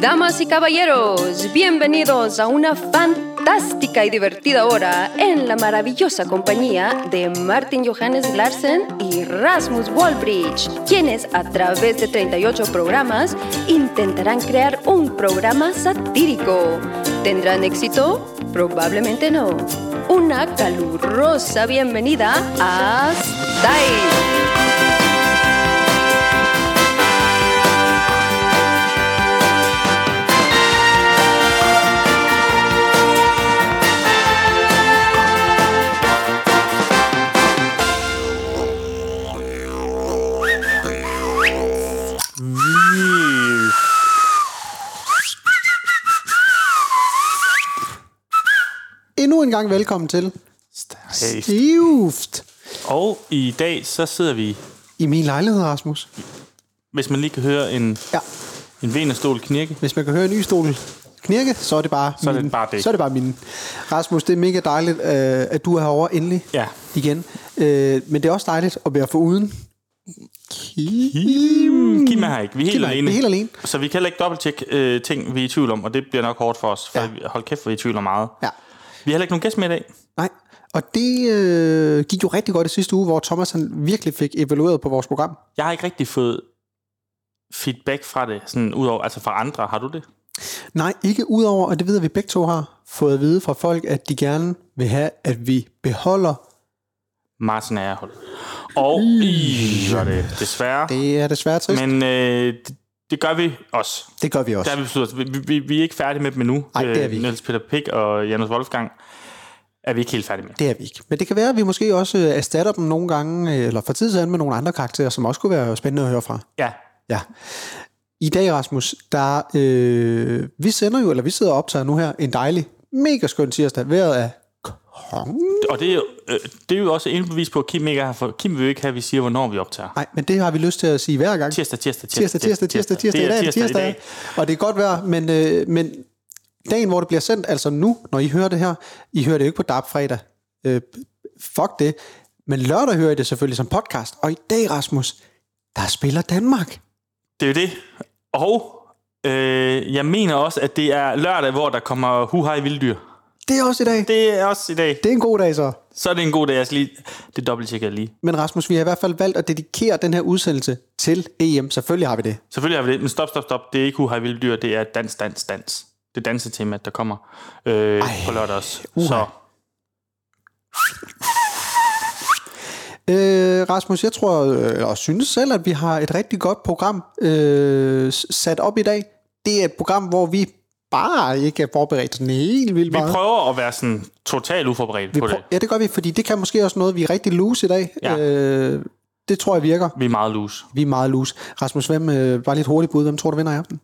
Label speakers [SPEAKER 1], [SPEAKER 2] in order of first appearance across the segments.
[SPEAKER 1] Damas y caballeros, bienvenidos a una fantástica y divertida hora en la maravillosa compañía de Martin Johannes Larsen y Rasmus Wallbridge, quienes a través de 38 programas intentarán crear un programa satírico. ¿Tendrán éxito? Probablemente no. Una calurosa bienvenida a Style.
[SPEAKER 2] Endnu en gang velkommen til
[SPEAKER 3] Hey.
[SPEAKER 2] Stift
[SPEAKER 3] Og i dag, så sidder vi,
[SPEAKER 2] i min lejlighed, Rasmus.
[SPEAKER 3] hvis man lige kan høre en,
[SPEAKER 2] Ja,
[SPEAKER 3] en venestol knirke.
[SPEAKER 2] hvis man kan høre en ystol knirke, så er det bare
[SPEAKER 3] Så er det
[SPEAKER 2] min.
[SPEAKER 3] bare det.
[SPEAKER 2] Så er det bare min. Rasmus, det er mega dejligt, øh, at du er herovre endelig
[SPEAKER 3] Ja.
[SPEAKER 2] igen. Øh, Men det er også dejligt at være foruden.
[SPEAKER 3] Kim, Kim er her ikke. Vi er helt
[SPEAKER 2] Kim er ikke.
[SPEAKER 3] alene.
[SPEAKER 2] Vi er helt alene.
[SPEAKER 3] Så vi kan heller ikke dobbelttjekke øh, ting, vi er i tvivl om, og det bliver nok hårdt for os, for
[SPEAKER 2] Ja.
[SPEAKER 3] ja. hold kæft, vi er i tvivl om meget.
[SPEAKER 2] Ja.
[SPEAKER 3] Vi har heller ikke nogen gæst med i dag.
[SPEAKER 2] Nej, og det øh, gik jo rigtig godt i sidste uge, hvor Thomas han virkelig fik evalueret på vores program.
[SPEAKER 3] Jeg har ikke rigtig fået feedback fra det, sådan udover, altså fra andre. Har du det?
[SPEAKER 2] Nej, ikke udover, og det ved jeg, vi begge to har fået at vide fra folk, at de gerne vil have, at vi beholder.
[SPEAKER 3] Martin er hold. Og i var det desværre.
[SPEAKER 2] Det er desværre trist. Men,
[SPEAKER 3] Men øh, det, det gør vi også.
[SPEAKER 2] det gør vi også.
[SPEAKER 3] Der har vi besluttet os. Vi, vi, vi er ikke færdige med dem endnu.
[SPEAKER 2] Nej, det er vi
[SPEAKER 3] Øh,
[SPEAKER 2] ikke.
[SPEAKER 3] Niels Peter Pick og Janus Wolfgang er vi ikke helt færdige med.
[SPEAKER 2] Det er vi ikke. Men det kan være, at vi måske også øh, erstatter dem nogle gange, øh, eller for tid siden med nogle andre karakterer, som også kunne være spændende at høre fra.
[SPEAKER 3] Ja,
[SPEAKER 2] Ja. I dag, Rasmus, der, øh, vi sender jo, eller vi sidder og optager nu her, en dejlig, mega skøn tirsdag. Vejret er kong.
[SPEAKER 3] og det er, jo, øh, det er jo også endnu bevis på, at Kim, ikke har for, Kim vil jo ikke have, at vi siger, hvornår vi optager.
[SPEAKER 2] Nej, men det har vi lyst til at sige hver gang.
[SPEAKER 3] Tirsdag, tirsdag,
[SPEAKER 2] tirsdag, tirsdag, tirsdag, tirsdag, i dag, er det
[SPEAKER 3] tirsdag,
[SPEAKER 2] tirsdag,
[SPEAKER 3] tirsdag i dag.
[SPEAKER 2] og det er godt vejr, men, øh, men dagen, hvor det bliver sendt, altså nu, når I hører det her, I hører det jo ikke på DAP fredag, øh, fuck det, men lørdag hører I det selvfølgelig som podcast, og i dag, Rasmus, der spiller Danmark.
[SPEAKER 3] Det er jo det. Og øh, jeg mener også, at det er lørdag, hvor der kommer huhaj vilddyr.
[SPEAKER 2] Det er også i dag. Det,
[SPEAKER 3] Det er også i dag.
[SPEAKER 2] det er en god dag så.
[SPEAKER 3] Så er det en god dag. Jeg skal lige, det dobbelttjekker jeg lige.
[SPEAKER 2] Men Rasmus, vi har i hvert fald valgt at dedikere den her udsendelse til EM. Selvfølgelig har vi det.
[SPEAKER 3] Selvfølgelig har vi det, men stop, stop, stop. Det er ikke huhaj vilddyr, det er dans, dans, dans. Det er dansetema, der kommer øh, på lørdag også. Så
[SPEAKER 2] Øh, Rasmus, jeg tror øh, og synes selv, at vi har et rigtig godt program øh, s- sat op i dag. Det er et program, hvor vi bare ikke er forberedt sådan helt vildt
[SPEAKER 3] Vi
[SPEAKER 2] meget.
[SPEAKER 3] prøver at være sådan totalt uforberedt på
[SPEAKER 2] prøv-
[SPEAKER 3] det.
[SPEAKER 2] Ja, det gør vi, fordi det kan måske også noget, vi er rigtig loose i dag.
[SPEAKER 3] Ja.
[SPEAKER 2] Øh, det tror jeg virker.
[SPEAKER 3] Vi er meget loose.
[SPEAKER 2] Vi er meget loose. Rasmus, hvem, øh, bare lidt hurtigt bud, hvem tror du vinder i aften?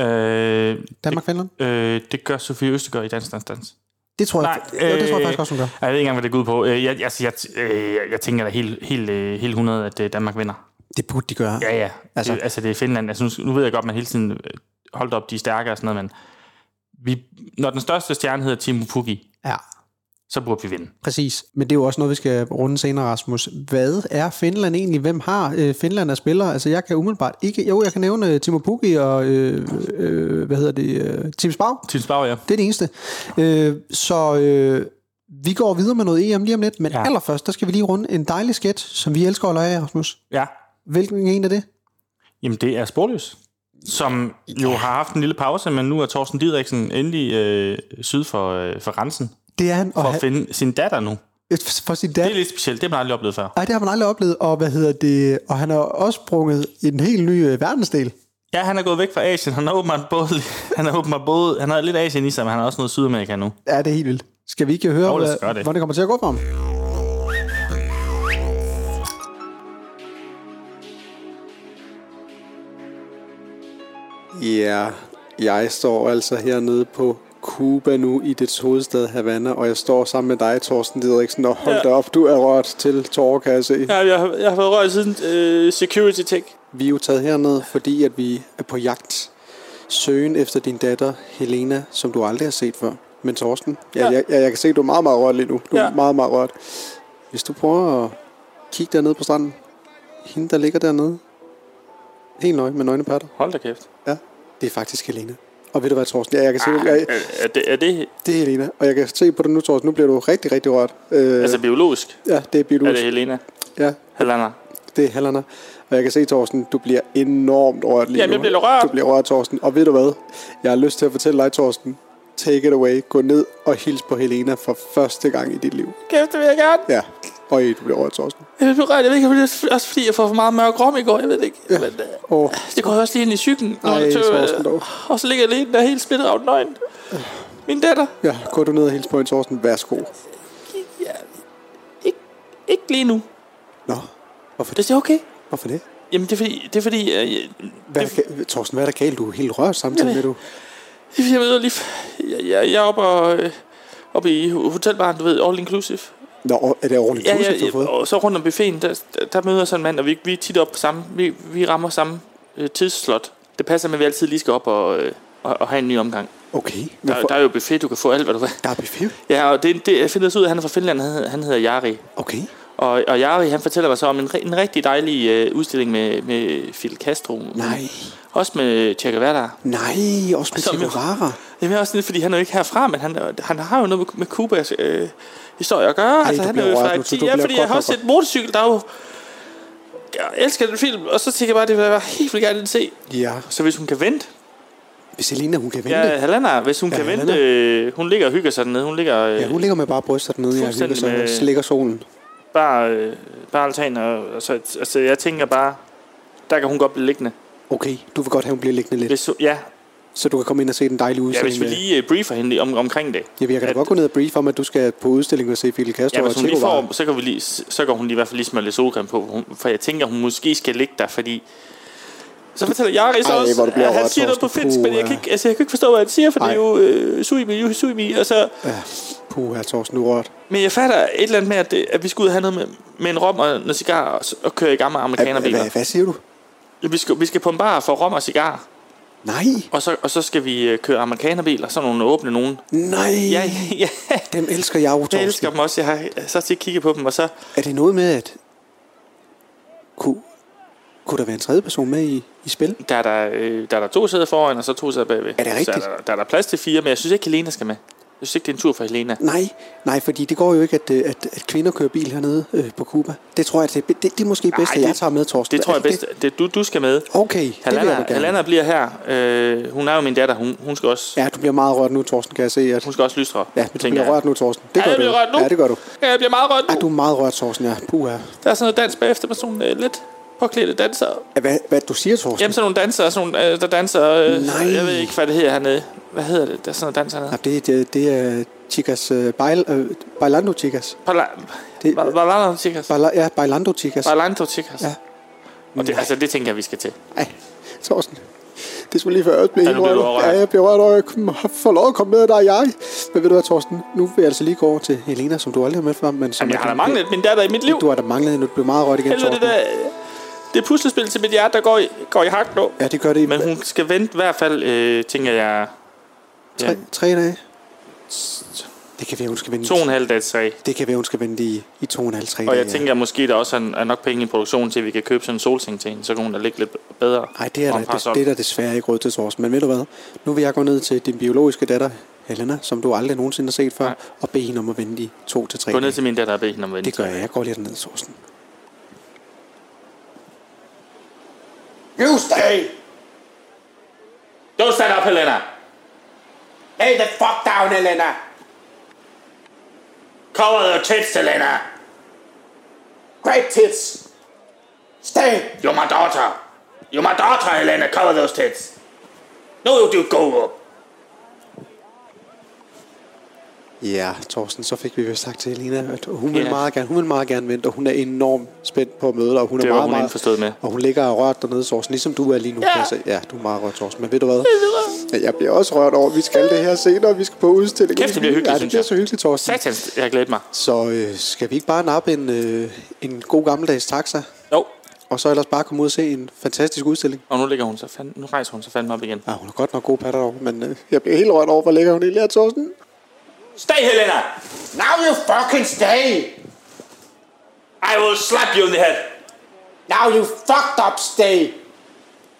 [SPEAKER 3] Øh,
[SPEAKER 2] Danmark, Finland?
[SPEAKER 3] det, øh, det gør Sofie Østegård i Dans Dans Dans.
[SPEAKER 2] Det tror jeg,
[SPEAKER 3] Nej,
[SPEAKER 2] øh, jo, det tror jeg
[SPEAKER 3] øh,
[SPEAKER 2] faktisk også, hun gør.
[SPEAKER 3] Jeg ved ikke engang, hvad det går ud på. Øh, Jeg, altså, jeg, øh, jeg, jeg tænker da helt, helt, øh, helt 100, at øh, Danmark vinder.
[SPEAKER 2] Det burde de gøre.
[SPEAKER 3] Ja, ja.
[SPEAKER 2] Altså-
[SPEAKER 3] Altså det, altså, det er Finland. Altså, nu- nu ved jeg godt, man hele tiden øh, holdt op, de er stærkere og sådan noget, men vi, når den største stjerne hedder Timo Pukki,
[SPEAKER 2] ja.
[SPEAKER 3] så burde vi vinde.
[SPEAKER 2] Præcis, men det er jo også noget, vi skal runde senere, Rasmus. Hvad er Finland egentlig? Hvem har øh, Finland af spillere? Altså, jeg kan umiddelbart ikke... Jo, jeg kan nævne øh, Timo Pukki og, øh, øh, hvad hedder det, øh, Tim Spau.
[SPEAKER 3] Tim Spauer, ja.
[SPEAKER 2] Det er det eneste. Øh, så øh, vi går videre med noget EM lige om lidt, men ja.
[SPEAKER 3] Ja.
[SPEAKER 2] allerførst, der skal vi lige runde en dejlig sketch, som vi elsker at lege af, Rasmus.
[SPEAKER 3] ja.
[SPEAKER 2] Hvilken en er det?
[SPEAKER 3] Jamen, det er sporløs. Som jo har haft en lille pause, men nu er Thorsten Didriksen endelig øh, syd for, øh, for grænsen.
[SPEAKER 2] Det er han
[SPEAKER 3] for
[SPEAKER 2] og han,
[SPEAKER 3] at finde sin datter nu.
[SPEAKER 2] for sin
[SPEAKER 3] Det
[SPEAKER 2] dat.
[SPEAKER 3] er lidt specielt. Det har man aldrig oplevet før.
[SPEAKER 2] Ej, det har man aldrig oplevet, og hvad hedder det? Og han har også sprunget en helt ny øh, verdensdel.
[SPEAKER 3] Ja, han er gået væk fra Asien. Han har åbenbart både... Han har åbenbart både... Han har lidt Asien i sig, men han har også noget Sydamerika nu.
[SPEAKER 2] Ja, det er helt vildt. Skal vi ikke høre,
[SPEAKER 3] Jo, lad os
[SPEAKER 2] hvad-
[SPEAKER 3] gøre det.
[SPEAKER 2] hvordan det kommer til at gå for ham? Ja, jeg står altså hernede på Cuba nu i dets hovedstad Havana, og jeg står sammen med dig, Torsten Didriksen, og hold da op, du er rørt til tårerkasse.
[SPEAKER 3] Ja, jeg, har, jeg har fået røg siden øh, Security Tech.
[SPEAKER 2] Vi er jo taget herned, fordi at vi er på jagt. Søgen efter din datter, Helena, som du aldrig har set før. Men Torsten, ja,
[SPEAKER 3] Ja.
[SPEAKER 2] ja. Jeg, ja, jeg kan se, at du er meget, meget rørt lige nu. Du er ja.
[SPEAKER 3] Ja.
[SPEAKER 2] meget, meget rørt. Hvis du prøver at kigge dernede på stranden. Hende, der ligger dernede. Helt nøje med nøgne patter.
[SPEAKER 3] Hold da kæft.
[SPEAKER 2] Ja. Det er faktisk Helena. Og ved du hvad, Thorsten? Ja, jeg kan se, ah, jeg,
[SPEAKER 4] Er, Øh, er, det, er det
[SPEAKER 2] det er Helena. Og jeg kan se på dig nu, Thorsten. Nu bliver du rigtig, rigtig rørt. Øh,
[SPEAKER 4] altså biologisk?
[SPEAKER 2] ja, det er
[SPEAKER 4] Er
[SPEAKER 2] biologisk.
[SPEAKER 4] det Helena?
[SPEAKER 2] det? Ja,
[SPEAKER 4] Helena?
[SPEAKER 2] det er Helena. Og jeg kan se, Thorsten, du bliver enormt rørt lige
[SPEAKER 4] Jamen,
[SPEAKER 2] nu.
[SPEAKER 4] jeg bliver rørt.
[SPEAKER 2] Du bliver rørt, Thorsten. Og ved du hvad? Jeg har lyst til at fortælle dig, Thorsten. Take it away. Gå ned og hils på Helena for første gang i dit liv.
[SPEAKER 4] Kæft, det vil jeg gerne.
[SPEAKER 2] Ja. Og du bliver rørt, Thorsten.
[SPEAKER 4] Jeg bliver rørt. Jeg ved ikke, om det er også fordi, jeg får for meget mørk rum i går. Jeg ved det ikke. Ja. Men, øh,
[SPEAKER 2] Åh,
[SPEAKER 4] det går jo også lige ind i cyklen. når
[SPEAKER 2] Ej,
[SPEAKER 4] jeg tøver,
[SPEAKER 2] Thorsten dog. Øh.
[SPEAKER 4] øh, og så ligger jeg alene der helt splittet af den øjne. Min datter.
[SPEAKER 2] ja. Gå du ned og hils på en, Thorsten. Værsgo.
[SPEAKER 4] Ja, ikke, ikke lige nu.
[SPEAKER 2] Nå, hvorfor det?
[SPEAKER 4] Det er okay.
[SPEAKER 2] Hvorfor det?
[SPEAKER 4] Jamen, det er fordi, det er fordi øh, jeg,
[SPEAKER 2] Hvad er der, ga- Thorsten, hvad er der galt? Du er helt rørt samtidig med, du...
[SPEAKER 4] jeg, ved jo lige, jeg, jeg, jeg er oppe, og, øh, oppe i hotelbaren, du ved, all inclusive.
[SPEAKER 2] Nå, er det ordentligt
[SPEAKER 4] Ja,
[SPEAKER 2] ja, du
[SPEAKER 4] ja,
[SPEAKER 2] har
[SPEAKER 4] ja,
[SPEAKER 2] fået?
[SPEAKER 4] og så rundt om buffeten, der, der- der møder jeg sådan en mand, og vi, vi er tit op på samme, vi, vi rammer samme øh, tidsslot. Det passer med, at vi altid lige skal op og, øh, og, og have en ny omgang.
[SPEAKER 2] Okay.
[SPEAKER 4] Der,
[SPEAKER 2] Hvorfor?
[SPEAKER 4] der er jo buffet, du kan få alt, hvad du vil.
[SPEAKER 2] Der er buffet.
[SPEAKER 4] Ja, og det, det jeg finder så ud af, at han er fra Finland, han, hedder- han hedder Jari.
[SPEAKER 2] Okay.
[SPEAKER 4] Og, og Jari, han fortæller mig så om en, ri- en rigtig dejlig øh, udstilling med, med Fidel Castro.
[SPEAKER 2] Nej.
[SPEAKER 4] Også med Che Guevara.
[SPEAKER 2] Nej, også med
[SPEAKER 4] Som jo-
[SPEAKER 2] Tirovara.
[SPEAKER 4] Jamen også lidt, fordi han er jo ikke herfra, men han, han har jo noget med, med Kubas øh, historie at gøre. Ej,
[SPEAKER 2] du
[SPEAKER 4] han
[SPEAKER 2] bliver
[SPEAKER 4] jo
[SPEAKER 2] rørt
[SPEAKER 4] fra
[SPEAKER 2] nu, så
[SPEAKER 4] et-
[SPEAKER 2] du
[SPEAKER 4] ja,
[SPEAKER 2] bliver
[SPEAKER 4] fordi
[SPEAKER 2] godt
[SPEAKER 4] jeg har også
[SPEAKER 2] nok
[SPEAKER 4] set motorcykel, der er jo... Jeg elsker den film, og så tænker jeg bare, at det vil jeg bare helt vildt gerne se.
[SPEAKER 2] Ja,
[SPEAKER 4] Så hvis hun kan vente...
[SPEAKER 2] hvis Elena, hun kan vente.
[SPEAKER 4] Ja, Helena, hvis hun
[SPEAKER 2] Ja,
[SPEAKER 4] ja, kan
[SPEAKER 2] Helena.
[SPEAKER 4] vente... Øh, hun ligger og hygger sig dernede. Hun ligger øh,
[SPEAKER 2] Ja, hun ligger med bare brystet nede, jeg hygger
[SPEAKER 4] Fuldstændig
[SPEAKER 2] sig og
[SPEAKER 4] med-
[SPEAKER 2] slikker solen.
[SPEAKER 4] bare, øh, bare altan, og, og så, altså, jeg tænker bare... Der kan hun godt blive liggende.
[SPEAKER 2] Okay, du vil godt have, hun bliver liggende lidt,
[SPEAKER 4] Hvis, hun- ja,
[SPEAKER 2] så du kan komme ind og se den dejlige
[SPEAKER 4] ja, hvis
[SPEAKER 2] udstilling.
[SPEAKER 4] vi lige øh, briefer hende om, omkring det.
[SPEAKER 2] Ja, jeg kan da
[SPEAKER 4] at-
[SPEAKER 2] godt gå ned og brief om, at du skal på udstillingen og se Fidel Castro
[SPEAKER 4] Ja,
[SPEAKER 2] og
[SPEAKER 4] hvis hun lige
[SPEAKER 2] Tirovara.
[SPEAKER 4] får, så kan, vi lige, så kan hun lige i hvert fald lige smøre lidt solcreme på. Hun, for jeg tænker, hun måske skal ligge der, fordi... Så fortæller Jaris
[SPEAKER 2] Ej, hvor
[SPEAKER 4] også,
[SPEAKER 2] du bliver
[SPEAKER 4] at han
[SPEAKER 2] rørt,
[SPEAKER 4] siger noget på
[SPEAKER 2] Torsten.
[SPEAKER 4] finsk, men jeg
[SPEAKER 2] Puh,
[SPEAKER 4] kan,
[SPEAKER 2] ja.
[SPEAKER 4] ikke, altså, jeg kan ikke forstå, hvad han siger, for det
[SPEAKER 2] Ej.
[SPEAKER 4] er jo øh, suimi, jo suimi, og så...
[SPEAKER 2] Ja, puh, her Ah, Torsten, du er rørt.
[SPEAKER 4] Men jeg fatter et eller andet med, at, det, at vi skal ud og have noget med, med en rom og en cigar og, s- og køre i gamle
[SPEAKER 2] Hvad,
[SPEAKER 4] amerikanerbiler.
[SPEAKER 2] hvad siger du?
[SPEAKER 4] Vi skal, vi skal på en bar for rom og cigar,
[SPEAKER 2] Nej,
[SPEAKER 4] og så, og så skal vi øh, køre amerikanerbiler, sådan nogle åbne nogen.
[SPEAKER 2] nej,
[SPEAKER 4] Ja, ja,
[SPEAKER 2] dem elsker jeg jo, Torsten.
[SPEAKER 4] jeg elsker dem også. Jeg har så til at kigge på dem, og så...
[SPEAKER 2] Er det noget med, at... Kunne, kunne der være en tredje person med i, i spil?
[SPEAKER 4] Der er der, øh, der er der to sæder foran, og så to sæder bagved.
[SPEAKER 2] Er det rigtigt?
[SPEAKER 4] Så er der, der er der plads til fire, men jeg synes ikke, Helena skal med. Jeg synes ikke, det er en tur for Helena.
[SPEAKER 2] Nej, nej, fordi det går jo ikke, at, øh, at, at kvinder kører bil hernede øh, på Cuba. Det tror jeg, at det, det, det er måske bedst,
[SPEAKER 4] Ej,
[SPEAKER 2] at jeg
[SPEAKER 4] det-
[SPEAKER 2] tager med, Torsten.
[SPEAKER 4] Det tror jeg
[SPEAKER 2] Er
[SPEAKER 4] bedst. Det, du, du skal med.
[SPEAKER 2] Okay, det vil jeg
[SPEAKER 4] Helena,
[SPEAKER 2] da gerne.
[SPEAKER 4] Helena bliver her. Øh, hun er jo min datter. Hun, hun skal også,
[SPEAKER 2] Ja, du bliver meget rørt nu, Torsten, kan jeg se. At...
[SPEAKER 4] hun skal også lystre.
[SPEAKER 2] Ja, du bliver rørt nu, Torsten. Det
[SPEAKER 4] Ja,
[SPEAKER 2] gør
[SPEAKER 4] jeg
[SPEAKER 2] du.
[SPEAKER 4] bliver rørt nu.
[SPEAKER 2] Ja, det gør du.
[SPEAKER 4] Jeg. Ja, jeg bliver meget rørt
[SPEAKER 2] Ja,
[SPEAKER 4] nu.
[SPEAKER 2] du er meget rørt, Torsten, ja. Puha.
[SPEAKER 4] Der er sådan noget dans bagefter med sådan nogle øh, lidt påklædte dansere.
[SPEAKER 2] Ja, Hvad, hvad du siger, Torsten?
[SPEAKER 4] Jamen sådan nogle dansere, sådan nogle, øh, der danser... Øh,
[SPEAKER 2] Nej.
[SPEAKER 4] Jeg ved ikke, hvad det hedder hernede. Hvad hedder det? Der er sådan noget danser hernede.
[SPEAKER 2] Nej, det, det, det er chicas... øh, Bail, øh, bailando chicas. Det-
[SPEAKER 4] Det, Bailando chicas.
[SPEAKER 2] Baila, ja, bailando chicas.
[SPEAKER 4] Bailando chicas.
[SPEAKER 2] Ja.
[SPEAKER 4] Ja. Og det, altså, det tænker jeg, vi skal til.
[SPEAKER 2] Ej, Torsten. Det skulle lige før jeg blev
[SPEAKER 4] Ja,
[SPEAKER 2] helt
[SPEAKER 4] nu blev du
[SPEAKER 2] rørt.
[SPEAKER 4] rørt.
[SPEAKER 2] Ja, jeg blev rørt, og jeg kom- har fået lov at komme med, der er jeg. Men ved du hvad, Torsten? Nu vil jeg altså lige gå over til Helena, som du aldrig har mødt før. Men som
[SPEAKER 4] Jamen, jeg
[SPEAKER 2] er
[SPEAKER 4] har da
[SPEAKER 2] din-
[SPEAKER 4] manglet min datter i mit liv.
[SPEAKER 2] Du har da manglet, hende. du blev meget rørt igen,
[SPEAKER 4] Helvede, det
[SPEAKER 2] Torsten.
[SPEAKER 4] der... øh, Det puslespil til mit hjerte, der går i, går i hak nu.
[SPEAKER 2] Ja, det gør det i
[SPEAKER 4] Men hun skal vente i hvert fald, øh, tænker jeg,
[SPEAKER 2] tre,
[SPEAKER 4] ja.
[SPEAKER 2] tre dage. Det kan være, hun skal vende i-
[SPEAKER 4] to og en halv dag sag.
[SPEAKER 2] Det kan være, hun skal vente i, i to og en halv, tre
[SPEAKER 4] Og
[SPEAKER 2] dage.
[SPEAKER 4] jeg tænker, at måske der også er, er nok penge i produktionen til, at vi kan købe sådan en solseng til hende, så kan hun da ligge lidt bedre.
[SPEAKER 2] Nej, det er,
[SPEAKER 4] og
[SPEAKER 2] der,
[SPEAKER 4] en
[SPEAKER 2] det,
[SPEAKER 4] parasol.
[SPEAKER 2] det er der desværre ikke råd til, Torsten. Men ved du hvad? Nu vil jeg gå ned til din biologiske datter, Helena, som du aldrig nogensinde har set før,
[SPEAKER 4] Nej.
[SPEAKER 2] og bede hende om at vente i to til tre
[SPEAKER 4] Gå ned
[SPEAKER 2] dage.
[SPEAKER 4] til min datter og bed hende om at vente.
[SPEAKER 2] Det gør jeg. Jeg går lige ned, Torsten.
[SPEAKER 4] You stay! Don't stand up, Helena! Lay the fuck down, Helena! Cover your tits, Helena! Great tits! Stay! You're my daughter! You're my daughter, Helena! Cover those tits! No, you do go up!
[SPEAKER 2] Ja, Torsten, så fik vi jo sagt til Helena, at hun vil,
[SPEAKER 4] Ja.
[SPEAKER 2] meget gerne, hun vil meget gerne vente, og hun er enormt spændt på at møde dig. Og hun
[SPEAKER 4] Det
[SPEAKER 2] er
[SPEAKER 4] var
[SPEAKER 2] meget,
[SPEAKER 4] hun
[SPEAKER 2] meget,
[SPEAKER 4] indforstået med.
[SPEAKER 2] Og hun ligger og rørt dernede, Torsten, ligesom du er lige nu. Ja, kan jeg se. ja du er meget rørt, Torsten. Men ved du hvad? Ja, jeg bliver også rørt over, at vi skal det her senere, vi skal på udstilling.
[SPEAKER 4] Kæft, det bliver hyggeligt,
[SPEAKER 2] ja, det
[SPEAKER 4] synes
[SPEAKER 2] bliver
[SPEAKER 4] jeg.
[SPEAKER 2] så hyggeligt, Torsten.
[SPEAKER 4] Satans, jeg glæder mig.
[SPEAKER 2] Så øh, skal vi ikke bare nappe en, øh, en god gammeldags taxa,
[SPEAKER 4] Jo,
[SPEAKER 2] og så ellers bare komme ud og se en fantastisk udstilling?
[SPEAKER 4] og nu ligger hun så fandme, nu rejser hun så fandme op igen.
[SPEAKER 2] Ja, hun har godt nok gode patter over, men øh, jeg bliver helt rørt over, hvor lækker hun egentlig er, Torsten.
[SPEAKER 4] Stay, Helena! Now you fucking stay! I will slap you in the head!
[SPEAKER 5] Now you fucked up stay.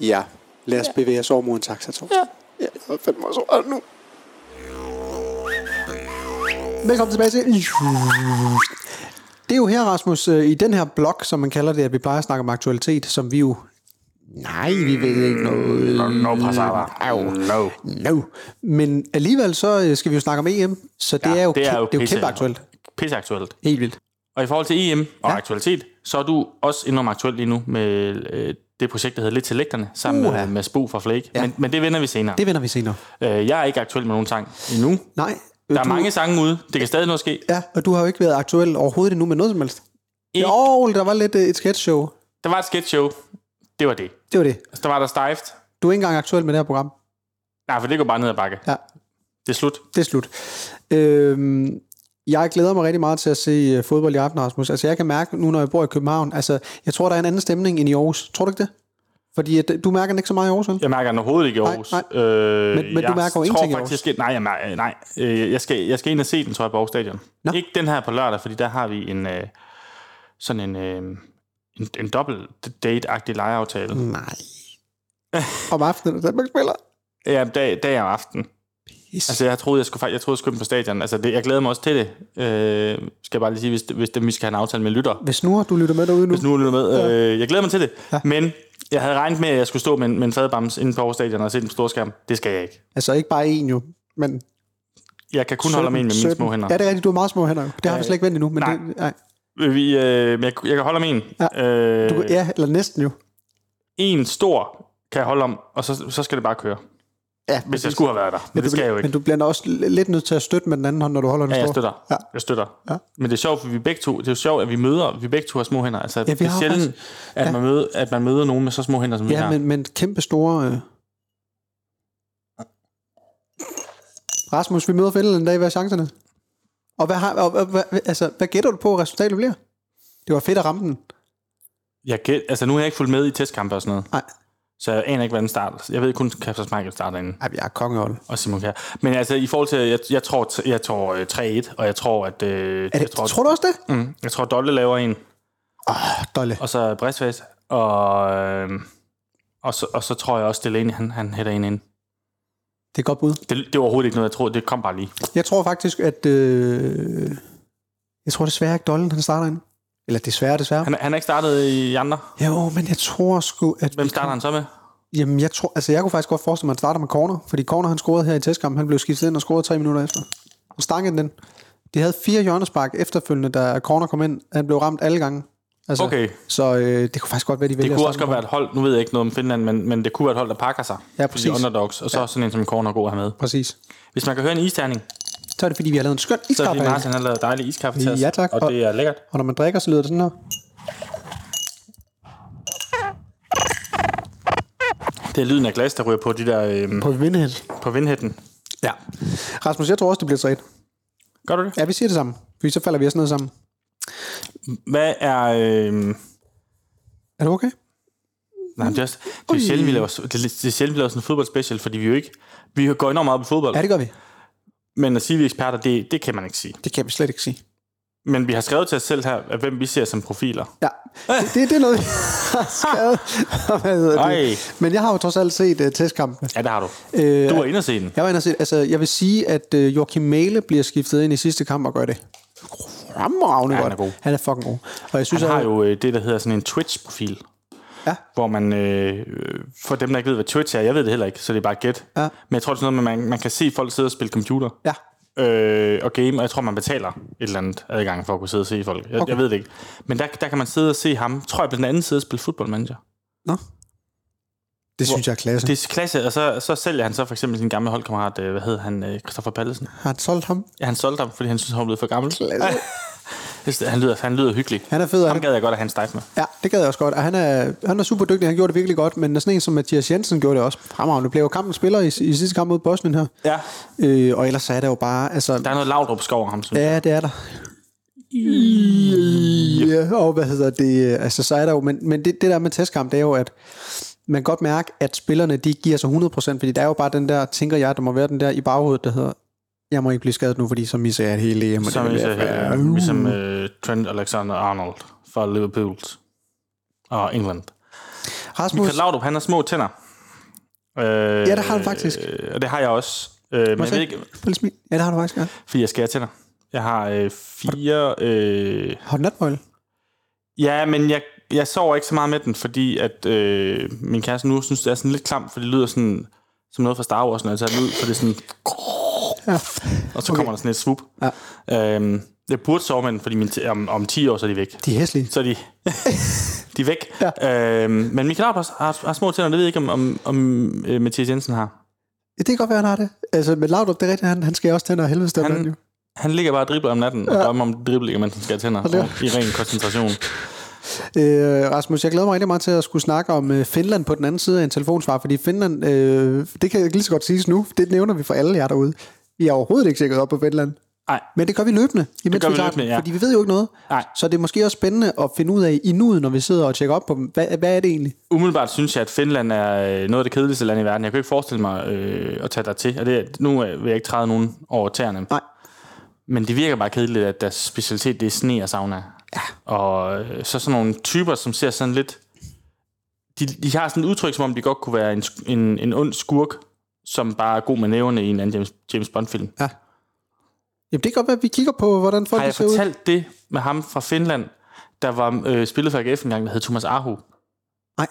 [SPEAKER 2] Ja, Lad os bevæge os over mod en taxa, Torsten. Ja. ja jeg er fandme også over nu. Velkommen tilbage til... Det er jo her, Rasmus, øh, i den her blog, som man kalder det, at vi plejer at snakke om aktualitet, som vi jo... Nej, vi ved ikke noget.
[SPEAKER 3] Mm, No, no pasaba. No.
[SPEAKER 2] No. Men alligevel så øh, skal vi jo snakke om EM, så det, ja, er, jo
[SPEAKER 3] det er
[SPEAKER 2] kæm-
[SPEAKER 3] jo
[SPEAKER 2] det er jo
[SPEAKER 3] pisse-
[SPEAKER 2] kæmpe aktuelt.
[SPEAKER 3] Pisse aktuelt.
[SPEAKER 2] Helt vildt.
[SPEAKER 3] Og i forhold til EM og ja. aktualitet, så er du også enormt aktuel lige nu med øh, det projekt, der hedder Lidt til lægterne, sammen
[SPEAKER 2] Uha.
[SPEAKER 3] med, med Spo fra Flake. Ja. Men, men det vender vi senere.
[SPEAKER 2] Det vender vi senere.
[SPEAKER 3] Øh, jeg er ikke aktuel med nogen sang endnu.
[SPEAKER 2] Nej.
[SPEAKER 3] Der er
[SPEAKER 2] du,
[SPEAKER 3] mange sange ude. Det kan stadig nå at ske.
[SPEAKER 2] Ja, og du har jo ikke været aktuel overhovedet endnu med noget som helst.
[SPEAKER 3] Ikke.
[SPEAKER 2] Jo, der var lidt øh, et sketchshow.
[SPEAKER 3] Der var et sketch show. Det var det.
[SPEAKER 2] Det var det.
[SPEAKER 3] Så der var der stejft.
[SPEAKER 2] Du er ikke engang aktuel med det her program.
[SPEAKER 3] Nej, for det går bare ned ad bakke.
[SPEAKER 2] Ja.
[SPEAKER 3] Det er slut.
[SPEAKER 2] Det er slut. Øhm, jeg glæder mig rigtig meget til at se øh, fodbold i aften, Rasmus. Altså, jeg kan mærke nu, når jeg bor i København, altså, jeg tror, der er en anden stemning end i Aarhus. Tror du ikke det? Fordi at, du mærker den ikke så meget i Aarhus, vel?
[SPEAKER 3] Jeg mærker den overhovedet ikke i Aarhus.
[SPEAKER 2] Nej,
[SPEAKER 3] Øh,
[SPEAKER 2] Men- men du
[SPEAKER 3] jeg
[SPEAKER 2] mærker jo
[SPEAKER 3] tror
[SPEAKER 2] ingenting i
[SPEAKER 3] faktisk, Aarhus. Nej, jeg, mærker, nej. Øh, jeg, skal, jeg skal ind og se den, tror jeg, på Aarhus Stadion.
[SPEAKER 2] Nå.
[SPEAKER 3] Ikke den her på lørdag, fordi der har vi en øh, sådan en, øh, en, en dobbelt date-agtig lejeaftale. Mm.
[SPEAKER 2] Nej. Om aftenen, der Danmark spiller.
[SPEAKER 3] Ja, dag, dag om aftenen.
[SPEAKER 2] Pis.
[SPEAKER 3] Altså, jeg troede, jeg skulle, fakt- jeg troede, jeg skulle ind på stadion. Altså, det, jeg glæder mig også til det. Øh, skal jeg bare lige sige, hvis, hvis det, vi skal have en aftale med lytter.
[SPEAKER 2] Hvis nu du lytter med derude nu,
[SPEAKER 3] hvis nu lytter med. Ja. Øh, jeg glæder mig til det. Ja. Men jeg havde regnet med, at jeg skulle stå med en, med en fadbams inde på Aarhus Stadion og se den på storskærm. Det skal jeg ikke.
[SPEAKER 2] altså ikke bare en jo, men...
[SPEAKER 3] Jeg kan kun holde mig en med mine
[SPEAKER 2] 17.
[SPEAKER 3] små hænder.
[SPEAKER 2] Ja, det er rigtigt, du har meget små hænder. jo. Det har vi slet ikke vendt endnu, men
[SPEAKER 3] nej.
[SPEAKER 2] det, nej.
[SPEAKER 3] Vi, øh, men jeg, jeg kan holde om en.
[SPEAKER 2] Ja.
[SPEAKER 3] Øh,
[SPEAKER 2] Du, ja, eller næsten jo.
[SPEAKER 3] En stor kan jeg holde om, og så, så skal det bare køre.
[SPEAKER 2] Ja,
[SPEAKER 3] Hvis jeg skulle have været der. Men, det skal jeg jo ikke.
[SPEAKER 2] Men du bliver da også l- lidt nødt til at støtte med den anden hånd, når du holder den
[SPEAKER 3] Ja, jeg
[SPEAKER 2] store.
[SPEAKER 3] støtter.
[SPEAKER 2] Ja.
[SPEAKER 3] Jeg støtter.
[SPEAKER 2] Ja.
[SPEAKER 3] Men det er sjovt, for vi begge to, det er jo sjovt, at vi møder, vi begge to har små hænder. Altså, ja,
[SPEAKER 2] vi
[SPEAKER 3] det er
[SPEAKER 2] har
[SPEAKER 3] sjældent, at, man møder, at man møder nogen med så små hænder, som vi
[SPEAKER 2] Ja,
[SPEAKER 3] har.
[SPEAKER 2] men, men kæmpe store... Øh... Rasmus, vi møder fælden en dag. Hvad er chancerne? Og hvad, har, og, og, hvad, altså, hvad gætter du på, at resultatet bliver? Det var fedt at ramme den.
[SPEAKER 3] Jeg gæt, altså, nu har jeg ikke fulgt med i testkampe og sådan noget.
[SPEAKER 2] Nej.
[SPEAKER 3] Så jeg aner ikke, hvordan den starter. Jeg ved kun, at Kasper Schmeichel starter inden.
[SPEAKER 2] Ej, jeg er kongehold.
[SPEAKER 3] Og Simon Kjær. Men altså, i forhold til, jeg, jeg tror, t- jeg tror øh, 3-1, og jeg tror, at... Øh,
[SPEAKER 2] Er det,
[SPEAKER 3] jeg tror,
[SPEAKER 2] tror du også det?
[SPEAKER 3] mm, jeg tror Dolle laver en,
[SPEAKER 2] Dolle.
[SPEAKER 3] og så Bresvæs, og, øh, og, så, og så tror jeg også, Delaney, han, han hætter en ind.
[SPEAKER 2] Det er et godt bud.
[SPEAKER 3] Det, det var overhovedet ikke noget, jeg tror. Det kom bare lige.
[SPEAKER 2] Jeg tror faktisk, at... Øh... Jeg tror desværre ikke, Dollen han starter ind. Eller desværre, desværre.
[SPEAKER 3] Han, han er ikke startet i andre.
[SPEAKER 2] Jo, men jeg tror sgu, at...
[SPEAKER 3] Hvem starter han så med?
[SPEAKER 2] Jamen, jeg tror, altså jeg kunne faktisk godt forestille mig, at han starter med corner, fordi corner han scorede her i testkampen, han blev skiftet ind og scorede tre minutter efter. Og stangede den. De havde fire hjørnespark efterfølgende, da corner kom ind, han blev ramt alle gange. Altså,
[SPEAKER 3] Okay.
[SPEAKER 2] Så øh, det kunne faktisk godt være, de
[SPEAKER 3] Det
[SPEAKER 2] vælger
[SPEAKER 3] kunne
[SPEAKER 2] at
[SPEAKER 3] også
[SPEAKER 2] starte
[SPEAKER 3] godt være et hold, nu ved jeg ikke noget om Finland, men, men det kunne være et hold, der pakker sig.
[SPEAKER 2] Ja,
[SPEAKER 3] De
[SPEAKER 2] præcis.
[SPEAKER 3] underdogs, og så ja. sådan en som Korn og god at have med.
[SPEAKER 2] med- Præcis.
[SPEAKER 3] Hvis man kan høre en isterning,
[SPEAKER 2] Så er det, fordi vi har lavet en skøn
[SPEAKER 3] så er det
[SPEAKER 2] iskaffe.
[SPEAKER 3] fordi Martin har lavet dejlig iskaffe til os.
[SPEAKER 2] Ja, tak.
[SPEAKER 3] Og det er lækkert.
[SPEAKER 2] Og når man drikker, så lyder det sådan her.
[SPEAKER 3] Det er lyden af glas, der ryger på de der øh,
[SPEAKER 2] På vindhed.
[SPEAKER 3] på vindhætten.
[SPEAKER 2] Ja. Rasmus, jeg tror også, det bliver 3
[SPEAKER 3] Gør du det?
[SPEAKER 2] Ja, vi siger det sammen. Fordi så falder vi også ned sammen.
[SPEAKER 3] Hvad er... Øh,
[SPEAKER 2] Er du okay?
[SPEAKER 3] Nej, men det er, også, det er jo sjældent, vi laver, det er, det er sjældent, vi laver sådan en fodboldspecial, fordi vi jo ikke... Vi går enormt meget op i fodbold,
[SPEAKER 2] Ja, det gør vi.
[SPEAKER 3] men at sige, vi er eksperter, det, det kan man ikke sige.
[SPEAKER 2] Det kan vi slet ikke sige.
[SPEAKER 3] Men vi har skrevet til os selv her, at hvem vi ser som profiler.
[SPEAKER 2] Ja, det, det, det er noget, jeg har skrevet. Hvad hedder det?
[SPEAKER 3] Ej.
[SPEAKER 2] Men jeg har jo trods alt set uh, testkampene.
[SPEAKER 3] Ja, det har du.
[SPEAKER 2] Øh,
[SPEAKER 3] Du var inde og se den.
[SPEAKER 2] Jeg var inde og set, altså, jeg vil sige, at øh, Joachim Mæle bliver skiftet ind i sidste kamp og gør det. Rammeragende
[SPEAKER 3] Ja, han
[SPEAKER 2] godt.
[SPEAKER 3] er god.
[SPEAKER 2] Han er fucking god. Og jeg synes,
[SPEAKER 3] Han har
[SPEAKER 2] at-
[SPEAKER 3] jo øh, det, der hedder sådan en Twitch-profil.
[SPEAKER 2] Ja.
[SPEAKER 3] Hvor man, øh, øh, for dem, der ikke ved, hvad Twitch er, jeg ved det heller ikke, så det er bare gæt.
[SPEAKER 2] Ja.
[SPEAKER 3] Men jeg tror, det er sådan noget med, at man, man kan se folk sidde og spille computer.
[SPEAKER 2] Ja.
[SPEAKER 3] Øh, og game, og jeg tror, man betaler et eller andet adgang for at kunne sidde og se folk. Jeg, okay. jeg ved det ikke. Men der, der kan man sidde og se ham, tror jeg, på den anden side og spille football manager.
[SPEAKER 2] Nå. Det synes jeg er klasse. Det...
[SPEAKER 3] Det er klasse, og så, så sælger han så for eksempel sin gamle holdkammerat, øh, hvad hed han, øh, Christoffer Pallesen.
[SPEAKER 2] Har han solgt ham?
[SPEAKER 3] Ja, han solgte ham, fordi han synes, han var blevet for gammel.
[SPEAKER 2] Klasse.
[SPEAKER 3] Jeg synes, han, lyder, han lyder hyggelig.
[SPEAKER 2] Han er fed,
[SPEAKER 3] Ham
[SPEAKER 2] han.
[SPEAKER 3] gad jeg godt at have en stejf med.
[SPEAKER 2] Ja, det gad jeg også godt. Og han er, han er super dygtig, han gjorde det virkelig godt. Men sådan en som Mathias Jensen gjorde det også. Fremragende. Blev jo kampens spiller i, i sidste kamp mod Bosnien her.
[SPEAKER 3] Ja.
[SPEAKER 2] Øh, og ellers så er det jo bare... Altså,
[SPEAKER 3] Der er noget lavdrup skov over ham, synes jeg.
[SPEAKER 2] Ja, det er der. Ja, og hvad hedder det? Altså, så er der jo, men, men det, det der med testkamp, det er jo, at man kan godt mærke, at spillerne, de giver sig 100%, fordi der er jo bare den der, tænker jeg, der må være den der i baghovedet, der hedder, jeg må ikke blive skadet nu, fordi så misser jeg et hele EM. og det
[SPEAKER 3] Som,
[SPEAKER 2] vil jeg-
[SPEAKER 3] øh, ligesom øh, Trent Alexander-Arnold fra Liverpool og England.
[SPEAKER 2] Rasmus,
[SPEAKER 3] Michael Laudrup, han har små tænder. Øh,
[SPEAKER 2] Ja, det har han faktisk.
[SPEAKER 3] Øh, og det har jeg også. Øh, men jeg ved ikke,
[SPEAKER 2] Lille smil. Ja, det har du faktisk. Ja.
[SPEAKER 3] fordi jeg skærer tænder. Jeg har øh, fire... Øh,
[SPEAKER 2] Har du natmøgle?
[SPEAKER 3] ja, men jeg, jeg sover ikke så meget med den, fordi at øh, min kæreste nu synes, det er sådan lidt klamt, for det lyder sådan som noget fra Star Wars, når jeg tager den ud, for det er sådan...
[SPEAKER 2] Ja.
[SPEAKER 3] Og så okay. kommer der sådan et swoop. Ja. Øhm, jeg burde sove med den, fordi min t- om, om 10 år, så er de væk.
[SPEAKER 2] De er hæslige.
[SPEAKER 3] Så er de, de er væk. Ja. Øhm, men Michael Arbers har, har små tænder, det ved jeg ikke, om, om, om øh, Mathias Jensen har.
[SPEAKER 2] Det kan godt være, han har det. Altså, men Laudrup, det er rigtigt, han, han skal også tænder af helvede stemme.
[SPEAKER 3] Han,
[SPEAKER 2] Han...
[SPEAKER 3] han ligger bare og dribler om natten, ja. og drømmer om dribling, mens han skal have tænder.
[SPEAKER 2] det er-
[SPEAKER 3] Og I ren koncentration.
[SPEAKER 2] Øh, Rasmus, jeg glæder mig rigtig meget til at skulle snakke om øh, Finland på den anden side af en telefonsvar, fordi Finland, øh, det kan lige så godt siges nu, det nævner vi for alle jer derude. Vi er overhovedet ikke sikret op på Finland.
[SPEAKER 3] Nej,
[SPEAKER 2] Men det gør vi løbende, imens
[SPEAKER 3] gør vi
[SPEAKER 2] tager den,
[SPEAKER 3] løbende, ja.
[SPEAKER 2] fordi vi ved jo ikke noget.
[SPEAKER 3] Nej.
[SPEAKER 2] Så det er måske også spændende at finde ud af i nuet, når vi sidder og tjekker op på dem. Hvad, hvad er det egentlig?
[SPEAKER 3] umiddelbart synes jeg, at Finland er øh, noget af det kedeligste land i verden. Jeg kan ikke forestille mig øh, at tage dig til. Og det, er- nu øh, vil jeg ikke træde nogen over tæerne.
[SPEAKER 2] Nej.
[SPEAKER 3] Men det virker bare kedeligt, at deres specialitet det er sne og sauna. Ja. Og øh, så sådan nogle typer, som ser sådan lidt... De, de har sådan et udtryk, som om de godt kunne være en, sk- en, en ond skurk, som bare er god med næverne i en anden James, James Bond-film.
[SPEAKER 2] Ja. Jamen, det kan godt være, at vi kigger på, hvordan folk
[SPEAKER 3] Har jeg
[SPEAKER 2] ser ud.
[SPEAKER 3] fortalt det med ham fra Finland, der var øh, spillet for AGF en gang, der hed Thomas Aho?
[SPEAKER 2] Nej.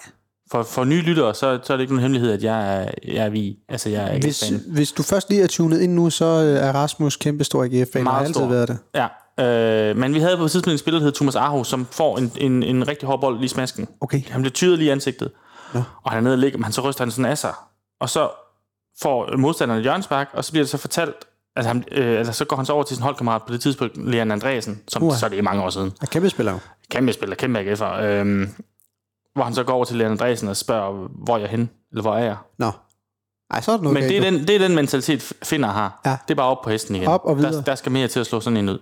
[SPEAKER 3] For, for nye lyttere, så, så er det ikke nogen hemmelighed, at jeg er, jeg er vi. Altså, jeg er
[SPEAKER 2] Hvis,
[SPEAKER 3] AGF-fan.
[SPEAKER 2] hvis du først lige er tunet ind nu, så øh, er Rasmus kæmpestor AGF-fan. Han har
[SPEAKER 3] Meget
[SPEAKER 2] altid
[SPEAKER 3] stor.
[SPEAKER 2] været det.
[SPEAKER 3] Ja. Øh, men vi havde på et tidspunkt en spiller, der hed Thomas Aho, som får en, en, en rigtig hård bold lige i smasken.
[SPEAKER 2] Okay.
[SPEAKER 3] Han bliver tyret lige i ansigtet. Ja. Og han er nede og ligger, men han så ryster han sådan af sig. Og så får modstanderen et hjørnspark, og så bliver det så fortalt, altså, han, øh, altså så går han så over til sin holdkammerat på det tidspunkt, Leon Andreasen, som
[SPEAKER 2] Uha.
[SPEAKER 3] så er det er mange år siden.
[SPEAKER 2] Er kæmpe spiller. jo.
[SPEAKER 3] Kæmpe spiller, kæmpe AGF'er. Øh, hvor han så går over til Leon Andreasen og spørger, hvor er jeg henne? Eller hvor er jeg?
[SPEAKER 2] Nå. Ej, så er det noget
[SPEAKER 3] Men det,
[SPEAKER 2] galt,
[SPEAKER 3] er den, det er den mentalitet, Finder har.
[SPEAKER 2] Ja.
[SPEAKER 3] Det er bare op på hesten igen.
[SPEAKER 2] Op og
[SPEAKER 3] der,
[SPEAKER 2] videre.
[SPEAKER 3] der skal mere til at slå sådan en ud. Det,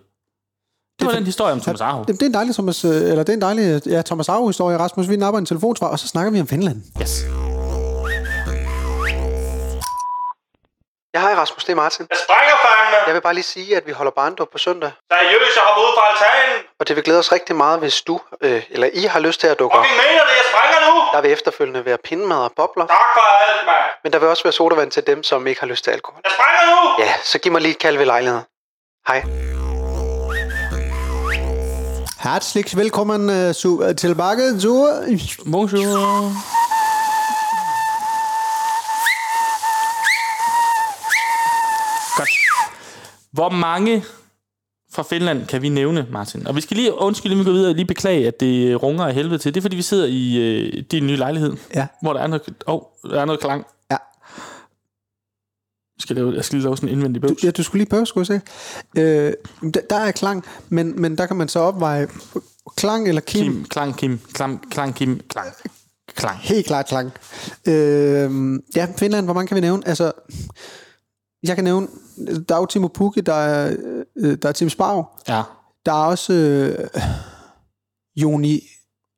[SPEAKER 3] det var
[SPEAKER 2] for-
[SPEAKER 3] den historie om Thomas Aho.
[SPEAKER 2] jo. Jamen, det er en dejlig Thomas, øh, eller det er en dejlig ja, Thomas Auer historie Rasmus, vi napper en telefonsvar, og så snakker vi om Finland.
[SPEAKER 3] Yes.
[SPEAKER 2] Ja, hej Rasmus, det er Martin.
[SPEAKER 5] Jeg springer fandme!
[SPEAKER 2] Jeg vil bare lige sige, at vi holder barndom på søndag,
[SPEAKER 5] Seriøst, jeg hopper ud fra altanen!
[SPEAKER 2] og det vil glæde os rigtig meget, hvis du, øh, eller I har lyst til at dukke
[SPEAKER 5] Fucking mener det, jeg springer nu!
[SPEAKER 2] Der vil efterfølgende være pindemad og bobler,
[SPEAKER 5] Tak for alt, mand!
[SPEAKER 2] men der vil også være sodavand til dem, som ikke har lyst til alkohol.
[SPEAKER 5] Jeg springer nu!
[SPEAKER 2] Ja, så giv mig lige et kald ved lejligheden. Hej. Herzlich willkommen øh, zu, øh, tilbage zu...
[SPEAKER 3] Bonjour. Godt. Hvor mange fra Finland kan vi nævne, Martin? Og vi skal lige undskylde, inden vi går videre, lige beklage, at det runger af helvede til. Det er, fordi vi sidder i øh, din nye lejlighed,
[SPEAKER 2] Ja.
[SPEAKER 3] hvor der er noget, oh, der er noget klang.
[SPEAKER 2] Ja.
[SPEAKER 3] Jeg skal, lave, jeg skal lige lave sådan en indvendig bøvs.
[SPEAKER 2] Ja, du skulle lige prøve, skulle jeg se. Øh, der, der er klang, men, men der kan man så opveje klang eller kim. kim.
[SPEAKER 3] Kim, klang, Kim, klam, klang, Kim, klang. Klang.
[SPEAKER 2] Helt klart klang. Øh, ja, Finland, hvor mange kan vi nævne? Altså, jeg kan nævne, der er jo Timo Pukki, der er, øh, der er Tim Sparv,
[SPEAKER 3] Ja.
[SPEAKER 2] Der er også øh, Joni,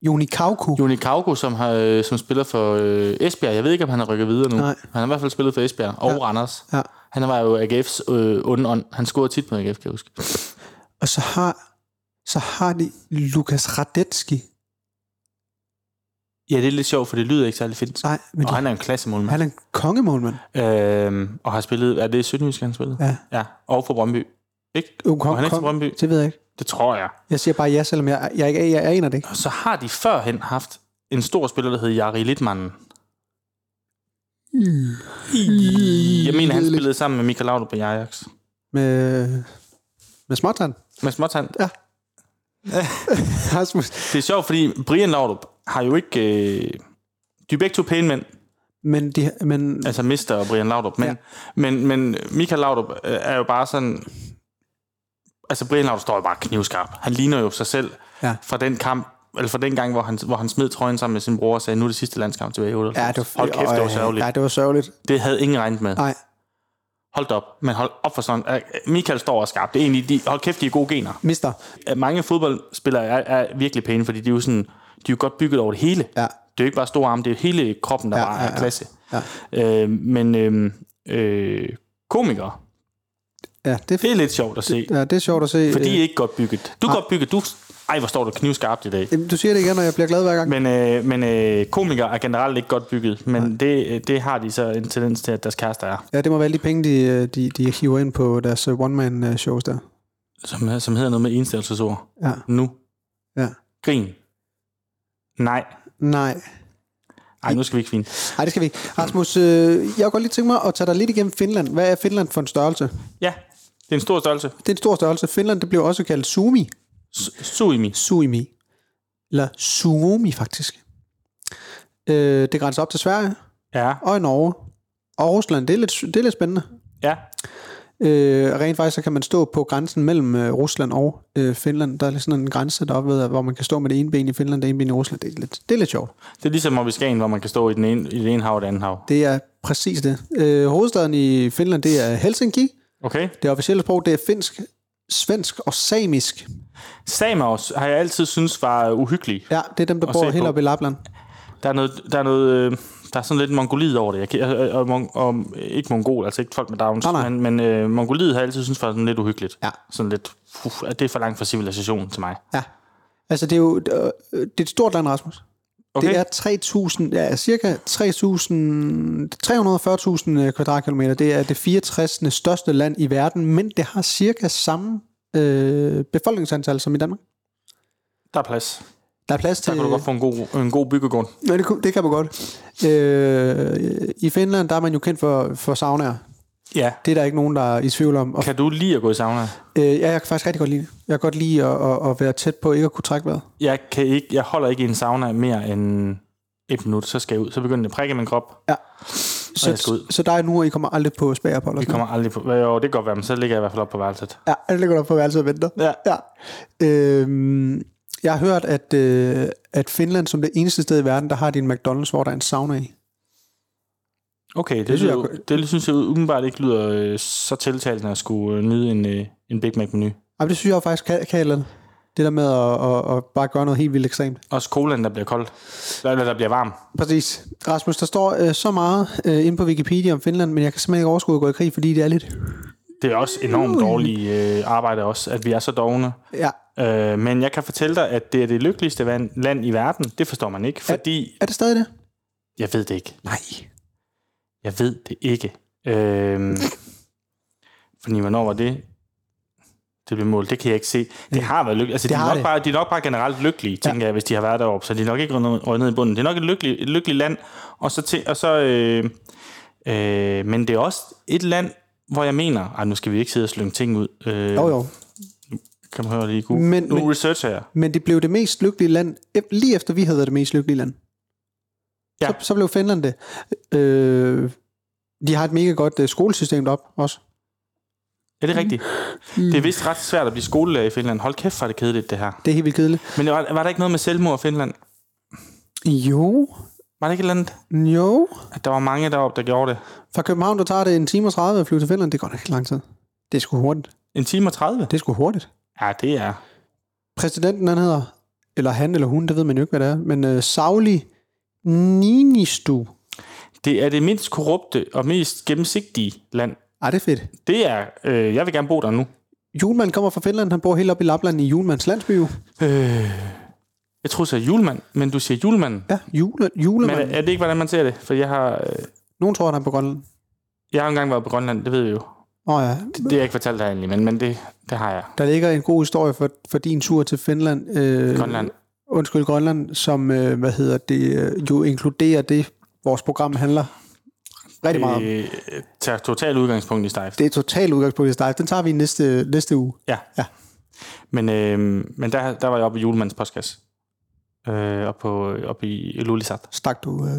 [SPEAKER 2] Joni Kauku.
[SPEAKER 3] Joni Kauko, som, har, øh, som spiller for øh, Esbjerg. Jeg ved ikke, om han har rykket videre nu.
[SPEAKER 2] Nej.
[SPEAKER 3] Han har i hvert fald spillet for Esbjerg og ja. Randers.
[SPEAKER 2] Ja.
[SPEAKER 3] Han var jo AGF's øh, onde ånd. Han scorede tit på AGF, kan jeg huske.
[SPEAKER 2] Og så har, så har de Lukas Radetski.
[SPEAKER 3] Ja, det er lidt sjovt, for det lyder ikke særlig fedt.
[SPEAKER 2] Nej, men
[SPEAKER 3] og
[SPEAKER 2] de,
[SPEAKER 3] han er en klassemålmand.
[SPEAKER 2] han er en kongemålmand.
[SPEAKER 3] Øhm, og har spillet... Er det 17 han spillede?
[SPEAKER 2] Ja.
[SPEAKER 3] ja. Og for Brøndby. Ikke?
[SPEAKER 2] Jo,
[SPEAKER 3] Var han ikke til Brøndby?
[SPEAKER 2] det ved jeg ikke.
[SPEAKER 3] Det tror jeg.
[SPEAKER 2] Jeg siger bare ja, selvom jeg, jeg, ikke, jeg aner det ikke.
[SPEAKER 3] Og så har de førhen haft en stor spiller, der hed Jari Litmanen. Jeg mener, han spillede sammen med Michael Laudrup på Ajax.
[SPEAKER 2] Med, med småtand.
[SPEAKER 3] Med småtand.
[SPEAKER 2] Rasmus.
[SPEAKER 3] Det er sjovt, fordi Brian Laudrup har jo ikke... Øh, de er begge to pæne mænd,
[SPEAKER 2] Men, de, men
[SPEAKER 3] altså Mister og Brian Laudrup, men,
[SPEAKER 2] Ja.
[SPEAKER 3] ja. men, men Michael Laudrup øh, er jo bare sådan... Altså Brian Laudrup står jo bare knivskarp. Han ligner jo sig selv
[SPEAKER 2] Ja.
[SPEAKER 3] fra den kamp, eller fra den gang, hvor han, hvor han smed trøjen sammen med sin bror og sagde, nu er det sidste landskamp tilbage i 98.
[SPEAKER 2] ja, det var,
[SPEAKER 3] Hold kæft, det var
[SPEAKER 2] øh,
[SPEAKER 3] sørgeligt.
[SPEAKER 2] Ja, det var sørgeligt.
[SPEAKER 3] Det havde ingen regnet med.
[SPEAKER 2] Nej,
[SPEAKER 3] Hold da op, men hold op for sådan. Øh, Michael står og er skarp. Det er egentlig, de, hold kæft, de er gode gener.
[SPEAKER 2] mister.
[SPEAKER 3] at mange fodboldspillere er, er virkelig pæne, fordi de er jo sådan, de er jo godt bygget over det hele.
[SPEAKER 2] Ja.
[SPEAKER 3] Det er jo ikke bare store arme, det er jo hele kroppen, der
[SPEAKER 2] Ja,
[SPEAKER 3] ja, bare
[SPEAKER 2] ja,
[SPEAKER 3] er
[SPEAKER 2] ja.
[SPEAKER 3] klasse.
[SPEAKER 2] Ja.
[SPEAKER 3] Øh, men øh, øh, komikere,
[SPEAKER 2] Ja, det,
[SPEAKER 3] det er lidt sjovt at se,
[SPEAKER 2] ja, det er sjovt at se.
[SPEAKER 3] for de
[SPEAKER 2] øh,
[SPEAKER 3] er ikke godt bygget. Du er godt bygget, du er Ej, hvor står du knivskarpt i dag.
[SPEAKER 2] Jamen, du siger det igen, og jeg bliver glad hver gang. Men,
[SPEAKER 3] Men, øh, men øh, komikere er generelt ikke godt bygget, men det, øh, det har de så en tendens til, at deres kærester er.
[SPEAKER 2] ja, det må være alle de penge, de, øh, de, de hiver ind på deres øh, one-man-shows der.
[SPEAKER 3] Som, som hedder noget med enstavelsesord.
[SPEAKER 2] Ja.
[SPEAKER 3] Nu.
[SPEAKER 2] Ja.
[SPEAKER 3] Grin. Nej.
[SPEAKER 2] Nej.
[SPEAKER 3] Ej, nu skal vi ikke fine.
[SPEAKER 2] Nej, det skal vi ikke. Rasmus, øh, jeg kunne godt lige tænke mig at tage dig lidt igennem Finland. Hvad er Finland for en størrelse?
[SPEAKER 3] Ja, det er en stor størrelse.
[SPEAKER 2] Det er en stor størrelse. Finland, det bliver også kaldt Sumi.
[SPEAKER 3] Su- Suimi.
[SPEAKER 2] Suimi. Eller Suomi, faktisk. Øh, det grænser op til Sverige
[SPEAKER 3] Ja,
[SPEAKER 2] og Norge. Og Rusland, det er lidt, det er lidt spændende.
[SPEAKER 3] ja.
[SPEAKER 2] Øh, rent faktisk så kan man stå på grænsen mellem øh, Rusland og øh, Finland. Der er sådan en grænse deroppe, ved, hvor man kan stå med det ene ben i Finland og det ene ben i Rusland. Det er lidt, det er lidt sjovt.
[SPEAKER 3] Det er ligesom oppe i Skagen, hvor man kan stå i, den ene, i det ene hav og det andet hav.
[SPEAKER 2] Det er præcis det. Øh, hovedstaden i Finland, det er Helsinki.
[SPEAKER 3] Okay?
[SPEAKER 2] Det officielle sprog, det er finsk, svensk og samisk.
[SPEAKER 3] Samer også, har jeg altid synes var øh, uhyggelig.
[SPEAKER 2] Ja, det er dem, der
[SPEAKER 3] Og
[SPEAKER 2] bor
[SPEAKER 3] se
[SPEAKER 2] helt
[SPEAKER 3] på.
[SPEAKER 2] oppe i Lapland.
[SPEAKER 3] Der er noget, der er noget, øh, der er sådan lidt mongolid over det. Jeg kan, øh, og, mon- og, ikke mongol, altså ikke folk med Downs,
[SPEAKER 2] Nej, nej.
[SPEAKER 3] men, men øh, mongolid har jeg altid synes var sådan lidt uhyggeligt.
[SPEAKER 2] Ja.
[SPEAKER 3] Sådan lidt, uh, det er for langt fra civilisation til mig.
[SPEAKER 2] Ja. Altså, det er jo øh, det er et stort land, Rasmus.
[SPEAKER 3] Okay.
[SPEAKER 2] Det er 3.000, ja, cirka 3.000, 340.000 øh, kvadratkilometer. Det er det 64. største land i verden, men det har cirka samme øh, befolkningsantal som i Danmark.
[SPEAKER 3] Der er plads.
[SPEAKER 2] Der er plads
[SPEAKER 3] Der
[SPEAKER 2] til...
[SPEAKER 3] kan du godt få en god, en god byggegrund.
[SPEAKER 2] Ja, det, kunne- det kan man godt. Øh, I Finland, der er man jo kendt for, for saunaer.
[SPEAKER 3] Ja.
[SPEAKER 2] Det er der ikke nogen, der er i tvivl om. Og,
[SPEAKER 3] Kan du lide at gå i sauna?
[SPEAKER 2] øh, ja, jeg kan faktisk rigtig godt lide det. Jeg kan godt lide at, at, at være tæt på, ikke at kunne trække vejret.
[SPEAKER 3] Jeg, kan ikke, jeg holder ikke i en sauna mere end et minut, så skal jeg ud. Så begynder det at prikke i min krop. jeg skal
[SPEAKER 2] Så,
[SPEAKER 3] ud.
[SPEAKER 2] så der er nu, og I kommer aldrig på spagerophold?
[SPEAKER 3] Vi kommer aldrig på... Jo, det kan godt være, men så ligger jeg i hvert fald op på værelset.
[SPEAKER 2] Ja, det ligger der på værelset og venter.
[SPEAKER 3] Ja.
[SPEAKER 2] ja. Øhm, jeg har hørt, at, øh, at Finland som det eneste sted i verden, der har de en McDonald's, hvor der er en sauna i.
[SPEAKER 3] Okay, det,
[SPEAKER 2] Det
[SPEAKER 3] det,
[SPEAKER 2] synes
[SPEAKER 3] lyder,
[SPEAKER 2] jeg-
[SPEAKER 3] jo- det synes jeg umiddelbart ikke lyder øh, så tiltalende at skulle øh, nyde en, øh, en Big Mac-menu.
[SPEAKER 2] Jamen, det synes jeg jo faktisk kan, kan et eller andet. Det der med at, at, at bare gøre noget helt vildt ekstremt.
[SPEAKER 3] Også colaen, der bliver kold. Eller der bliver varm.
[SPEAKER 2] Præcis. Rasmus, der står øh, så meget øh, inde på Wikipedia om Finland, men jeg kan simpelthen ikke overskue at gå i krig, fordi det er lidt...
[SPEAKER 3] Det er også enormt dårligt øh, arbejde også, at vi er så dogne.
[SPEAKER 2] Ja.
[SPEAKER 3] Øh, men jeg kan fortælle dig, at det er det lykkeligste van- land i verden. Det forstår man ikke, fordi...
[SPEAKER 2] Er det stadig det?
[SPEAKER 3] Jeg ved det ikke.
[SPEAKER 2] Nej.
[SPEAKER 3] Jeg ved det ikke. Øhm, fordi hvornår var det? Det blev målt. Det kan jeg ikke se. Det har været lykkeligt. Altså,
[SPEAKER 2] Det
[SPEAKER 3] de, er
[SPEAKER 2] har
[SPEAKER 3] nok
[SPEAKER 2] det.
[SPEAKER 3] Bare, de er nok bare generelt lykkelige, tænker jeg, hvis de har været deroppe. Så de er nok ikke røget røget ned i bunden. Det er nok et lykkeligt, et lykkeligt land. Og så, til, og så øh, øh, men det er også et land, hvor jeg mener, ej, nu skal vi ikke sidde og slynge ting ud. Øh,
[SPEAKER 2] Jo, jo.
[SPEAKER 3] Kan man høre lige Google.
[SPEAKER 2] Men-
[SPEAKER 3] Men, nu
[SPEAKER 2] men-
[SPEAKER 3] researcher jeg.
[SPEAKER 2] Men det blev det mest lykkelige land, ef- lige efter vi havde været det mest lykkelige land.
[SPEAKER 3] Ja.
[SPEAKER 2] Så, så blev Finland det. Øh, de har et mega godt øh, skolesystem deroppe også.
[SPEAKER 3] Er
[SPEAKER 2] Mm.
[SPEAKER 3] det rigtigt? Det er vist ret svært at blive skolelærer i Finland. Hold kæft, hvor er det kedeligt, det her.
[SPEAKER 2] Det er helt vildt kedeligt.
[SPEAKER 3] Men var, var der ikke noget med selvmord i Finland?
[SPEAKER 2] Jo,
[SPEAKER 3] Var det ikke et eller andet?
[SPEAKER 2] jo.
[SPEAKER 3] At der var mange deroppe, der gjorde det.
[SPEAKER 2] Fra København, der tager det en time og 30 at flyve til Finland. Det går da ikke lang tid. Det er sgu hurtigt.
[SPEAKER 3] En time og 30?
[SPEAKER 2] Det er sgu hurtigt.
[SPEAKER 3] Ja, det er...
[SPEAKER 2] Præsidenten, han hedder, eller han eller hun, det ved man jo ikke, hvad det er, men øh, Sauli Ninistu.
[SPEAKER 3] Det er det mindst korrupte og mest gennemsigtige land.
[SPEAKER 2] Ej, det er fedt.
[SPEAKER 3] Det er... Øh, jeg vil gerne bo der nu.
[SPEAKER 2] Julemand kommer fra Finland, han bor helt oppe i Lapland i Julemands landsby. jo.
[SPEAKER 3] Jeg tror, du sagde julemand, men du siger julemand.
[SPEAKER 2] Ja, øh, jule,
[SPEAKER 3] Men
[SPEAKER 2] julemand.
[SPEAKER 3] er, er det ikke, hvordan man ser det? For jeg har... Øh,
[SPEAKER 2] Nogen tror, at han er på Grønland.
[SPEAKER 3] jeg har engang været på Grønland, det ved jeg jo.
[SPEAKER 2] Åh oh, ja,
[SPEAKER 3] Det har jeg ikke fortalt dig egentlig, men, men det, det har jeg.
[SPEAKER 2] der ligger en god historie for, for din tur til Finland. Øh,
[SPEAKER 3] Grønland.
[SPEAKER 2] Undskyld, Grønland, som, øh, hvad hedder det, øh, jo inkluderer det, vores program handler rigtig meget om.
[SPEAKER 3] Øh, tager totalt udgangspunkt i stejf.
[SPEAKER 2] Det er totalt udgangspunkt i stejf. Den tager vi i næste, næste uge.
[SPEAKER 3] Ja.
[SPEAKER 2] Ja.
[SPEAKER 3] Men, øh, men der, der var jeg oppe i julemandens postkasse. Øh, oppe, på, oppe i Ilulissat.
[SPEAKER 2] Stak du, øh,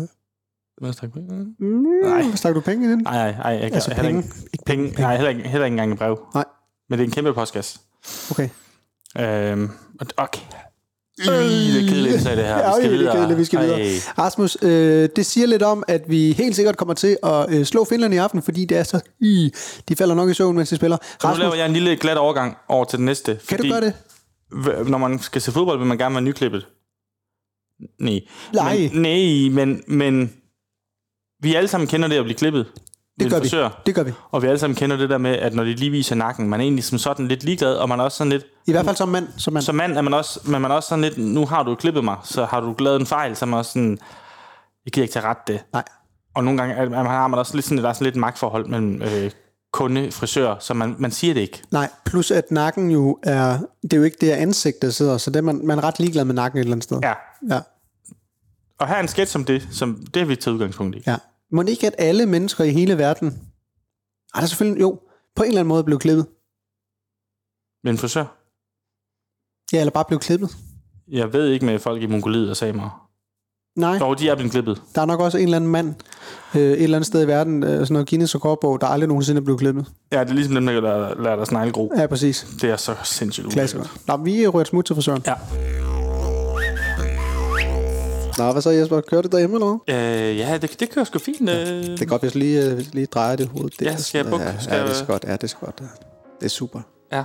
[SPEAKER 3] Hvad snakker vi?
[SPEAKER 2] nej. stak du penge i den?
[SPEAKER 3] Nej, nej, nej. Jeg,
[SPEAKER 2] Mm. Altså
[SPEAKER 3] heller
[SPEAKER 2] penge?
[SPEAKER 3] Ikke, ikke penge. penge. Nej, heller ikke, heller ikke engang et brev.
[SPEAKER 2] Nej.
[SPEAKER 3] Men det er en kæmpe postkasse.
[SPEAKER 2] Okay.
[SPEAKER 3] Øhm, og, okay. Det er kedeligt, så det her.
[SPEAKER 2] Ja, det er kedeligt, vi skal videre.
[SPEAKER 3] Ej.
[SPEAKER 2] Rasmus, øh, det siger lidt om, at vi helt sikkert kommer til at øh, slå Finland i aften, fordi det er så... I, de falder nok i søvn, mens de spiller.
[SPEAKER 3] Nu laver
[SPEAKER 2] Rasmus,
[SPEAKER 3] jeg en lille glat overgang over til den næste.
[SPEAKER 2] kan du gøre det?
[SPEAKER 3] hv- Når man skal se fodbold, vil man gerne være nyklippet. Nej.
[SPEAKER 2] Nej.
[SPEAKER 3] Men, nej, men, men vi alle sammen kender det at blive klippet. ved en
[SPEAKER 2] det gør
[SPEAKER 3] frisør.
[SPEAKER 2] vi. Det gør vi.
[SPEAKER 3] Og vi alle sammen kender det der med, at når de lige viser nakken, man er egentlig som sådan lidt ligeglad, og man er også sådan lidt,
[SPEAKER 2] I hvert fald som mand. Som mand.
[SPEAKER 3] som mand er man også, men man er også sådan lidt, nu har du klippet mig, så har du lavet en fejl, så er man også sådan, jeg gider ikke tage ret det.
[SPEAKER 2] Nej.
[SPEAKER 3] Og nogle gange er, man har man også lidt sådan, der er sådan lidt et magtforhold mellem øh, kunde, frisør, så man, man siger det ikke.
[SPEAKER 2] Nej, plus at nakken jo er... Det er jo ikke det her ansigt, der sidder, så det er man, man er ret ligeglad med nakken et eller andet sted.
[SPEAKER 3] Ja.
[SPEAKER 2] Ja.
[SPEAKER 3] Og her er en sketch om det, som det har vi taget udgangspunkt i.
[SPEAKER 2] ja. Må det ikke, at alle mennesker i hele verden... Ej, der er selvfølgelig... Jo, på en eller anden måde blev klippet.
[SPEAKER 3] Men en frisør?
[SPEAKER 2] Ja, eller bare blev klippet.
[SPEAKER 3] Jeg ved ikke med folk i Mongoliet og samer.
[SPEAKER 2] Nej,
[SPEAKER 3] Dog, de er blevet klippet.
[SPEAKER 2] der er nok også en eller anden mand øh, et eller andet sted i verden, øh, sådan noget Guinness rekordbog, der aldrig nogensinde blev klippet.
[SPEAKER 3] Ja, det er ligesom dem, der lader, lader deres snegle gro.
[SPEAKER 2] Ja, præcis.
[SPEAKER 3] Det er så sindssygt
[SPEAKER 2] Klassiker.
[SPEAKER 3] ulækkert.
[SPEAKER 2] Nå, vi rører et smut til frisøren.
[SPEAKER 3] Ja.
[SPEAKER 2] Nå, hvad så Jesper? Kører det derhjemme eller hvad?
[SPEAKER 3] Øh, ja, det, det kører sgu fint. Øh.
[SPEAKER 2] Det er godt, hvis jeg lige, øh, hvis jeg lige drejer det hoved. Det
[SPEAKER 3] Ja, skal jeg bukke?
[SPEAKER 2] Ja,
[SPEAKER 3] Skal
[SPEAKER 2] ja, det
[SPEAKER 3] jeg-
[SPEAKER 2] er så godt. Ja, det er så godt. Ja. Det er super.
[SPEAKER 3] Ja.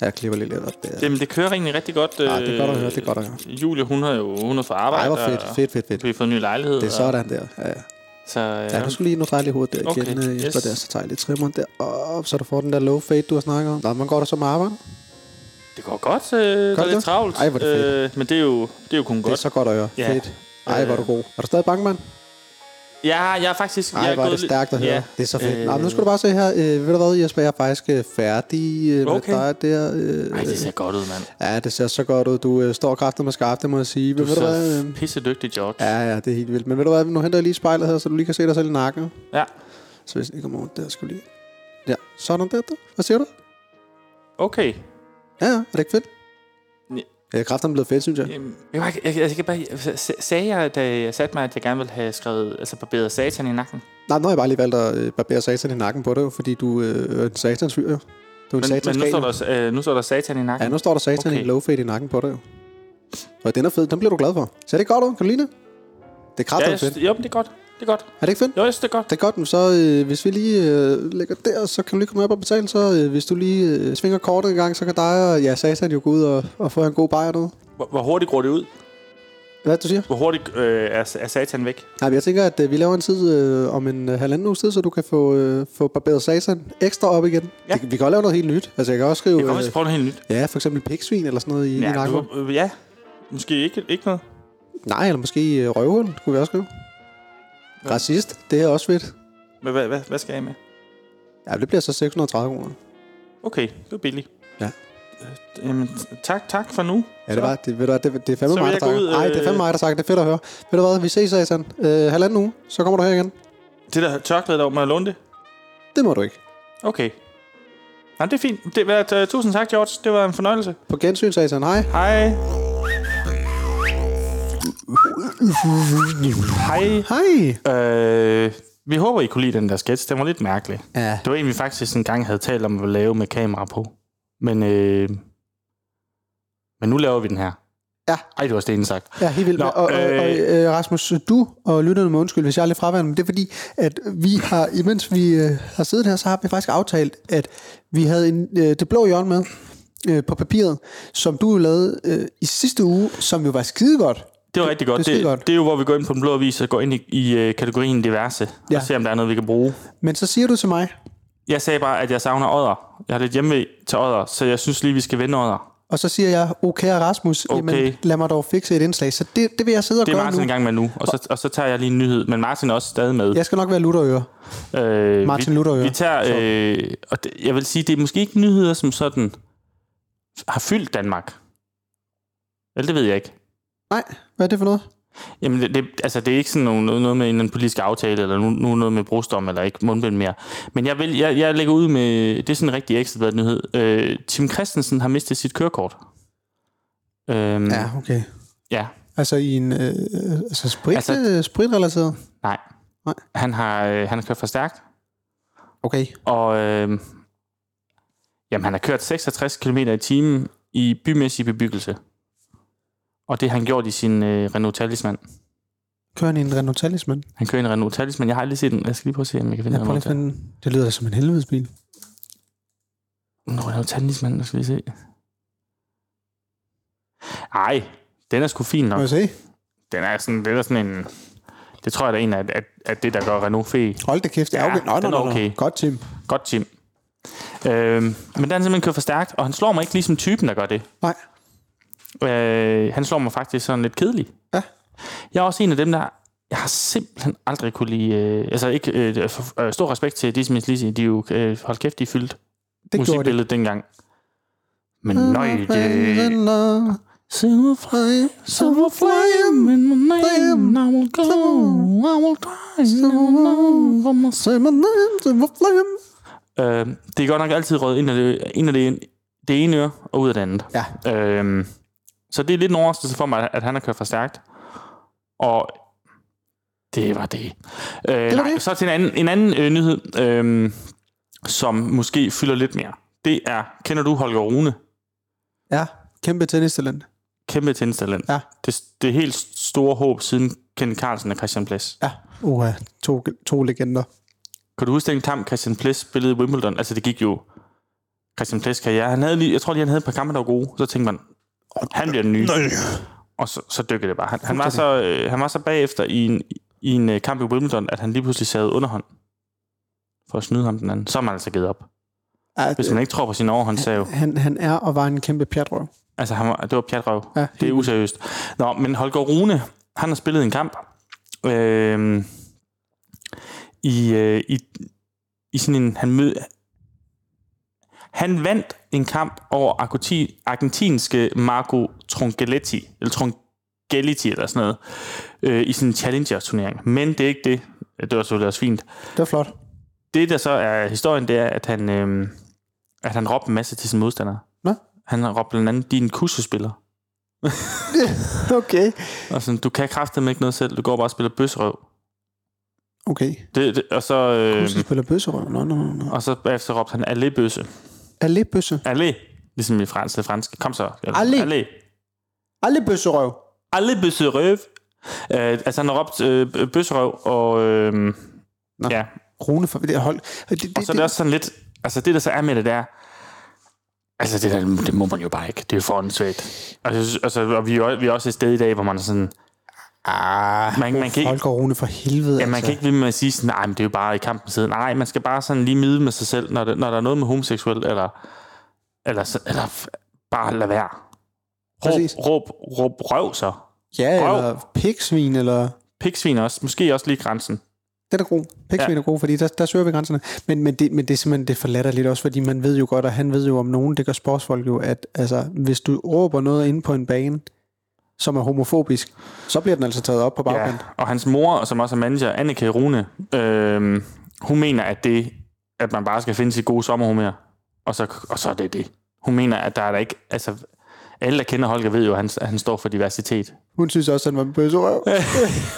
[SPEAKER 2] Ja, Jeg klipper lige lidt op. Det er...
[SPEAKER 3] Jamen, det kører egentlig rigtig godt. øh,
[SPEAKER 2] Ja, det er godt at høre, det er godt at høre.
[SPEAKER 3] Julie, hun har jo hun er fra arbejde.
[SPEAKER 2] Ej, hvor fedt,
[SPEAKER 3] og
[SPEAKER 2] fedt, fedt, fedt.
[SPEAKER 3] Vi har fået en ny lejlighed.
[SPEAKER 2] Det er sådan der. Ja, ja.
[SPEAKER 3] Og, så, øh,
[SPEAKER 2] ja du skulle lige nu dreje lige hovedet der
[SPEAKER 3] Okay,
[SPEAKER 2] igen, okay. Jesper,
[SPEAKER 3] yes.
[SPEAKER 2] der, så tager jeg lige trimmeren der op, så du får den der low fade, du har snakket om. Nå, man går der så med arbejde.
[SPEAKER 3] det går godt. Øh, der er
[SPEAKER 2] det?
[SPEAKER 3] lidt travlt.
[SPEAKER 2] Ej, hvor er det
[SPEAKER 3] øh, men det er jo, det er jo kun
[SPEAKER 2] Det er
[SPEAKER 3] godt.
[SPEAKER 2] så godt at høre.
[SPEAKER 3] Ja.
[SPEAKER 2] Fedt. Ej, hvor er du god. Er du stadig bankmand?
[SPEAKER 3] Ja, jeg er faktisk... jeg
[SPEAKER 2] Ej, hvor er
[SPEAKER 3] gået
[SPEAKER 2] det
[SPEAKER 3] lidt-
[SPEAKER 2] stærkt at høre.
[SPEAKER 3] Ja,
[SPEAKER 2] Det er så fedt.
[SPEAKER 3] øh,
[SPEAKER 2] Nå, nu skal du bare se her. Øh, ved du hvad, Jesper, jeg er faktisk øh, færdig øh,
[SPEAKER 3] Okay.
[SPEAKER 2] med dig der. Øh,
[SPEAKER 3] Ej, det ser godt ud, mand.
[SPEAKER 2] Ja, det ser så godt ud. Du øh, står kraftet med skarpt, det må jeg sige. Men
[SPEAKER 3] Du
[SPEAKER 2] ved du hvad,
[SPEAKER 3] er
[SPEAKER 2] øh,
[SPEAKER 3] så pisse dygtig, George.
[SPEAKER 2] ja, ja, det er helt vildt. Men ved du hvad, nu henter jeg lige spejlet her, så du lige kan se dig selv i nakken.
[SPEAKER 3] ja.
[SPEAKER 2] Så hvis det kommer over, der skal vi lige... Ja, sådan der, der. Hvad siger du?
[SPEAKER 3] Okay.
[SPEAKER 2] Ja, ja, er det ikke fedt?
[SPEAKER 3] Ja.
[SPEAKER 2] Ja, kraften er blevet fedt, synes jeg.
[SPEAKER 3] Jamen, Jeg, var ikke- jeg, jeg, jeg, kan bare, sa- sagde jeg, da jeg satte mig, at jeg gerne ville have skrevet, altså barberet satan i nakken?
[SPEAKER 2] Nej, nu har jeg bare lige valgt at øh, barbere satan i nakken på dig, jo, fordi du øh, er en satans fyr, jo. Du er en
[SPEAKER 3] Men,
[SPEAKER 2] satans
[SPEAKER 3] men nu, står
[SPEAKER 2] galen.
[SPEAKER 3] der, også, øh, nu står der satan i nakken.
[SPEAKER 2] Ja, nu står der satan okay. i
[SPEAKER 3] Okay.
[SPEAKER 2] en low fade i nakken på dig, jo. Og den er fed, den bliver du glad for. Ser det godt ud? Kan du lide det? Det er
[SPEAKER 3] ja,
[SPEAKER 2] kraften
[SPEAKER 3] jeg,
[SPEAKER 2] ja, fedt.
[SPEAKER 3] synes- jo, men det er godt. Det er godt.
[SPEAKER 2] Er det ikke fedt?
[SPEAKER 3] Jo, jeg synes, det er godt.
[SPEAKER 2] Det er godt, men så øh, hvis vi lige øh, lægger der, så kan du lige komme op og betale. Så øh, hvis du lige øh, svinger kortet en gang, så kan dig og ja, Satan jo gå ud og, og få en god bajer derude.
[SPEAKER 3] Hvor, hvor hurtigt går det ud?
[SPEAKER 2] Hvad er det, du siger?
[SPEAKER 3] Hvor hurtigt øh, er, er satan væk?
[SPEAKER 2] Nej, men jeg tænker, at øh, vi laver en tid øh, om en øh, halvanden uges tid, så du kan få, øh, få barberet Satan ekstra op igen.
[SPEAKER 3] Ja.
[SPEAKER 2] Ja. Det, vi kan også lave noget helt nyt. Altså, jeg kan også skrive,
[SPEAKER 3] Jeg kan også
[SPEAKER 2] øh,
[SPEAKER 3] prøve noget helt nyt.
[SPEAKER 2] ja, for eksempel piksvin eller sådan noget i, ja, i
[SPEAKER 3] Ja,
[SPEAKER 2] nakken.
[SPEAKER 3] du, øh, ja. Måske ikke, ikke noget.
[SPEAKER 2] Nej, eller måske øh, røvhul, kunne vi også skrive. Ja. Racist, det er også fedt.
[SPEAKER 3] Hvad, hvad, hvad, hvad skal jeg af med?
[SPEAKER 2] Ja, det bliver så 630 kroner.
[SPEAKER 3] Okay, det var billigt.
[SPEAKER 2] Ja.
[SPEAKER 3] Øh, Jamen, t- tak, tak for nu.
[SPEAKER 2] Ja, det var det. Ved du, hvad, det, det er fandme
[SPEAKER 3] Så vil
[SPEAKER 2] mig, der
[SPEAKER 3] jeg gå
[SPEAKER 2] takker.
[SPEAKER 3] ud,
[SPEAKER 2] Nej, det er fandme
[SPEAKER 3] øh,
[SPEAKER 2] mig, der takker. Det er fedt at høre. Ved du hvad, vi ses, Satan. Øh, halvanden uge, så kommer du her igen.
[SPEAKER 3] Det der tørklæde der, må jeg låne det?
[SPEAKER 2] Det må du ikke.
[SPEAKER 3] Okay. Nej, det er fint. Det, var, uh, tusind tak, George. Det var en fornøjelse.
[SPEAKER 2] På gensyn, Satan. Hej.
[SPEAKER 3] Hej. Hej.
[SPEAKER 2] Hej.
[SPEAKER 3] Øh, vi håber, I kunne lide den der sketch. Den var lidt mærkelig.
[SPEAKER 2] Ja.
[SPEAKER 3] Det var en, vi faktisk engang havde talt om at lave med kamera på. Men, øh, men nu laver vi den her.
[SPEAKER 2] Ja.
[SPEAKER 3] Ej, du har stenet sagt.
[SPEAKER 2] Ja, helt vildt.
[SPEAKER 3] Nå,
[SPEAKER 2] Nå, og, og, og,
[SPEAKER 3] øh,
[SPEAKER 2] øh, Rasmus, du og lytterne må undskylde, hvis jeg er lidt fraværende, men det er fordi, at vi har, imens vi øh, har siddet her, så har vi faktisk aftalt, at vi havde en, øh, det blå hjørne med øh, på papiret, som du lavede øh, i sidste uge, som jo var skidegodt.
[SPEAKER 3] Det var rigtig godt.
[SPEAKER 2] det er
[SPEAKER 3] Det,
[SPEAKER 2] skidegodt.
[SPEAKER 3] det, er jo, hvor vi går ind på den blå avis og går ind i, i øh, kategorien diverse. Ja.
[SPEAKER 2] Ja.
[SPEAKER 3] Og ser, om der er noget, vi kan bruge.
[SPEAKER 2] Men så siger du til mig,
[SPEAKER 3] Jeg sagde bare, at jeg savner odder. Jeg har lidt hjemme til odder, så jeg synes lige, vi skal vende odder.
[SPEAKER 2] Og så siger jeg, okay Rasmus, okay.
[SPEAKER 3] Okay.
[SPEAKER 2] Jamen, lad mig dog fikse et indslag. Så det, det vil jeg sidde og
[SPEAKER 3] Det er
[SPEAKER 2] gøre
[SPEAKER 3] Martin
[SPEAKER 2] nu.
[SPEAKER 3] i gang med nu, og så, og så tager jeg lige en nyhed. Men Martin er også stadig med.
[SPEAKER 2] Jeg skal nok være lutterøre.
[SPEAKER 3] Øh,
[SPEAKER 2] Martin
[SPEAKER 3] vi,
[SPEAKER 2] Luther, ja.
[SPEAKER 3] Vi tager, øh, og det, jeg vil sige, det er måske ikke nyheder, som sådan har fyldt Danmark. Eller det ved jeg ikke.
[SPEAKER 2] Nej, hvad er det for noget?
[SPEAKER 3] Jamen, det, det, altså, det er ikke sådan noget, noget med en eller anden politisk aftale, eller nu, nu noget med brustom, eller ikke mundbind mere. Men jeg, vil, jeg, jeg lægger ud med, det er sådan en rigtig ekstra nyhed. Øh, Tim Christensen har mistet sit kørekort. Øhm,
[SPEAKER 2] Ja, okay.
[SPEAKER 3] ja.
[SPEAKER 2] Altså i en øh, øh, altså sprit,
[SPEAKER 3] Altså-
[SPEAKER 2] altså, øh, spritrelateret?
[SPEAKER 3] Nej.
[SPEAKER 2] Nej.
[SPEAKER 3] Han har, øh, han har kørt for stærkt.
[SPEAKER 2] Okay.
[SPEAKER 3] Og øh, jamen, han har kørt 66 km i timen i bymæssig bebyggelse. Og det har han gjort i sin øh, Renault Talisman.
[SPEAKER 2] Kører han i en Renault Talisman?
[SPEAKER 3] Han kører en Renault Talisman. Jeg har aldrig set den. Jeg skal lige prøve at se, om jeg kan
[SPEAKER 2] Ja,
[SPEAKER 3] finde
[SPEAKER 2] prøv lige
[SPEAKER 3] den.
[SPEAKER 2] at finde den. Det lyder da som en helvedesbil.
[SPEAKER 3] En Renault Talisman, jeg skal lige se. Ej, den er sgu fin
[SPEAKER 2] Må
[SPEAKER 3] nok.
[SPEAKER 2] jeg se?
[SPEAKER 3] Den er sådan, det er da sådan en... Det tror jeg da egentlig, at, at, at det, der gør Renault Fee.
[SPEAKER 2] Hold da kæft, det er
[SPEAKER 3] Ja,
[SPEAKER 2] okay. Nå, nå,
[SPEAKER 3] den er
[SPEAKER 2] nå, nå.
[SPEAKER 3] okay.
[SPEAKER 2] Godt, Tim.
[SPEAKER 3] Godt, Tim. Øhm, men han simpelthen kører for stærkt, og han slår mig ikke ligesom typen, der gør det.
[SPEAKER 2] Nej.
[SPEAKER 3] Øh, han slår mig faktisk sådan lidt kedelig.
[SPEAKER 2] Ja.
[SPEAKER 3] Jeg er også en af dem, der... Jeg har simpelthen aldrig kunne lide... Øh, altså ikke... Øh, for- øh, stor respekt til Disney Lizzy. De er jo... Øh, hold kæft, de fyldte
[SPEAKER 2] Det gjorde det.
[SPEAKER 3] musikbilledet dengang. Men nøj, det... Silverfly, silverfly, I'm in my name, I will go, I will die, I will know for myself. Øh, det er godt nok altid rødt ind af det, ind af det, det ene øre og ud af det andet.
[SPEAKER 2] Ja.
[SPEAKER 3] Øh, så det er lidt en overraskelse for mig, at han har kørt for stærkt. Og det var det. Øh, det
[SPEAKER 2] var
[SPEAKER 3] nej,
[SPEAKER 2] det.
[SPEAKER 3] Så til en anden, en anden øh, nyhed, øh, som måske fylder lidt mere. Det er, kender du Holger Rune?
[SPEAKER 2] Ja, kæmpe tennistalent.
[SPEAKER 3] Kæmpe tennistalent.
[SPEAKER 2] Ja.
[SPEAKER 3] Det, det helt store håb siden Ken Carlsen og Christian Ples.
[SPEAKER 2] Ja, uha, to, to legender.
[SPEAKER 3] Kan du huske den kamp, Christian Ples spillede i Wimbledon? Altså, det gik jo... Christian Ples karriere. Han havde lige, jeg tror lige, han havde et par kampe, der var gode. Så tænkte man, han bliver den nye. Og så, så dykkede det bare. Han, han, var så, øh, han var så bagefter i en, i en øh, kamp i Wimbledon, at han lige pludselig sad underhånd for at snyde ham den anden. Så er man altså givet op.
[SPEAKER 2] Ja,
[SPEAKER 3] Hvis man ikke tror på sin overhånd, så er jo...
[SPEAKER 2] han, han er og var en kæmpe pjatrøv.
[SPEAKER 3] Altså, han var, det var pjatrøv.
[SPEAKER 2] Ja,
[SPEAKER 3] Ja, det er useriøst. Nå, men Holger Rune, han har spillet en kamp øh, i, øh, i, i sådan en... Han, mød, han vandt en kamp over argoti- argentinske Marco Trongelletti, eller Trongelletti eller sådan noget, øh, i sådan en challenger-turnering. Men det er ikke det. Det var selvfølgelig også fint
[SPEAKER 2] Det var flot.
[SPEAKER 3] det, der så er historien, det er, at han, øhm, at han råbte en masse til sine modstandere.
[SPEAKER 2] Nå.
[SPEAKER 3] Han råbte blandt andet, din kussespiller.
[SPEAKER 2] Okay.
[SPEAKER 3] Og sådan, du kan kraftedeme ikke noget selv, du går bare og spiller bøsserøv.
[SPEAKER 2] Okay.
[SPEAKER 3] Det, det, og så...
[SPEAKER 2] Du
[SPEAKER 3] Øh,
[SPEAKER 2] spiller bøsserøv. Nå, nå, nå.
[SPEAKER 3] og så bagefter råbte han, allé bøsse.
[SPEAKER 2] Alle bøsse.
[SPEAKER 3] Allé. Ligesom i fransk, det franske. Kom så.
[SPEAKER 2] Allé.
[SPEAKER 3] Allé.
[SPEAKER 2] Alle bøsserøv.
[SPEAKER 3] Alle bøsserøv. Øh, altså, han har råbt øh, bøsserøv, og... Øh,
[SPEAKER 2] Nå.
[SPEAKER 3] ja.
[SPEAKER 2] Rune for det hold. Det, det,
[SPEAKER 3] Og så er det også sådan lidt... Altså, det der så er med det, der... Altså, det, der, det må man jo bare ikke. Det er jo for åndssvagt. Og, jeg synes- altså, og vi, er jo- vi er også et sted i dag, hvor man er sådan...
[SPEAKER 2] Ah,
[SPEAKER 3] Man, man, kan, ikke,
[SPEAKER 2] Holger Rune for helvede. altså.
[SPEAKER 3] ja, man kan ikke blive med at sige sådan, nej, men det er jo bare i kampen siden. Nej, man skal bare sådan lige mide med sig selv, når, det, når der er noget med homoseksuel, eller, eller, så- eller f- bare lade være. Råb,
[SPEAKER 2] Præcis.
[SPEAKER 3] råb, råb røv så.
[SPEAKER 2] Ja,
[SPEAKER 3] Røv.
[SPEAKER 2] eller pigsvin, eller...
[SPEAKER 3] Pigsvin også. Måske også lige grænsen.
[SPEAKER 2] Den er god. Pigsvin ja.
[SPEAKER 3] Ja.
[SPEAKER 2] er god, fordi der, der søger vi grænserne. Men, men, det, men det er simpelthen det forlatter lidt også, fordi man ved jo godt, og han ved jo om nogen, det gør sportsfolk jo, at altså, hvis du råber noget inde på en bane, som er homofobisk, så bliver den altså taget op på bagkant. Ja.
[SPEAKER 3] og hans mor, som også er manager, Annika Rune, øh, hun mener, at det, at man bare skal finde sit gode sommerhumør, og så, og så er det det. Hun mener, at der er der ikke, altså, alle, der kender Holger, ved jo, at han, at han står for diversitet.
[SPEAKER 2] Hun synes også, at han var en bøsserøv. Ja.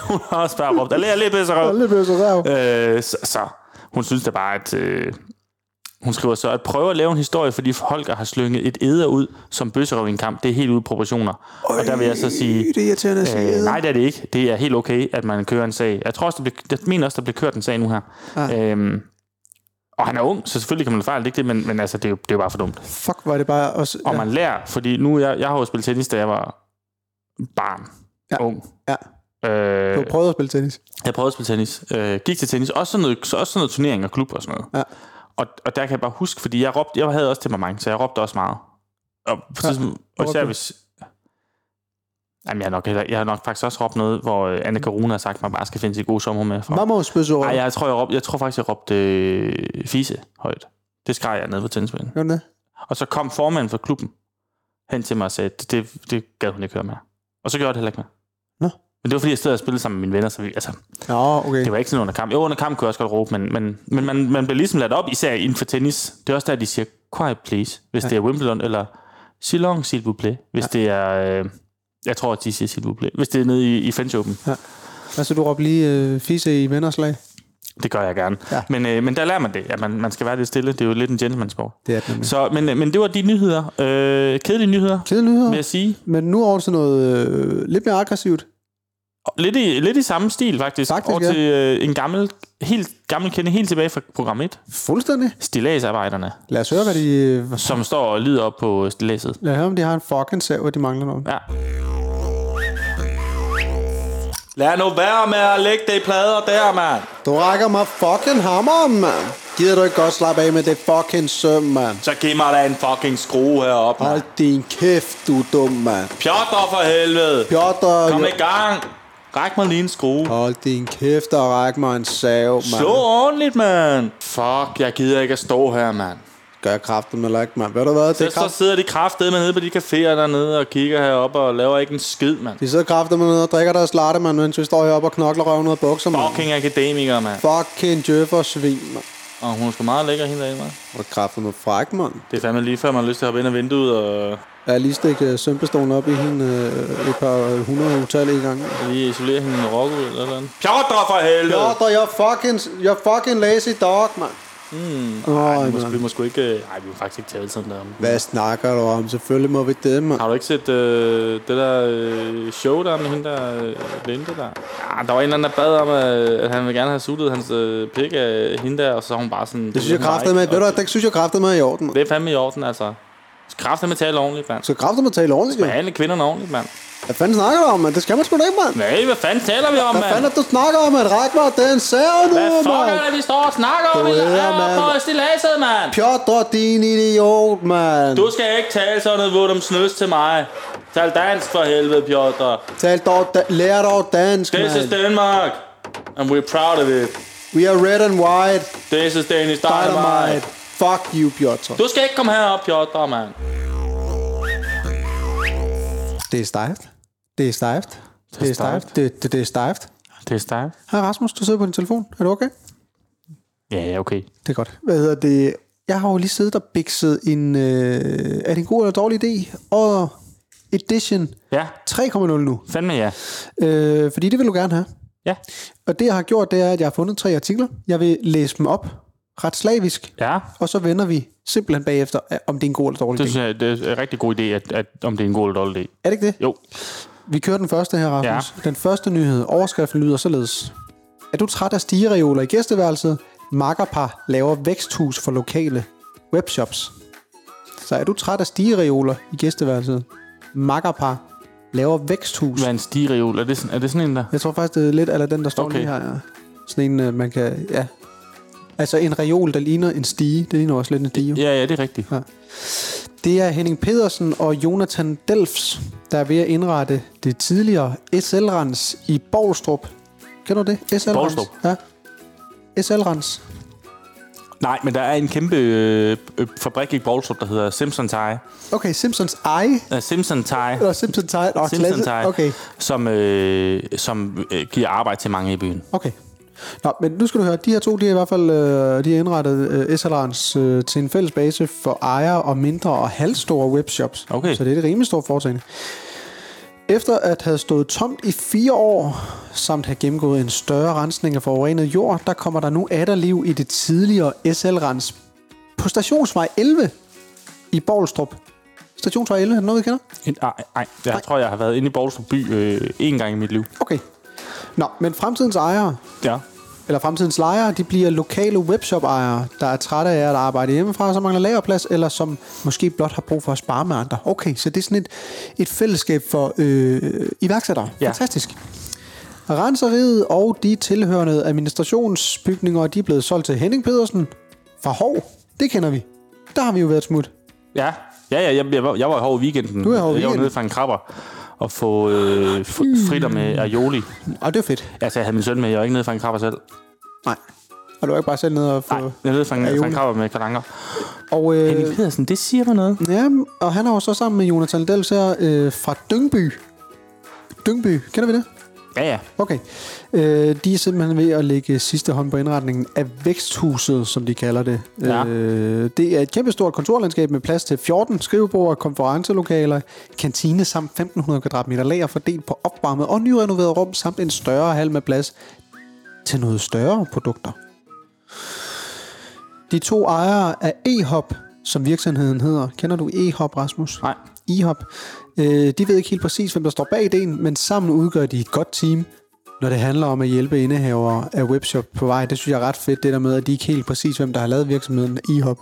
[SPEAKER 3] hun har også bare råbt, allé, allé, pisserøv.
[SPEAKER 2] Alle bøsserøv. Ja.
[SPEAKER 3] Øh, så, så hun synes da bare, at... Øh, hun skriver så, at prøve at lave en historie, fordi Holger har slynget et æder ud som bøsserøv i en kamp. Det er helt ude af proportioner. og der vil jeg så sige...
[SPEAKER 2] Det er irriterende at sige.
[SPEAKER 3] Øh,
[SPEAKER 2] Øh,
[SPEAKER 3] nej, det er det ikke. Det er helt okay, at man kører en sag. Jeg, tror også, der bliver, jeg mener også, der bliver kørt en sag nu her.
[SPEAKER 2] Ah.
[SPEAKER 3] Ah. Øhm, og han er ung, så selvfølgelig kan man fejle det er ikke det, men, men altså, det, er jo, det er jo bare for dumt.
[SPEAKER 2] Fuck, var det bare også...
[SPEAKER 3] Og ja. man lærer, fordi nu, jeg, jeg har jo spillet tennis, da jeg var barn,
[SPEAKER 2] Ja.
[SPEAKER 3] ja. ung.
[SPEAKER 2] Ja. Du
[SPEAKER 3] Øh,
[SPEAKER 2] har prøvet at spille tennis.
[SPEAKER 3] jeg prøvede at spille tennis. Øh, gik til tennis. Også sådan noget, så også sådan noget turnering og klub og sådan noget.
[SPEAKER 2] Ja.
[SPEAKER 3] Og, og der kan jeg bare huske, fordi jeg, råbte, jeg havde også temperament, så jeg råbte også meget. Og, på
[SPEAKER 2] Ja,
[SPEAKER 3] ja. og
[SPEAKER 2] råbte
[SPEAKER 3] især
[SPEAKER 2] du?
[SPEAKER 3] hvis... Jamen, jeg har, nok, heller- jeg har nok faktisk også råbt noget, hvor øh, Anna Corona har sagt, at man bare skal finde sit gode sommer med. Fra.
[SPEAKER 2] Mammos bøsserøv.
[SPEAKER 3] Ej,
[SPEAKER 2] ja.
[SPEAKER 3] jeg tror, jeg, råbte, jeg tror faktisk, jeg råbte øh, fise højt. Det skreg jeg ned på tennisbanen.
[SPEAKER 2] Gjorde den det?
[SPEAKER 3] Og så kom formanden for klubben hen til mig og sagde, det, det, det gad hun ikke høre mere. Og så gjorde jeg det heller ikke mere.
[SPEAKER 2] Nå.
[SPEAKER 3] Men det var fordi, jeg stod og spillede sammen med mine venner, så vi, altså,
[SPEAKER 2] Nå, okay.
[SPEAKER 3] det var ikke sådan under kamp. Jo, under kamp kunne jeg også godt råbe, men, men, men man, man bliver ligesom ladt op, især inden for tennis. Det er også der, de siger, quiet please, hvis ja. det er Wimbledon, eller Silong, s'il vous plaît, hvis ja. det er... Øh, jeg tror, at de siger s'il vous plaît, hvis det er nede i, i French Open.
[SPEAKER 2] Altså, du råbte lige øh, fisse i vennerslag.
[SPEAKER 3] Det gør jeg gerne.
[SPEAKER 2] Ja.
[SPEAKER 3] Ja. Men, øh, men der lærer man det, at man, man skal være lidt stille. Det er jo lidt en gentleman-sport.
[SPEAKER 2] Det er det nemlig.
[SPEAKER 3] Så, men, øh, men det var de nyheder. Øh, kedelige nyheder,
[SPEAKER 2] Kedelige nyheder.
[SPEAKER 3] vil jeg sige.
[SPEAKER 2] Men nu over til noget øh, lidt mere aggressivt.
[SPEAKER 3] Lidt i, lidt i samme stil, faktisk.
[SPEAKER 2] Faktisk,
[SPEAKER 3] Over
[SPEAKER 2] ja.
[SPEAKER 3] til øh, en gammel, helt, gammel kende, helt tilbage fra program 1.
[SPEAKER 2] Fuldstændig.
[SPEAKER 3] Stilagsarbejderne,
[SPEAKER 2] Lad os høre, hvad de... Øh,
[SPEAKER 3] som står og lider op på stilæset.
[SPEAKER 2] lad os høre, om de har en fucking sav, og de mangler noget.
[SPEAKER 3] Ja. Lad nu være med at lægge det i plader der, mand.
[SPEAKER 2] Du rækker mig fucking hammeren, mand. Gider du ikke godt slappe af med det fucking søm, mand?
[SPEAKER 3] Så giv mig da en fucking skrue heroppe, mand.
[SPEAKER 2] Hold din kæft, du er dum, mand.
[SPEAKER 3] Pjotter for helvede.
[SPEAKER 2] Piotr,
[SPEAKER 3] Kom
[SPEAKER 2] jo-
[SPEAKER 3] i gang. Ræk mig lige en skrue.
[SPEAKER 2] Hold din kæft og ræk mig en sav, mand.
[SPEAKER 3] Slå ordentligt, mand. Fuck, jeg gider ikke at stå her, mand.
[SPEAKER 2] Gør kraften med ikke, mand. Ved du hvad? Det er
[SPEAKER 3] Så, så
[SPEAKER 2] kraft...
[SPEAKER 3] sidder de kraftedeme nede på de caféer dernede og kigger herop og laver ikke en skid, mand.
[SPEAKER 2] De sidder kraften med og drikker deres latte, mand, mens vi står heroppe og knokler røven ud af bukser, mand.
[SPEAKER 3] Fucking akademiker, mand.
[SPEAKER 2] Fucking djøffer svin, mand.
[SPEAKER 3] Og hun er sgu meget lækker hende derinde, mand.
[SPEAKER 2] Og kraften med fræk, mand.
[SPEAKER 3] Det er fandme lige før, man har lyst til at hoppe ind af vinduet og
[SPEAKER 2] Jeg har lige stikket øh, sømpestolen op i hende øh, et par hundrede utallige gange.
[SPEAKER 3] lige isolere hende med rock ud eller et eller andet. Pjotter for helvede!
[SPEAKER 2] Piotr, you're fucking, you're fucking lazy dog, mand. Mm.
[SPEAKER 3] Ej,
[SPEAKER 2] Øj,
[SPEAKER 3] vi må, vi
[SPEAKER 2] mand.
[SPEAKER 3] må sgu ikke... Nej, vi må faktisk ikke tale sådan der om.
[SPEAKER 2] Hvad snakker du om? Selvfølgelig må vi det, mand.
[SPEAKER 3] Har du ikke set øh, det der øh, show der med hende der øh, Linde der? Ja, der var en eller anden, der bad om, øh, at han ville gerne have suttet hans øh, pik af hende der, og så var hun bare sådan...
[SPEAKER 2] Det synes jeg kraftede med. Ved du, hvad, det synes jeg kraftede med i orden, mand.
[SPEAKER 3] Det er fandme i orden, altså. Kræfter med at tale ordentligt, mand.
[SPEAKER 2] Så kraftede med tale ordentligt, jo.
[SPEAKER 3] Behandle kvinderne ordentligt, mand.
[SPEAKER 2] Hvad fanden snakker du om, mand? Det skal man sgu da ikke, mand.
[SPEAKER 3] Nej, hvad fanden taler vi om,
[SPEAKER 2] Hvad fanden
[SPEAKER 3] mand?
[SPEAKER 2] er det, du snakker om, mand? Ræk mig den sav nu,
[SPEAKER 3] Hvad fuck er
[SPEAKER 2] mand.
[SPEAKER 3] det, vi står og snakker om?
[SPEAKER 2] Du
[SPEAKER 3] Vi
[SPEAKER 2] æder,
[SPEAKER 3] er
[SPEAKER 2] mand.
[SPEAKER 3] på stilasset, mand.
[SPEAKER 2] Piotr, din idiot, mand.
[SPEAKER 3] Du skal ikke tale sådan noget vort om snøs til mig. Tal dansk for helvede, Piotr.
[SPEAKER 2] Tal dog, da- lær dog dansk,
[SPEAKER 3] This is
[SPEAKER 2] mand.
[SPEAKER 3] Denmark. And we're proud of it.
[SPEAKER 2] We are red and white.
[SPEAKER 3] This is Danish
[SPEAKER 2] Dynamite.
[SPEAKER 3] Dynamite.
[SPEAKER 2] Fuck you, Piotr.
[SPEAKER 3] Du skal ikke komme herop, Piotr, mand.
[SPEAKER 2] Det er stejft. Det er stejft. Det er stejft. Det, det, det er stejft.
[SPEAKER 3] Det er stærkt.
[SPEAKER 2] Hej Rasmus, du sidder på din telefon. Er du okay?
[SPEAKER 3] Ja, ja, okay.
[SPEAKER 2] Det er godt. Hvad hedder det? Jeg har jo lige siddet og bikset en... Øh, er det en god eller dårlig idé? Og edition
[SPEAKER 3] Ja,
[SPEAKER 2] 3.0 nu.
[SPEAKER 3] fandme ja.
[SPEAKER 2] Øh, fordi det vil du gerne have.
[SPEAKER 3] Ja.
[SPEAKER 2] Og det, jeg har gjort, det er, at jeg har fundet tre artikler. Jeg vil læse dem op ret slavisk.
[SPEAKER 3] Ja. øh,
[SPEAKER 2] Og så vender vi simpelthen bagefter, øh, om det er en god eller dårlig
[SPEAKER 3] Det
[SPEAKER 2] idé.
[SPEAKER 3] synes jeg, det er en rigtig god idé, at, at, om det er en god eller dårlig idé.
[SPEAKER 2] Er det ikke det?
[SPEAKER 3] Jo.
[SPEAKER 2] Vi kører den første her, Rasmus. Ja. Den første nyhed. Overskriften lyder således. Er du træt af stigereoler i gæsteværelset? Makkerpar laver væksthus for lokale webshops. Så er du træt af stigereoler i gæsteværelset? Makkerpar laver væksthus.
[SPEAKER 3] Hvad
[SPEAKER 2] Men.
[SPEAKER 3] er en stigereol? Er det, sådan, er det sådan en der?
[SPEAKER 2] Jeg tror faktisk, det er lidt eller den, der står okay.
[SPEAKER 3] Okay.
[SPEAKER 2] lige her. Ja. Sådan en, øh, man kan... Ja. Altså en reol, der ligner en stige. Det ligner også lidt en stige.
[SPEAKER 3] Ja, ja, det er rigtigt.
[SPEAKER 2] Det er Henning Pedersen og Jonathan Delfs, der er ved at indrette det tidligere SL-rens i Borgstrup. Kender du det? SL-rens?
[SPEAKER 3] Borgstrup?
[SPEAKER 2] Ja. SL-rens.
[SPEAKER 3] Nej, men der er en kæmpe øh, øh, fabrik i Borgstrup, der hedder Simpson Tire.
[SPEAKER 2] Okay, Simpsons Eye.
[SPEAKER 3] Uh, Simpson Tire.
[SPEAKER 2] Eller Simpsons Eye. Oh,
[SPEAKER 3] Simpson Tire.
[SPEAKER 2] Okay,
[SPEAKER 3] Som, øh, som øh, giver arbejde til mange i byen.
[SPEAKER 2] okay. Nå, men nu skal du høre, de her to, de er i hvert fald øh, de er indrettet øh, SL-rens øh, til en fælles base for ejere og mindre og halvstore webshops.
[SPEAKER 3] Okay.
[SPEAKER 2] Så det er et rimelig stort foretagende. Efter at have stået tomt i fire år, samt have gennemgået en større rensning af forurenet jord, der kommer der nu atter liv i det tidligere SL-rens på Stationsvej 11 i Borgelstrup. Stationsvej 11, er det noget, vi kender?
[SPEAKER 3] Nej, nej. Ah, Jeg tror, jeg har været inde i Borgstrup by øh, én gang i mit liv.
[SPEAKER 2] Okay. Nå, men fremtidens ejere,
[SPEAKER 3] Ja.
[SPEAKER 2] eller fremtidens lejere, de bliver lokale webshop-ejere, der er trætte af at arbejde hjemmefra, som mangler lagerplads, eller som måske blot har brug for at spare med andre. Okay, så det er sådan et, et fællesskab for øh, iværksættere. Ja.
[SPEAKER 3] Ja.
[SPEAKER 2] Fantastisk. Renseriet og de tilhørende administrationsbygninger, de er blevet solgt til Henning Pedersen fra Hov. Det kender vi. Der har vi jo været et smut.
[SPEAKER 3] Ja, ja, ja jeg, jeg, var, jeg var i Hov i weekenden.
[SPEAKER 2] Du er i Hov i
[SPEAKER 3] Jeg var
[SPEAKER 2] weekenden. Hmm.
[SPEAKER 3] nede for en krabber og få øh, f- fritter med aioli.
[SPEAKER 2] Og det er fedt.
[SPEAKER 3] Altså, jeg havde min søn med. Jeg var ikke nede for en krabber selv.
[SPEAKER 2] Nej. Og du er ikke bare selv nede og få...
[SPEAKER 3] Nej, jeg var nede for en, for
[SPEAKER 2] Aioli.
[SPEAKER 3] en krabber med kalanker.
[SPEAKER 2] Og,
[SPEAKER 3] Henning
[SPEAKER 2] øh,
[SPEAKER 3] Pedersen, det siger mig noget.
[SPEAKER 2] ja, og han er jo så sammen med Jonathan Dels her øh, fra Dyngby. Dyngby, kender vi det?
[SPEAKER 3] Ja, ja.
[SPEAKER 2] Okay. Øh, de er simpelthen ved at lægge sidste hånd på indretningen af væksthuset, som de kalder det.
[SPEAKER 3] Ja.
[SPEAKER 2] Øh, det er et kæmpestort kontorlandskab med plads til 14 skrivebord, konferencelokaler, kantine samt 1500 kvadratmeter lager fordelt på opvarmet og nyrenoveret rum samt en større hal med plads til noget større produkter. De to ejere af E-Hop, som virksomheden hedder. Kender du E-Hop, Rasmus?
[SPEAKER 3] Nej.
[SPEAKER 2] E-Hop. Øh, de ved ikke helt præcis, hvem der står bag ideen, men sammen udgør de et godt team, når det handler om at hjælpe indehavere af webshop på vej. Det synes jeg er ret fedt, det der med, at de ikke helt præcis, hvem der har lavet virksomheden E-Hop.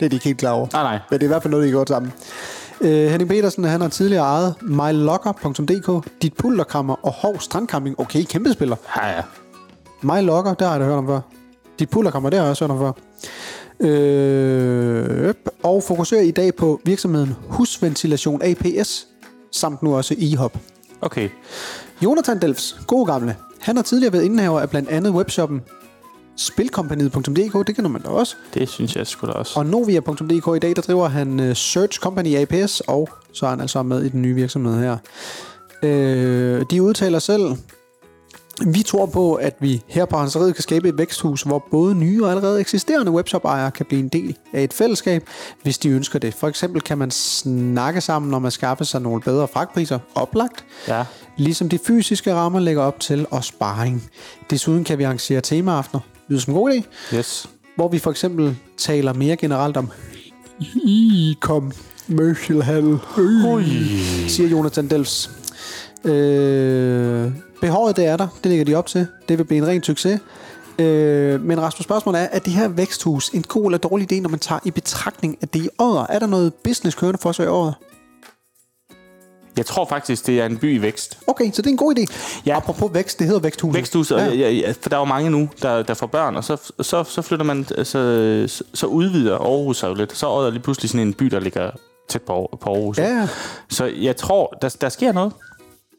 [SPEAKER 2] Det er de ikke helt klar over.
[SPEAKER 3] Nej, nej.
[SPEAKER 2] Men det er i hvert fald noget, de er godt sammen. Øh, Henning Petersen, han har tidligere ejet mylocker.dk, Dit Pulterkammer og Hov Strandcamping. Okay, kæmpe spiller.
[SPEAKER 3] Ja, ja.
[SPEAKER 2] Mylocker, der har jeg da hørt om før. Dit Pulterkammer, der har jeg også hørt om før. Øh, øp. og fokuserer i dag på virksomheden Husventilation APS, samt nu også IHOP.
[SPEAKER 3] Okay.
[SPEAKER 2] Jonathan Delfs, god gamle, han har tidligere været indehaver af blandt andet webshoppen spilkompaniet.dk, det kender man da også,
[SPEAKER 3] Det synes jeg sgu da også.
[SPEAKER 2] og novia.dk i dag, der driver han øh, Search Company APS, og så er han altså med i den nye virksomhed her. Øh, de udtaler selv, vi tror på, at vi her på Hanseriet kan skabe et væksthus, hvor både nye og allerede eksisterende webshop-ejere kan blive en del af et fællesskab, hvis de ønsker det. For eksempel kan man snakke sammen om at skaffe sig nogle bedre fragtpriser, oplagt,
[SPEAKER 3] Ja.
[SPEAKER 2] ligesom de fysiske rammer lægger op til, og sparring. Desuden kan vi arrangere temaaftener, lyder som en god idé,
[SPEAKER 3] Yes.
[SPEAKER 2] hvor vi for eksempel taler mere generelt om e-commercial handel, øh, siger Jonathan Delfs. Øh, behovet det er der, det ligger de op til. Det vil blive en ren succes. Øh, men Rasmus, spørgsmålet er, er det her væksthus en god eller dårlig idé, når man tager i betragtning, at det er i året? Er der noget business kørende for sig i året?
[SPEAKER 3] Jeg tror faktisk, det er en by i vækst.
[SPEAKER 2] Okay, så det er en god idé. Ja.
[SPEAKER 3] Ja.
[SPEAKER 2] Apropos vækst, det hedder væksthuset.
[SPEAKER 3] Væksthuset, ja. Ja, ja, for der er jo mange nu, der, der får børn, og så, så, så flytter man, så, så- så udvider Aarhus sig jo lidt. Så er der lige pludselig sådan en by, der ligger tæt på, på Aarhus.
[SPEAKER 2] Ja, ja.
[SPEAKER 3] Så jeg tror, der, der sker noget.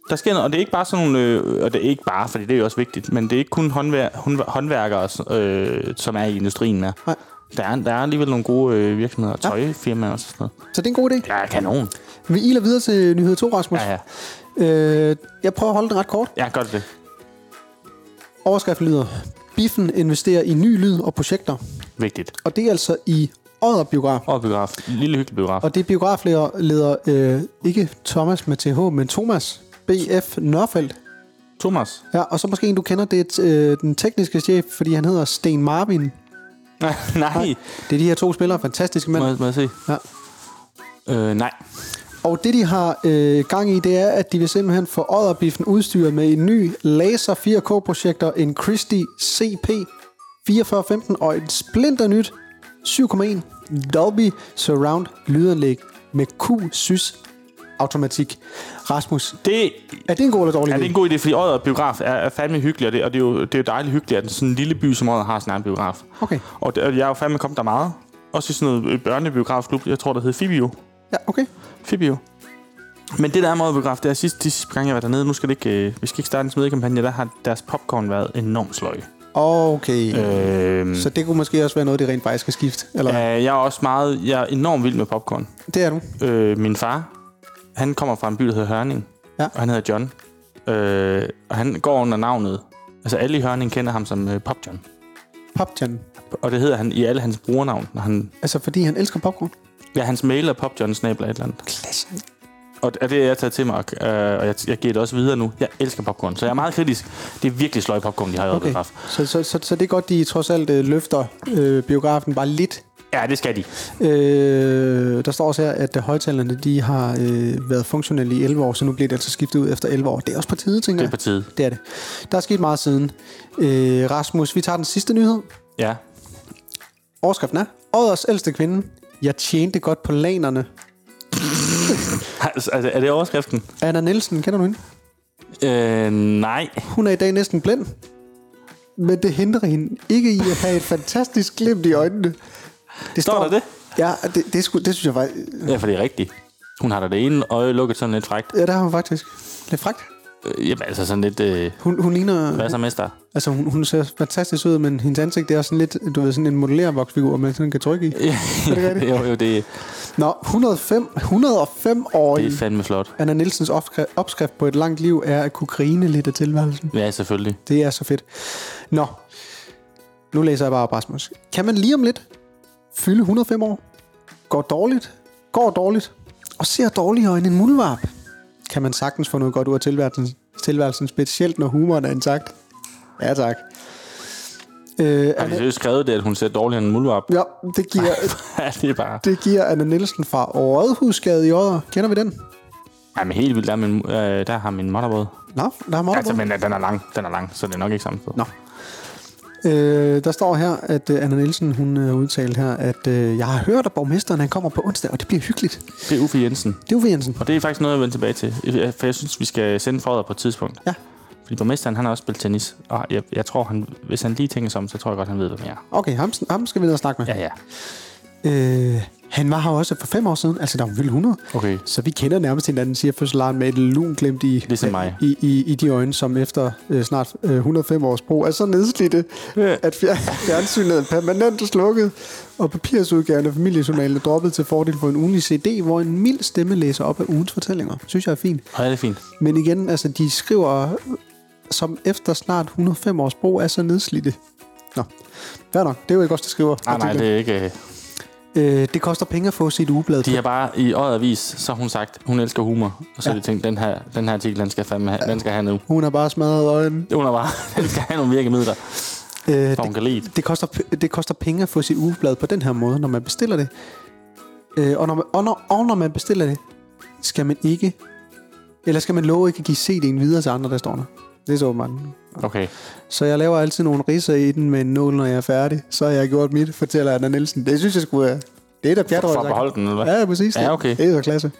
[SPEAKER 3] Der sker noget, og det er ikke bare sådan nogle, øh, og det er ikke bare, fordi det er jo også vigtigt, men det er ikke kun håndvær, håndvær- håndværkere, øh, som er i industrien mere.
[SPEAKER 2] Nej.
[SPEAKER 3] Der er, der er alligevel nogle gode øh, virksomheder, tøjfirmaer og sådan noget.
[SPEAKER 2] Så det er en god idé.
[SPEAKER 3] Ja, kanon.
[SPEAKER 2] Vi iler videre til nyhed 2, Rasmus.
[SPEAKER 3] Ja, ja.
[SPEAKER 2] Øh, jeg prøver at holde den ret kort.
[SPEAKER 3] Ja, godt det.
[SPEAKER 2] Overskriften lyder, Biffen investerer i ny lyd og projekter.
[SPEAKER 3] Vigtigt.
[SPEAKER 2] Og det er altså i Odder Biograf.
[SPEAKER 3] Og biograf. Lille hyggelig biograf.
[SPEAKER 2] Og det er biografleder leder, øh, ikke Thomas med TH, men Thomas BF Nørfeldt.
[SPEAKER 3] Thomas.
[SPEAKER 2] Ja, og så måske en, du kender, det er øh, den tekniske chef, fordi han hedder Sten Marvin.
[SPEAKER 3] Nej.
[SPEAKER 2] Det er de her to spillere, fantastiske mænd.
[SPEAKER 3] Må, jeg- må jeg se?
[SPEAKER 2] Ja.
[SPEAKER 3] Øh, nej.
[SPEAKER 2] Og det, de har øh, gang i, det er, at de vil simpelthen få Odderbiffen udstyret med en ny Laser 4K-projektor, en Christie CP 4415 og et splinter nyt 7,1 Dolby Surround lydanlæg med Q-sys automatik. Rasmus,
[SPEAKER 3] Det
[SPEAKER 2] er det en god eller dårlig
[SPEAKER 3] Ja, det
[SPEAKER 2] idé?
[SPEAKER 3] er en god idé, fordi Odder Biograf er, er fandme hyggelig, og det, og det er jo, det er jo dejligt hyggeligt, at sådan en lille by som Odder har sin egen biograf.
[SPEAKER 2] Okay.
[SPEAKER 3] Og, det, og jeg er jo fandme kommet der meget. Også i sådan noget øh, børnebiografklub, jeg tror, der hed Fibio.
[SPEAKER 2] Ja, okay.
[SPEAKER 3] Fibio. Men det der er med Odder biograf, det er sidste, de sidste gang, jeg var dernede, nu skal det ikke, øh, vi skal ikke starte en smedekampagne, der har deres popcorn været enormt sløj.
[SPEAKER 2] Okay. Øh.
[SPEAKER 3] Øh,
[SPEAKER 2] Så det kunne måske også være noget, de rent faktisk skal skifte. Eller? Ja.
[SPEAKER 3] jeg er også meget, jeg er enormt vild med popcorn.
[SPEAKER 2] Det er du.
[SPEAKER 3] Øh, min far, han kommer fra en by, der hedder Hørning.
[SPEAKER 2] Ja.
[SPEAKER 3] Og han hedder John. Øh, og han går under navnet. Altså alle i Hørning kender ham som øh, Pop John.
[SPEAKER 2] Popjan.
[SPEAKER 3] Og det hedder han i alle hans brugernavn. Når han,
[SPEAKER 2] Altså, fordi han elsker popcorn.
[SPEAKER 3] ja, hans mail er popjohnsnabler et eller andet.
[SPEAKER 2] Klasse.
[SPEAKER 3] Og det er det, jeg tager til mig, og, øh, og jeg, jeg giver det også videre nu. Jeg elsker popcorn, så jeg er meget kritisk. Det er virkelig sløj popcorn, de har i
[SPEAKER 2] Okay.
[SPEAKER 3] okay.
[SPEAKER 2] Så, så, så, så det er godt, de trods alt øh, løfter øh, biografen bare lidt.
[SPEAKER 3] Ja, det skal de.
[SPEAKER 2] Øh, der står også her, at øh, højtalerne de har øh, været funktionelle i 11 år, så nu bliver det altså skiftet ud efter 11 år. Det er også på tide, tænker
[SPEAKER 3] Det er på tide.
[SPEAKER 2] jeg. Det er det. Der er sket meget siden. Øh, Rasmus, vi tager den sidste nyhed.
[SPEAKER 3] Ja.
[SPEAKER 2] Overskriften er, Årets ældste kvinde, jeg tjente godt på lanerne.
[SPEAKER 3] Altså, altså, er det overskriften?
[SPEAKER 2] Anna Nielsen, kender du hende?
[SPEAKER 3] Øh, nej.
[SPEAKER 2] Hun er i dag næsten blind. Men det hindrer hende ikke i at have et fantastisk glimt i øjnene. Det
[SPEAKER 3] Står der det?
[SPEAKER 2] Ja, det, det, skulle, det synes jeg faktisk...
[SPEAKER 3] Ja, for det er rigtigt. Hun har da det ene øje lukket sådan lidt frækt.
[SPEAKER 2] Ja, der har hun faktisk. Lidt fragt.
[SPEAKER 3] Øh, jamen, altså sådan lidt... Øh,
[SPEAKER 2] Hun, hun ligner...
[SPEAKER 3] hvad så, mester?
[SPEAKER 2] Altså, hun, hun ser fantastisk ud, men hendes ansigt, det er sådan lidt, du ved, sådan en modellervoksfigur, man sådan kan trykke i. det rigtigt?
[SPEAKER 3] jo, jo, det,
[SPEAKER 2] Nå, 105, 105 år
[SPEAKER 3] det er fandme flot.
[SPEAKER 2] Anna Nielsens opskri- opskrift på et langt liv er at kunne grine lidt af tilværelsen.
[SPEAKER 3] Ja, selvfølgelig.
[SPEAKER 2] Det er så fedt. Nå, nu læser jeg bare op, Rasmus. Kan man lige om lidt fylde 105 år? Går dårligt? Går dårligt? Og ser dårligere end en muldvarp? Kan man sagtens få noget godt ud af tilværelsen, tilværelsen specielt når humoren er intakt? Ja, tak. Øh,
[SPEAKER 3] Har de seriøst skrevet det, at hun ser dårligere end en muldvarp?
[SPEAKER 2] Ja, det giver,
[SPEAKER 3] Ja, det er bare...
[SPEAKER 2] det giver Anna Nielsen fra Rådhusgade i Odder. Kender vi den?
[SPEAKER 3] Jamen helt vildt, der, er min, øh, der har min motherboard.
[SPEAKER 2] Nå, der er meget
[SPEAKER 3] Altså, men øh, den er lang, den er lang, så det er nok ikke samme sted.
[SPEAKER 2] Nå. Øh, der står her, at øh, Anna Nielsen hun øh, udtalte her, at øh, jeg har hørt, at borgmesteren han kommer på onsdag, og det bliver hyggeligt.
[SPEAKER 3] Det er Uffe Jensen.
[SPEAKER 2] Det er Uffe Jensen.
[SPEAKER 3] Og det er faktisk noget, jeg vender tilbage til. Øh, For jeg synes, vi skal sende forder på et tidspunkt.
[SPEAKER 2] Ja,
[SPEAKER 3] Fordi borgmesteren, han har også spillet tennis. Og jeg, jeg tror, han, hvis han lige tænker sig om, så tror jeg godt, han ved, hvem jeg er.
[SPEAKER 2] okay, ham, ham skal vi ned og snakke med.
[SPEAKER 3] Ja, ja.
[SPEAKER 2] Øh, han var her også for fem år siden, altså der var vildt 100.
[SPEAKER 3] Okay.
[SPEAKER 2] Så vi kender nærmest hinanden, siger fødselaren med et lun glemt i,
[SPEAKER 3] Ligesom mig.
[SPEAKER 2] i, i, i de øjne, som efter øh, snart øh, 105 års brug er så nedslidte,
[SPEAKER 3] Ja.
[SPEAKER 2] at fjer- fjernsynet er permanent slukket, og papirsudgaven af familiejournalen er droppet til fordel for en ugenlig CD, hvor en mild stemme læser op af ugens fortællinger. Synes jeg er fint.
[SPEAKER 3] Og det er fint.
[SPEAKER 2] Men igen, altså de skriver, som efter snart 105 års brug er så nedslidte. Nå, fair nok. Det er jo ikke også, der skriver.
[SPEAKER 3] Ah, Nej, nej, det er ikke... øh,
[SPEAKER 2] Øh, det koster penge at få sit ugeblad.
[SPEAKER 3] De har bare i øjet avis, så har hun sagt, hun elsker humor. Og så har de tænkt, den her, den her artikel, den skal, fandme have, den skal have nu.
[SPEAKER 2] Hun har bare smadret øjnene.
[SPEAKER 3] Hun er bare, den skal have nogle virkemidler,
[SPEAKER 2] Øh,
[SPEAKER 3] for hun
[SPEAKER 2] det,
[SPEAKER 3] kan lide. det.
[SPEAKER 2] det, koster, p- det koster penge at få sit ugeblad på den her måde, når man bestiller det. Øh, og, når man, og, når, og når man bestiller det, skal man ikke... Eller skal man love ikke at give CD'en videre til andre, der står der. Det er så åbenbart.
[SPEAKER 3] Okay.
[SPEAKER 2] Så jeg laver altid nogle ridser i den med en nål, når jeg er færdig. Så har jeg gjort mit, fortæller Anna Nielsen. Det synes jeg skulle være... Det er da pjat,
[SPEAKER 3] For at beholde den, eller hvad?
[SPEAKER 2] Ja, ja, præcis.
[SPEAKER 3] Ja, okay.
[SPEAKER 2] Det er så klasse.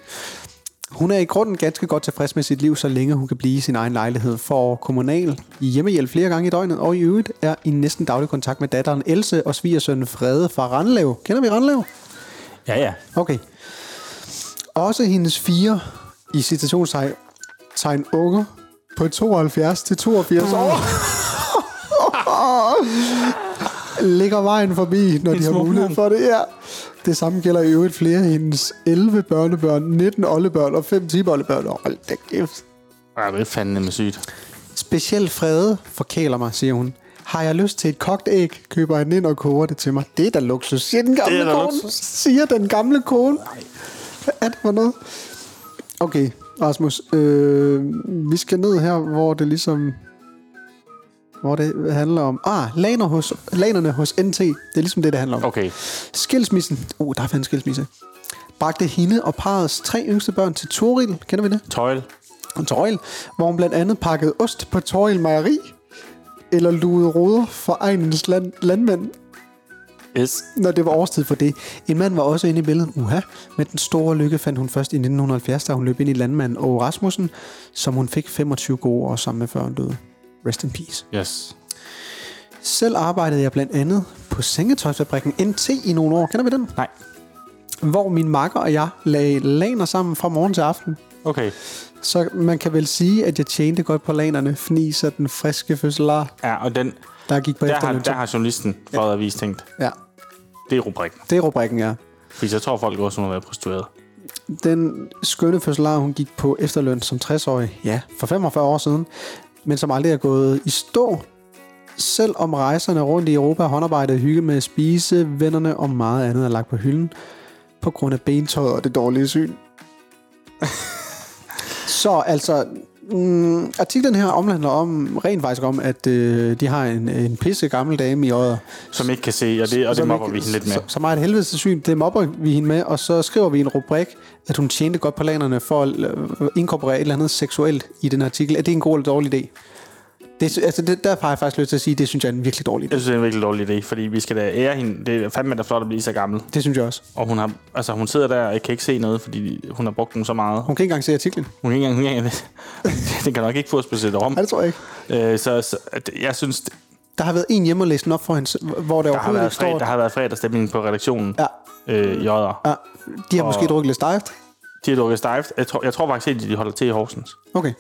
[SPEAKER 2] Hun er i grunden ganske godt tilfreds med sit liv, så længe hun kan blive i sin egen lejlighed for kommunal hjemmehjælp flere gange i døgnet, og i øvrigt er i næsten daglig kontakt med datteren Else og svigersønnen Frede fra Randlev. Kender vi Randlev?
[SPEAKER 3] Ja, ja.
[SPEAKER 2] Okay. Også hendes fire, i citationstegn, tegn unger på 72 til 82 år. Ligger vejen forbi, når de har
[SPEAKER 3] smuk
[SPEAKER 2] mulighed
[SPEAKER 3] mand.
[SPEAKER 2] for det. Ja. Det samme gælder i øvrigt flere af hendes 11 børnebørn, 19 oldebørn og 5 tiboldebørn. Åh, Hold da kæft.
[SPEAKER 3] Ja, det er fandme sygt.
[SPEAKER 2] Specielt Frede forkæler mig, siger hun. Har jeg lyst til et kogt æg, køber han ind og koger det til mig. Det er da luksus, siger den
[SPEAKER 3] Det
[SPEAKER 2] gamle
[SPEAKER 3] er da
[SPEAKER 2] kone.
[SPEAKER 3] luksus.
[SPEAKER 2] Siger den gamle kone. Hvad er det for noget? Okay, Rasmus. Øh, vi skal ned her, hvor det ligesom... Hvor det handler om... Ah, laner hos, lanerne hos NT. Det er ligesom det, det handler om.
[SPEAKER 3] Okay.
[SPEAKER 2] Skilsmissen. Uh, der er en skilsmisse. Bragte hende og parrets tre yngste børn til Toril. Kender vi det?
[SPEAKER 3] Tøjl.
[SPEAKER 2] og Toril, hvor hun blandt andet pakkede ost på Toril Mejeri, eller lugede ruder for egens land, landmænd,
[SPEAKER 3] Yes.
[SPEAKER 2] når det var årstid for det. En mand var også inde i billedet, uha, men den store lykke fandt hun først i 1970, da hun løb ind i landmanden Åge Rasmussen, som hun fik 25 gode år sammen med, før hun døde. Rest in peace.
[SPEAKER 3] Yes.
[SPEAKER 2] Selv arbejdede jeg blandt andet på sengetøjsfabrikken NT i nogle år. Kender vi den?
[SPEAKER 3] Nej.
[SPEAKER 2] Hvor min makker og jeg lagde laner sammen fra morgen til aften.
[SPEAKER 3] Okay.
[SPEAKER 2] Så man kan vel sige, at jeg tjente godt på lanerne, fniser den friske fødselar.
[SPEAKER 3] Ja, og den,
[SPEAKER 2] Der gik på
[SPEAKER 3] der, har,
[SPEAKER 2] efterløn.
[SPEAKER 3] der har journalisten fra ja. avis tænkt,
[SPEAKER 2] Ja,
[SPEAKER 3] det er rubrikken.
[SPEAKER 2] det er rubrikken, ja.
[SPEAKER 3] Fordi jeg tror, folk også må være prostitueret.
[SPEAKER 2] Den skønne fødselar, hun gik på efterløn som 60-årig, ja, for 45 år siden, men som aldrig er gået i stå. Selv om rejserne rundt i Europa, håndarbejdet, hygge med at spise, vennerne og meget andet er lagt på hylden, på grund af bentøjet og det dårlige syn. Så altså, mm, artiklen her omhandler om, rent faktisk om, at øh, de har en, en pisse gammel dame i øjet,
[SPEAKER 3] Som ikke kan se, og det, og det
[SPEAKER 2] Som
[SPEAKER 3] mobber
[SPEAKER 2] ikke-
[SPEAKER 3] vi hende lidt med.
[SPEAKER 2] Så, som har et helvedes syn, det mobber vi hende med, og så skriver vi i en rubrik, at hun tjente godt på lanerne for at øh, inkorporere et eller andet seksuelt i den artikel. Er det en god eller dårlig idé? Det, sy- altså, det, der har jeg faktisk lyst til at sige, det synes jeg er en virkelig dårlig idé.
[SPEAKER 3] Jeg synes, det er en virkelig dårlig idé, fordi vi skal da ære hende. Det er fandme da flot at blive så gammel.
[SPEAKER 2] Det synes jeg også.
[SPEAKER 3] Og hun, har, altså, hun sidder der og kan ikke se noget, fordi hun har brugt den så meget.
[SPEAKER 2] Hun kan ikke engang se artiklen.
[SPEAKER 3] Hun kan ikke engang... Hun kan ikke engang den kan nok ikke få specielt om.
[SPEAKER 2] Nej, det tror jeg ikke.
[SPEAKER 3] Øh, så, så at jeg synes, det-
[SPEAKER 2] Der har været en hjemme og læst den op for hende, hvor der,
[SPEAKER 3] der har,
[SPEAKER 2] overhovedet
[SPEAKER 3] været
[SPEAKER 2] ikke står...
[SPEAKER 3] fred, der har været fredagsstemning på redaktionen.
[SPEAKER 2] Ja.
[SPEAKER 3] Øh, jodder.
[SPEAKER 2] ja, de har måske drukket lidt stejft.
[SPEAKER 3] De har lukket stejft. Jeg tror, jeg tror faktisk helt, at de holder til i Horsens.
[SPEAKER 2] Okay,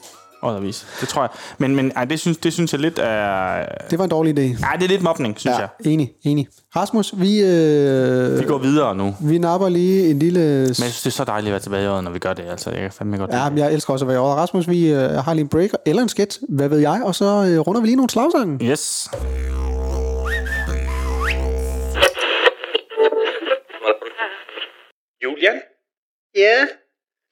[SPEAKER 3] Oddervis. Det tror jeg. Men, men ej, det, synes, det synes jeg lidt er...
[SPEAKER 2] det var en dårlig idé.
[SPEAKER 3] Ej, det er lidt mobning, synes ja. jeg.
[SPEAKER 2] enig, enig. Rasmus, vi, øh,
[SPEAKER 3] Vi går videre nu. Men
[SPEAKER 2] vi napper lige en lille
[SPEAKER 3] jeg synes, det er så dejligt at være tilbage i øjet, når vi gør det. Altså, jeg kan fandme godt lide
[SPEAKER 2] Ja,
[SPEAKER 3] det.
[SPEAKER 2] men jeg elsker også at være over. Rasmus, vi øh, har lige en break eller en sketch, hvad ved jeg, og så øh, runder vi lige nogle slagsange.
[SPEAKER 3] Yes.
[SPEAKER 5] Julian,
[SPEAKER 6] Ja,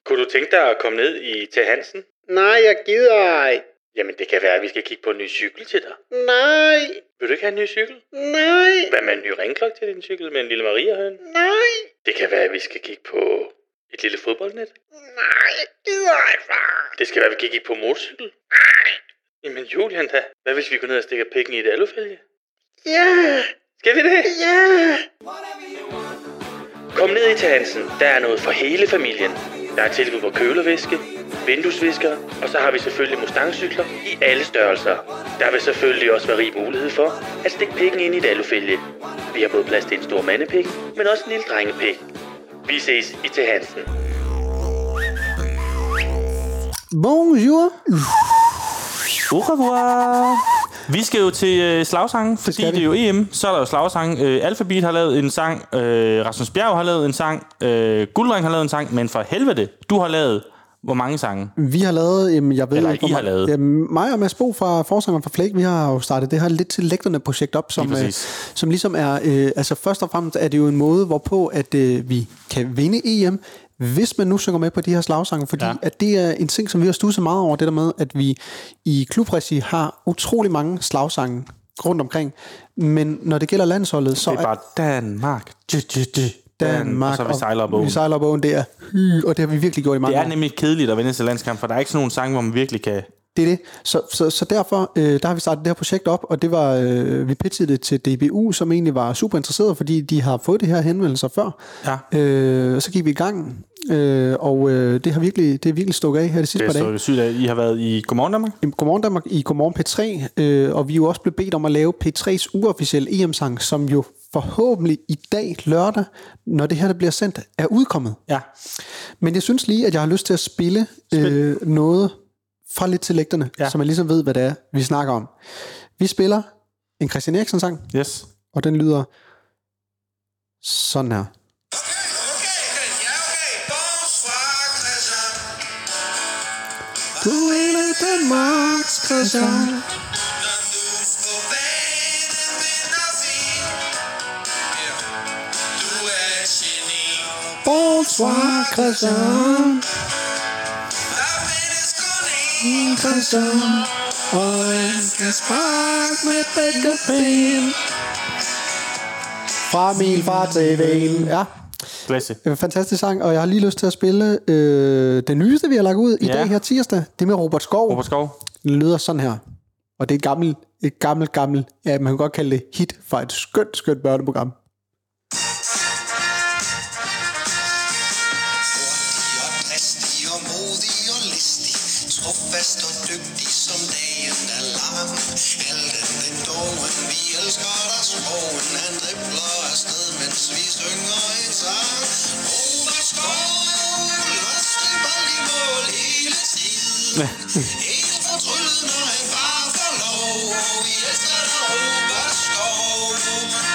[SPEAKER 5] kunne du tænke dig at komme ned i, til Hansen?
[SPEAKER 6] nej, jeg gider ej.
[SPEAKER 5] Jamen, det kan være, at vi skal kigge på en ny cykel til dig.
[SPEAKER 6] Nej,
[SPEAKER 5] Vil du ikke have en ny cykel?
[SPEAKER 6] nej,
[SPEAKER 5] Hvad med en ny ringklokke til din cykel med en lille Maria høn?
[SPEAKER 6] nej,
[SPEAKER 5] Det kan være, at vi skal kigge på et lille fodboldnet.
[SPEAKER 6] nej, jeg gider ej, far.
[SPEAKER 5] Det skal være, at vi kan kigge på motorcykel. Jamen Julian da, hvad hvis vi går ned og stikker pikken i et alufælge?
[SPEAKER 6] Ja,
[SPEAKER 5] Skal vi det?
[SPEAKER 6] ja.
[SPEAKER 5] Kom ned i Tansen. Der er noget for hele familien. Der er tilbud på kølervæske, vinduesvisker, og så har vi selvfølgelig Mustangcykler i alle størrelser. Der vil selvfølgelig også være rig mulighed for at stikke pikken ind i et alufælge. Vi har både plads til en stor mandepik, men også en lille drengepik. Vi ses i Tansen.
[SPEAKER 2] Bonjour.
[SPEAKER 3] Au revoir. Vi skal jo til øh, slagsangen, fordi
[SPEAKER 2] skal
[SPEAKER 3] det
[SPEAKER 2] vi.
[SPEAKER 3] er jo EM. Så er der jo slagsange. Øh, Alphabet har lavet en sang. Øh, Rasmus Bjerg har lavet en sang. Øh, Guldring har lavet en sang. Men for helvede, du har lavet hvor mange sange?
[SPEAKER 2] Vi har lavet, jamen, jeg ved
[SPEAKER 3] Eller
[SPEAKER 2] ikke, hvor
[SPEAKER 3] I har
[SPEAKER 2] meget-
[SPEAKER 3] lavet.
[SPEAKER 2] Jamen, mig og Mads Bo fra Forsanger fra Flake, vi har jo startet det her lidt til lægterne projekt op, som,
[SPEAKER 3] Lige
[SPEAKER 2] øh,
[SPEAKER 3] præcis.
[SPEAKER 2] som ligesom er, øh, altså først og fremmest er det jo en måde, hvorpå at øh, vi kan vinde EM, hvis man nu synger med på de her slagsange, fordi ja. at det er en ting, som vi har studset meget over, det der med, at vi i klubregi har utrolig mange slagsange rundt omkring, men når det gælder landsholdet, så
[SPEAKER 3] Det er bare Danmark. Dy, dy, dy.
[SPEAKER 2] Danmark,
[SPEAKER 3] Og så er vi sejler op ad åen.
[SPEAKER 2] vi sejler op ad åen, det er, hy, og det har vi virkelig gjort i mange
[SPEAKER 3] Det
[SPEAKER 2] år.
[SPEAKER 3] er nemlig kedeligt at vende til landskamp, for der er ikke sådan nogen sang, hvor man virkelig kan...
[SPEAKER 2] Det er det. Så, så, så derfor øh, der har vi startet det her projekt op, og det var øh, vi pitchede det til DBU, som egentlig var super interesseret, fordi de har fået det her henvendelser før.
[SPEAKER 3] Ja.
[SPEAKER 2] Øh, og så gik vi i gang, øh, og øh, det har virkelig, det er virkelig stukket af her de sidste
[SPEAKER 3] Det
[SPEAKER 2] par
[SPEAKER 3] er
[SPEAKER 2] dage.
[SPEAKER 3] så sygt, at I har været i Godmorgen Danmark.
[SPEAKER 2] Jamen, Godmorgen Danmark i Godmorgen P3, øh, og vi er jo også blevet bedt om at lave P3's uofficielle EM-sang, som jo forhåbentlig i dag lørdag, når det her der bliver sendt, er udkommet.
[SPEAKER 3] Ja.
[SPEAKER 2] Men jeg synes lige, at jeg har lyst til at spille øh, noget fra lidt til lægterne, ja.
[SPEAKER 3] Ja.
[SPEAKER 2] så man ligesom ved, hvad det er, vi snakker om. Vi spiller en Christian Eriksen-sang,
[SPEAKER 3] Yes.
[SPEAKER 2] og den lyder sådan her. Du er hele Danmarks Christian. Bonsoir Christian. Christian. Og jeg skal sparke med begge ben. Fra min far TV'en. Ja,
[SPEAKER 3] Klasse.
[SPEAKER 2] en fantastisk sang, og jeg har lige lyst til at spille øh, den nyeste, vi har lagt ud i
[SPEAKER 3] Ja.
[SPEAKER 2] dag her tirsdag. Det med Robert Skov.
[SPEAKER 3] Robert Skov.
[SPEAKER 2] Den lyder sådan her. Og det er et gammelt, et gammelt, gammelt, ja, man kan godt kalde det hit fra et skønt, skønt børneprogram.
[SPEAKER 7] Hurtig og dristig og modig og listig Trofast og dygtig som dagen er lang Helden den dogen, vi elsker dig skoven Han dribler afsted, mens vi synger en sang Robert Skov, os dribler i mål hele tiden Helt fortryllet, når han bare får lov Vi elsker dig, Robert Skov Robert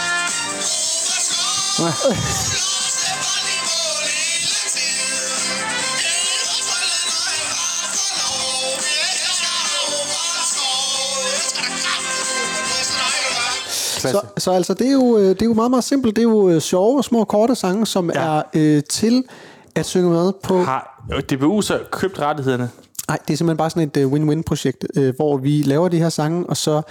[SPEAKER 7] Skov, os dribler i mål hele tiden
[SPEAKER 2] Så,
[SPEAKER 3] Klasse.
[SPEAKER 2] så altså, det er, jo, øh, det er jo meget, meget simpelt. Det er jo øh, sjove, små, korte sange, som ja. er øh, til at synge med på...
[SPEAKER 3] Har Øh, DBU så købt rettighederne?
[SPEAKER 2] Nej, det er simpelthen bare sådan et øh, win-win-projekt, øh, hvor vi laver de her sange, og så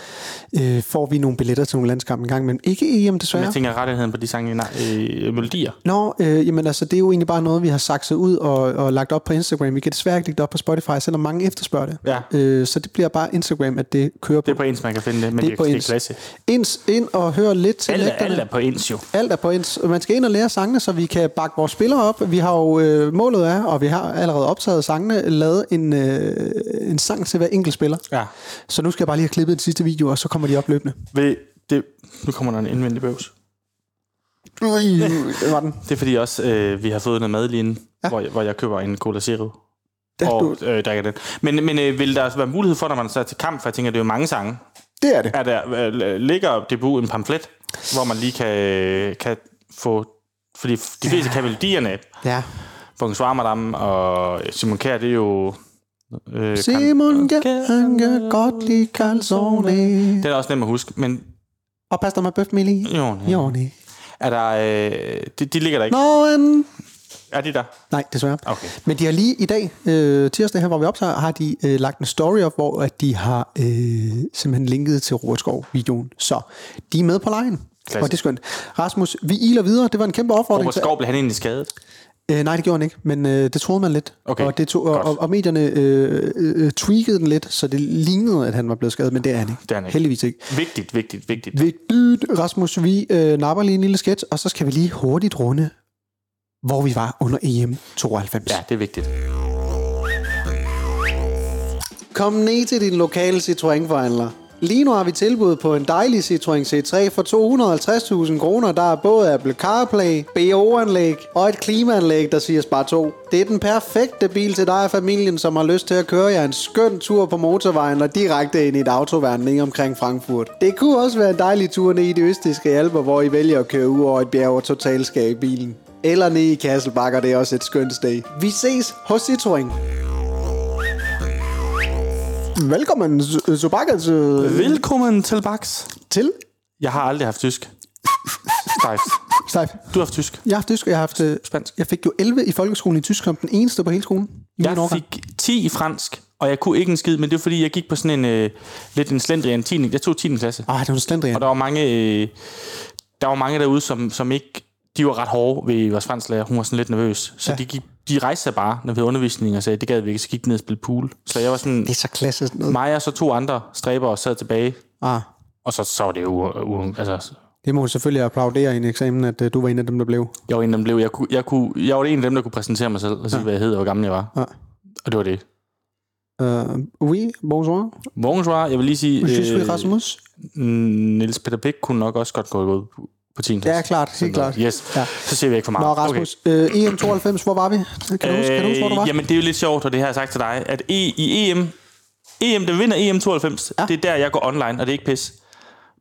[SPEAKER 2] øh, får vi nogle billetter til nogle landskampe en gang imellem. Ikke EM, desværre.
[SPEAKER 3] Jeg tænker rettigheden på de sange, nej, øh, melodier.
[SPEAKER 2] Nå, øh, jamen altså, det er jo egentlig bare noget, vi har sakset ud og, og lagt op på Instagram. Vi kan desværre ikke lægge det op på Spotify, selvom mange efterspørger det.
[SPEAKER 3] Ja.
[SPEAKER 2] Øh, så det bliver bare Instagram, at det kører
[SPEAKER 3] Det er
[SPEAKER 2] på.
[SPEAKER 3] på ens, man kan finde det, men det, det,
[SPEAKER 2] på
[SPEAKER 3] det er
[SPEAKER 2] ens.
[SPEAKER 3] klasse.
[SPEAKER 2] Ens ind og hør lidt til
[SPEAKER 3] Alt er,
[SPEAKER 2] lægterne.
[SPEAKER 3] alt er på ens jo.
[SPEAKER 2] Alt er på ens. Man skal ind og lære sangene, så vi kan bakke vores spillere op. Vi har jo, øh, målet er, og vi har allerede optaget sangene, lavet en, øh, en sang til hver enkelt spiller.
[SPEAKER 3] Ja.
[SPEAKER 2] Så nu skal jeg bare lige have klippet den sidste video, og så kommer de op løbende.
[SPEAKER 3] Ved, det, nu kommer der en indvendig bøvs.
[SPEAKER 2] Ui, det var den.
[SPEAKER 3] Det er fordi også, øh, vi har fået noget mad lige inden, ja. hvor, jeg, hvor jeg køber en Cola Zero.
[SPEAKER 2] Ja,
[SPEAKER 3] og
[SPEAKER 2] du-
[SPEAKER 3] øh, drikker den. Men, men øh, vil der være mulighed for, når man så er til kamp, for jeg tænker, det er jo mange sange,
[SPEAKER 2] Det er det.
[SPEAKER 3] er der, øh, ligger DBU en pamflet, hvor man lige kan, øh, kan få... Fordi de fleste kan melodierne,
[SPEAKER 2] Ja.
[SPEAKER 3] Bonsoir Madame og Simon Kjær, det er jo... Øh,
[SPEAKER 2] Simon,
[SPEAKER 3] Kar-
[SPEAKER 2] ja, han kan godt lide calzone.
[SPEAKER 3] Den er også nem at huske, men
[SPEAKER 2] Og pas dig med bøf, Mili.
[SPEAKER 3] jo, nej.
[SPEAKER 2] Joni.
[SPEAKER 3] er der, øh, de, de ligger der ikke.
[SPEAKER 2] Nå, en...
[SPEAKER 3] Er de der?
[SPEAKER 2] Nej, desværre.
[SPEAKER 3] Okay.
[SPEAKER 2] Men de har lige i dag, øh, tirsdag her, hvor vi optager, har de øh, lagt en story op, hvor at de har øh, simpelthen linket til Robert Skov-videoen. Så de er med på lejen.
[SPEAKER 3] Klasse.
[SPEAKER 2] Og det er skønt. Rasmus, vi iler videre. Det var en kæmpe opfordring.
[SPEAKER 3] Robert Skov blev han egentlig skadet.
[SPEAKER 2] til- Øh, nej, det gjorde den ikke, men øh, det troede man lidt.
[SPEAKER 3] Okay,
[SPEAKER 2] Og, det tog, og,
[SPEAKER 3] godt.
[SPEAKER 2] og, og medierne øh, øh, øh, tweakede den lidt, så det lignede, at han var blevet skadet, men det er han ikke.
[SPEAKER 3] Det er han ikke.
[SPEAKER 2] Heldigvis ikke.
[SPEAKER 3] Vigtigt, vigtigt, vigtigt.
[SPEAKER 2] Vigtigt, Rasmus, vi øh, napper lige en lille sketch, og så skal vi lige hurtigt runde, hvor vi var under E EM 92.
[SPEAKER 3] Ja, det er vigtigt.
[SPEAKER 2] Kom ned til din lokale Citroën-forhandler. Lige nu har vi tilbud på en dejlig Citroën C3 for 250.000 kroner, der er både Apple CarPlay, BO-anlæg og et klimaanlæg, der siger spar 2. Det er den perfekte bil til dig og familien, som har lyst til at køre jer en skøn tur på motorvejen og direkte ind i et autoværn lige omkring Frankfurt. Det kunne også være en dejlig tur ned i de østiske alper, hvor I vælger at køre ud over et bjerg og totalskab i bilen. Eller ned i Kasselbakker, det er også et skønt sted. Vi ses hos Citroën. Velkommen, Zubakas,
[SPEAKER 3] Velkommen til Bax.
[SPEAKER 2] til.
[SPEAKER 3] Jeg har aldrig haft tysk. Stejf.
[SPEAKER 2] Stejf.
[SPEAKER 3] Du har haft tysk.
[SPEAKER 2] Jeg har haft tysk, og jeg har haft øh,
[SPEAKER 3] Spansk.
[SPEAKER 2] Jeg fik jo 11 i folkeskolen i tysk, som den eneste på hele skolen. I min
[SPEAKER 3] Jeg
[SPEAKER 2] årgang.
[SPEAKER 3] fik 10 i fransk, og jeg kunne ikke en skid, men det var fordi, jeg gik på sådan en øh, lidt en slendrian 10. Jeg tog 10. klasse.
[SPEAKER 2] Ej, Ah, det var en slendrian.
[SPEAKER 3] Og der var mange, øh, der var mange derude, som, som ikke... De var ret hårde ved vores fransklærer. Hun var sådan lidt nervøs. Så
[SPEAKER 2] Ja.
[SPEAKER 3] ja. de, gik, de rejste sig bare, når vi havde undervisning, og sagde, det gad vi ikke, så gik de ned og spille pool. Så jeg var sådan...
[SPEAKER 2] Det er så klasse sådan noget.
[SPEAKER 3] Mig og så to andre stræber og sad tilbage.
[SPEAKER 2] Ah,
[SPEAKER 3] Og så, så var det jo... U- altså,
[SPEAKER 2] det må du selvfølgelig applaudere i en eksamen, at øh, du var en af dem, der blev.
[SPEAKER 3] jeg var en af dem, der blev, jeg, kunne, jeg, kunne, jeg var en af dem, der kunne præsentere mig selv og sige, ja. hvad jeg hed og hvor gammel jeg var.
[SPEAKER 2] Ja.
[SPEAKER 3] Og det var det.
[SPEAKER 2] Uh, Ah. oui, bonsoir.
[SPEAKER 3] Bonsoir, jeg vil lige sige...
[SPEAKER 2] Je suis
[SPEAKER 3] øh,
[SPEAKER 2] Rasmus.
[SPEAKER 3] Niels Peter Pick kunne nok også godt gå ud på- på 10. klasse.
[SPEAKER 2] Ja, klart, helt
[SPEAKER 3] Sådan noget.
[SPEAKER 2] klart.
[SPEAKER 3] Yes. Ah,
[SPEAKER 2] Ja.
[SPEAKER 3] Ja. Så siger vi ikke for meget.
[SPEAKER 2] Nå, Rasmus. Okay. Øh, EM92, hvor var vi? Kan du, huske, kan du huske, hvor du var?
[SPEAKER 3] Øh, Jamen, det er jo lidt sjovt, og det har jeg sagt til dig, at e, i EM, EM, der vinder EM92,
[SPEAKER 2] Ja.
[SPEAKER 3] ja. det er der, jeg går online, og det er ikke pis.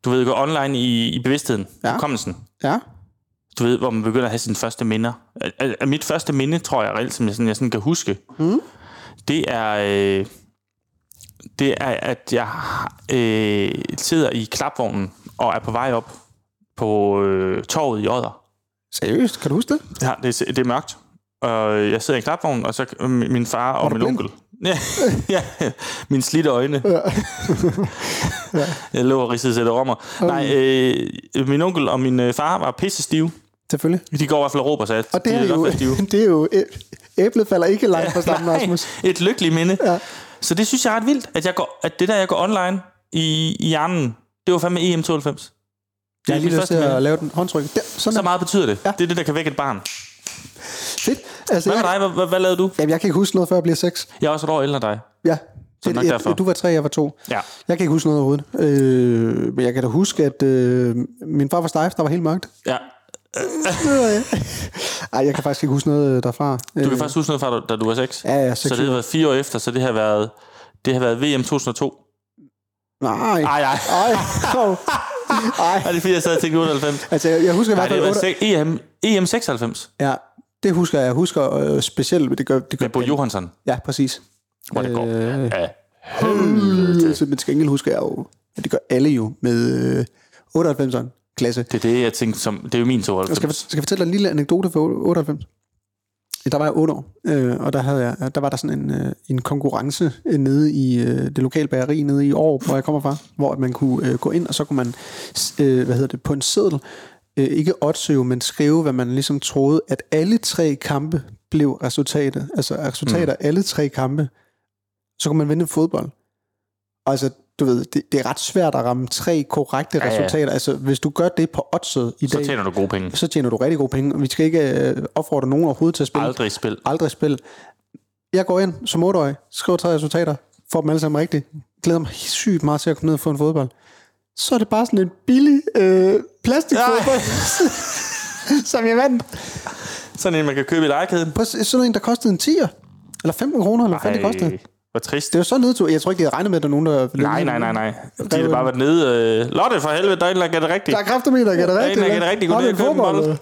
[SPEAKER 3] Du ved, jeg går online i, i bevidstheden,
[SPEAKER 2] Ja.
[SPEAKER 3] ja. hukommelsen.
[SPEAKER 2] Ja.
[SPEAKER 3] Du ved, hvor man begynder at have sine første minder. Al- al- al- Mit første minde, tror jeg reelt, som jeg sådan, jeg sådan kan huske, mm.
[SPEAKER 2] Hmm?
[SPEAKER 3] det er... Øh, det er, at jeg øh, sidder i klapvognen og er på vej op på øh, torvet i Odder.
[SPEAKER 2] Seriøst, kan du huske det?
[SPEAKER 3] Ja, det er, det er mørkt. Og jeg sidder i en klapvogn, og så øh, min min far og
[SPEAKER 2] du
[SPEAKER 3] min
[SPEAKER 2] blind?
[SPEAKER 3] onkel. Ja, ja, mine slidte øjne. Ja. jeg lå og ridsede sætte rommer. Nej, øh, min onkel og min øh, far var pisse stive.
[SPEAKER 2] Selvfølgelig.
[SPEAKER 3] De går i hvert fald og råber sig, at
[SPEAKER 2] Og det
[SPEAKER 3] de
[SPEAKER 2] er
[SPEAKER 3] nok
[SPEAKER 2] jo,
[SPEAKER 3] været stive.
[SPEAKER 2] det er jo æ- æblet falder ikke langt fra stammen, Rasmus.
[SPEAKER 3] et lykkeligt minde. Ja. Så det synes jeg er ret vildt, at, jeg går, at det der, jeg går online i, i hjernen, det var fandme E EM92. Det
[SPEAKER 2] Jeg
[SPEAKER 3] er
[SPEAKER 2] har lige
[SPEAKER 3] mit
[SPEAKER 2] lyst til
[SPEAKER 3] første minde.
[SPEAKER 2] at lave den håndtryk. Der, sådan
[SPEAKER 3] Så
[SPEAKER 2] der.
[SPEAKER 3] meget betyder det.
[SPEAKER 2] Ja.
[SPEAKER 3] Ja. Det er det, der kan vække et barn.
[SPEAKER 2] Fedt. Altså,
[SPEAKER 3] Hvad med
[SPEAKER 2] jeg,
[SPEAKER 3] dig? Hvad, hvad, hvad lavede du?
[SPEAKER 2] jamen, jeg kan ikke huske noget, før jeg bliver seks.
[SPEAKER 3] Jeg er også et år ældre end dig.
[SPEAKER 2] Ja.
[SPEAKER 3] Så
[SPEAKER 2] Det,
[SPEAKER 3] nok derfor.
[SPEAKER 2] jeg, du var tre, jeg var to.
[SPEAKER 3] Ja.
[SPEAKER 2] Jeg kan ikke huske noget overhovedet. Øh, men jeg kan da huske, at øh, min far var stejf, der var helt mørkt.
[SPEAKER 3] Ja.
[SPEAKER 2] Ej, jeg kan faktisk ikke huske noget øh, derfra.
[SPEAKER 3] Du kan faktisk huske noget fra, da- da du var 6.
[SPEAKER 2] Ja, ja,
[SPEAKER 3] så
[SPEAKER 2] seks
[SPEAKER 3] det har været fire år efter, så det har været, det har været VM 2002.
[SPEAKER 2] Nej.
[SPEAKER 3] Ej, ej.
[SPEAKER 2] Ej. Ej.
[SPEAKER 3] Ej, det er fordi, jeg sad og tænkte 98.
[SPEAKER 2] Altså, jeg, jeg husker i
[SPEAKER 3] Nej,
[SPEAKER 2] hvert
[SPEAKER 3] det
[SPEAKER 2] fald...
[SPEAKER 3] har været
[SPEAKER 2] otte-
[SPEAKER 3] seks- E EM, EM 96
[SPEAKER 2] Ja, det husker jeg. Jeg husker øh, specielt... men Det gør, det gør
[SPEAKER 3] med Bo Johansson,
[SPEAKER 2] Ja, præcis.
[SPEAKER 3] hvor det går. Ja.
[SPEAKER 2] Øh, men til gengæld husker jeg jo... at Det gør alle jo med øh, 98'eren klasse.
[SPEAKER 3] Det er det, jeg tænkte som... Det er jo min
[SPEAKER 2] Jeg skal,
[SPEAKER 3] 92.
[SPEAKER 2] skal jeg fortælle dig en lille anekdote fra 98. Der var jeg 8 år, øh, og der, havde jeg, der var der sådan en, øh, en konkurrence øh, nede i øh, det lokale bageri nede i Aarhus, hvor jeg kommer fra, hvor at man kunne øh, gå ind, og så kunne man, s- øh, hvad hedder det, på en seddel, øh, ikke oddsøve, men skrive, hvad man ligesom troede, at alle tre kampe blev resultatet. Altså resultater af alle tre kampe. Så kunne man vinde fodbold. Altså, du ved, det, det er ret svært at ramme tre korrekte ja,
[SPEAKER 3] ja.
[SPEAKER 2] resultater. Altså, hvis du gør det på oddset i
[SPEAKER 3] Så
[SPEAKER 2] dag,
[SPEAKER 3] tjener du gode penge.
[SPEAKER 2] så tjener du rigtig gode penge. Vi skal ikke øh, opfordre nogen overhovedet til at spille.
[SPEAKER 3] Aldrig spil.
[SPEAKER 2] Aldrig spil. Jeg går ind som 8-årig, skriver tre resultater, får dem alle sammen rigtigt. Glæder mig sygt meget til at komme ned og få en fodbold. Så er det bare sådan en billig øh, plastikfodbold, som jeg vandt.
[SPEAKER 3] Sådan en, man kan købe i lejerkæden.
[SPEAKER 2] På sådan en, der kostede en 10'er. Eller 15 kroner, eller hvad fanden det kostede.
[SPEAKER 3] Ej, hvor trist.
[SPEAKER 2] Det var så nedtur. Jeg tror ikke, de havde regnet med, at der er nogen, der...
[SPEAKER 3] Nej, nej, nej, nej. De har bare været nede... Øh, Lotte, for helvede, der er en, der gør det rigtigt.
[SPEAKER 2] Der er kræfter med, der kan det
[SPEAKER 3] Der er en,
[SPEAKER 2] rigtigt.
[SPEAKER 3] der kan det
[SPEAKER 2] hva'?
[SPEAKER 3] rigtigt. Gå
[SPEAKER 2] Har
[SPEAKER 3] ned
[SPEAKER 2] du
[SPEAKER 3] og køb en
[SPEAKER 2] fodbold,
[SPEAKER 3] bold?
[SPEAKER 2] eller?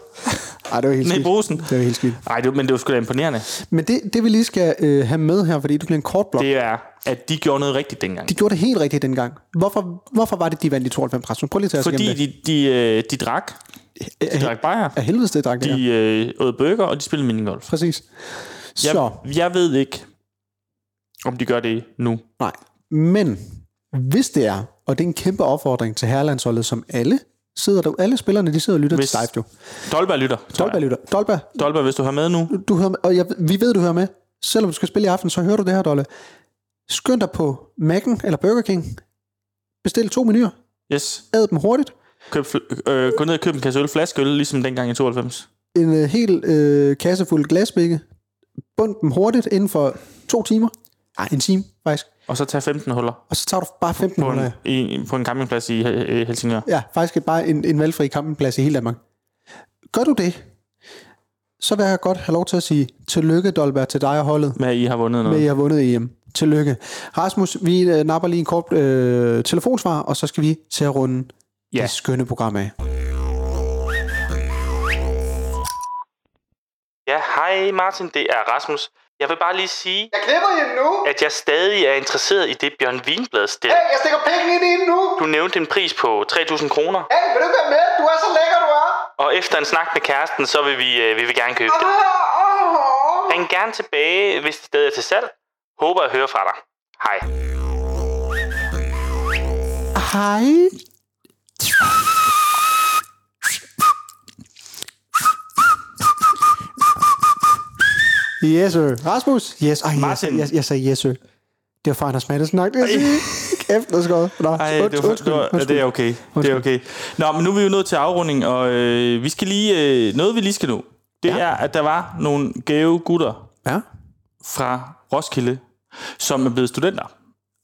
[SPEAKER 2] Ej, det var helt
[SPEAKER 3] Ned i
[SPEAKER 2] skidt.
[SPEAKER 3] brusen.
[SPEAKER 2] Det var helt skidt.
[SPEAKER 3] Nej, det, men det var sgu da imponerende.
[SPEAKER 2] Men det, det vi lige skal øh, have med her, fordi det bliver en kort blok.
[SPEAKER 3] Det er, at de gjorde noget rigtigt dengang.
[SPEAKER 2] De gjorde det helt rigtigt dengang. Hvorfor, hvorfor var det, de vandt i 92 Rasmus? Prøv lige at tage os
[SPEAKER 3] Fordi
[SPEAKER 2] igennem det.
[SPEAKER 3] de, de, øh, de drak. De drak bajer.
[SPEAKER 2] Af helvede, det drak det her.
[SPEAKER 3] De øh, åd burger, og de spillede minigolf.
[SPEAKER 2] Præcis.
[SPEAKER 3] Jeg,
[SPEAKER 2] Så,
[SPEAKER 3] jeg ved ikke, om de gør det nu.
[SPEAKER 2] nej. Men hvis det er, og det er en kæmpe opfordring til herrelandsholdet, som alle sidder der, alle spillerne de sidder og lytter
[SPEAKER 3] Hvis-
[SPEAKER 2] til live jo.
[SPEAKER 3] Dolberg lytter. tror jeg.
[SPEAKER 2] Dolberg lytter. Dolberg,
[SPEAKER 3] Dolberg, hvis du har med nu.
[SPEAKER 2] du hører med, og jeg, vi ved, du hører med. Selvom du skal spille i aften, så hører du det her, Dolle. Skynd dig på Mac'en eller Burger King. Bestil to menuer.
[SPEAKER 3] Yes.
[SPEAKER 2] Ad dem hurtigt.
[SPEAKER 3] Køb, fl- øh, gå ned og køb en kasse øl, flaskeøl, ligesom dengang i 92.
[SPEAKER 2] En øh, hel øh, kasse fuld glasbække. Bund dem hurtigt inden for to timer. Nej, en time faktisk.
[SPEAKER 3] Og så tag 15 huller
[SPEAKER 2] Og så tager du bare 15
[SPEAKER 3] på en,
[SPEAKER 2] minutter.
[SPEAKER 3] ja. i, på en campingplads i øh, Helsingør.
[SPEAKER 2] Ja, faktisk et, bare en, en valgfri campingplads i hele Danmark. Gør du det, så vil jeg godt have lov til at sige tillykke, Dolberg, til dig og holdet
[SPEAKER 3] Med at I har vundet noget.
[SPEAKER 2] med, at I har vundet EM. Tillykke. Rasmus, vi øh, napper lige en kort øh, telefonsvar, og så skal vi til at runde ja.
[SPEAKER 3] Ja.
[SPEAKER 2] det skønne program af.
[SPEAKER 3] Ja, hej Martin, det er Rasmus. Jeg vil bare lige sige,
[SPEAKER 7] Jeg knipper hende nu!
[SPEAKER 3] at jeg stadig er interesseret i det Bjørn Wienblad stiller.
[SPEAKER 7] Jeg stikker penge ind i hende nu!
[SPEAKER 3] Du nævnte en pris på 3.000 kroner,
[SPEAKER 7] Hey, vil du ikke være med? Du er så lækker, du er! Ah,
[SPEAKER 3] og efter en snak med kæresten, så vil vi, øh, vi vil gerne købe det. Ring gerne tilbage, hvis det stadig er til salg. Håber at høre fra dig. Hej.
[SPEAKER 2] Hej. Yes, sir. Rasmus? Yes, Ej, jeg,
[SPEAKER 3] Martin.
[SPEAKER 2] jeg, jeg, sagde yes, sir. Det var fra Anders Maddelsen nok. det, jeg sagde. Kæft, det er skåret. Nå,
[SPEAKER 3] Ej, det, var, det, var, det er okay. Det
[SPEAKER 2] Undskyld.
[SPEAKER 3] er okay. Nå, men nu er vi jo nået til afrunding, og øh, vi skal lige... Øh, noget, vi lige skal nå, det ja. er, at der var nogle gave gutter
[SPEAKER 2] Ja.
[SPEAKER 3] fra Roskilde, som er blevet studenter.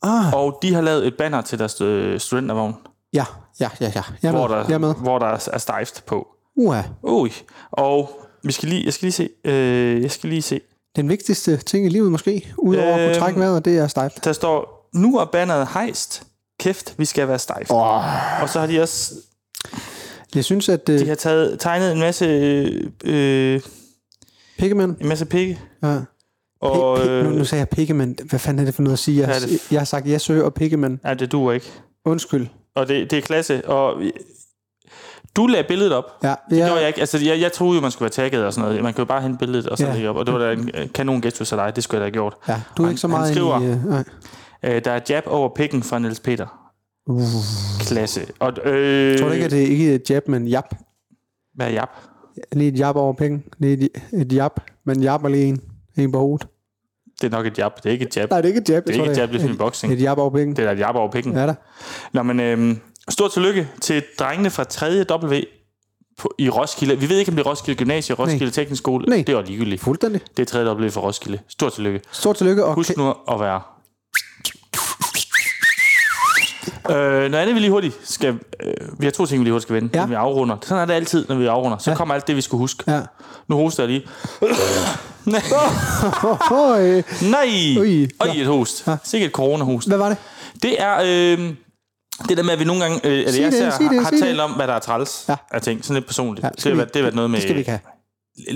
[SPEAKER 2] Ah.
[SPEAKER 3] Og de har lavet et banner til deres øh, studentervogn,
[SPEAKER 2] Ja, ja, ja, ja. Jeg er
[SPEAKER 3] hvor
[SPEAKER 2] med. Jeg er med.
[SPEAKER 3] der, hvor der er stejft på.
[SPEAKER 2] Uha.
[SPEAKER 3] Ui. Og vi skal lige, jeg skal lige se. Øh, jeg skal lige se.
[SPEAKER 2] Den vigtigste ting i livet måske, udover at kunne
[SPEAKER 3] Øhm.
[SPEAKER 2] trække vejret, det er stejft.
[SPEAKER 3] Der står, nu er banneret hejst. Kæft, vi skal være stejft.
[SPEAKER 2] Åh.
[SPEAKER 3] Og så har de også
[SPEAKER 2] Jeg synes, at uh,
[SPEAKER 3] de har taget, tegnet en masse, øh, øh,
[SPEAKER 2] Pikkemand...
[SPEAKER 3] en masse pikke.
[SPEAKER 2] Ja.
[SPEAKER 3] Og,
[SPEAKER 2] Pik, pik, nu, nu
[SPEAKER 3] øh,
[SPEAKER 2] sagde jeg Pikkemand. Hvad fanden er det for noget at sige? Jeg,
[SPEAKER 3] Hvad
[SPEAKER 2] har,
[SPEAKER 3] er det?
[SPEAKER 2] jeg har sagt Jesø og Pikkemand.
[SPEAKER 3] nej, det duer ikke.
[SPEAKER 2] Undskyld.
[SPEAKER 3] Og det, det er klasse. Og vi- du lagde billedet op.
[SPEAKER 2] Ja,
[SPEAKER 3] Det
[SPEAKER 2] ja.
[SPEAKER 3] gjorde jeg ikke. Altså, jeg, jeg troede jo, man skulle være tagget og sådan noget. Man kunne jo bare hente billedet og så
[SPEAKER 2] Ja.
[SPEAKER 3] ja. lægge op. Og det var da en øh, kanon gæst hos dig. Det skulle jeg da have gjort.
[SPEAKER 2] Ja, du er
[SPEAKER 3] Han-
[SPEAKER 2] ikke så
[SPEAKER 3] han
[SPEAKER 2] meget
[SPEAKER 3] skriver-
[SPEAKER 2] i... øh, nej.
[SPEAKER 3] Øh, der er jab over pikken fra Niels Peter. Uh. Klasse. Og, øh,
[SPEAKER 2] Jeg tror du ikke, at det er ikke et jab, men jab.
[SPEAKER 3] Hvad er jab?
[SPEAKER 2] Lige et jab over penge. Lige et, et jab, men jab er lige en. En på hovedet.
[SPEAKER 3] Det er nok et jab. Det er ikke et jab.
[SPEAKER 2] Nej, det er ikke et jab.
[SPEAKER 3] det er ikke et jab, det er sådan en boxing.
[SPEAKER 2] Et jab over penge.
[SPEAKER 3] Det er da et jab over pikken.
[SPEAKER 2] Ja da.
[SPEAKER 3] Nå, men øhm, stort tillykke til drengene fra 3W på, i Roskilde. Vi ved ikke, om det er Roskilde Gymnasie, Roskilde
[SPEAKER 2] Nej.
[SPEAKER 3] Nej. Teknisk Skole.
[SPEAKER 2] Nej.
[SPEAKER 3] Det var ligegyldigt.
[SPEAKER 2] Fuldstændig.
[SPEAKER 3] Det er 3W for Roskilde. Stort tillykke.
[SPEAKER 2] Stort tillykke. Og
[SPEAKER 3] Husk nu at være... Øh, noget andet, vi lige hurtigt skal... Øh, vi har to ting, vi lige hurtigt skal vende,
[SPEAKER 2] Ja.
[SPEAKER 3] ja. vi afrunder. Sådan er det altid, når vi afrunder. Så ja. kommer alt det, vi skal huske.
[SPEAKER 2] Ja.
[SPEAKER 3] Nu hoster jeg lige. Nej,
[SPEAKER 2] Hoj. Ui.
[SPEAKER 3] Øj, et host. Sikkert et coronahost.
[SPEAKER 2] Hvad var det?
[SPEAKER 3] Det er øh, det der med, at vi nogle gange, øh, eller
[SPEAKER 2] Sig
[SPEAKER 3] jeg
[SPEAKER 2] det,
[SPEAKER 3] ser,
[SPEAKER 2] sig det,
[SPEAKER 3] har, har
[SPEAKER 2] sig det.
[SPEAKER 3] talt om, hvad der er træls
[SPEAKER 2] Ja.
[SPEAKER 3] ja. af ting. Sådan lidt personligt.
[SPEAKER 2] Ja,
[SPEAKER 3] Ja, det,
[SPEAKER 2] skal
[SPEAKER 3] har
[SPEAKER 2] vi-
[SPEAKER 3] været, det har været noget med...
[SPEAKER 2] Det skal vi ikke have.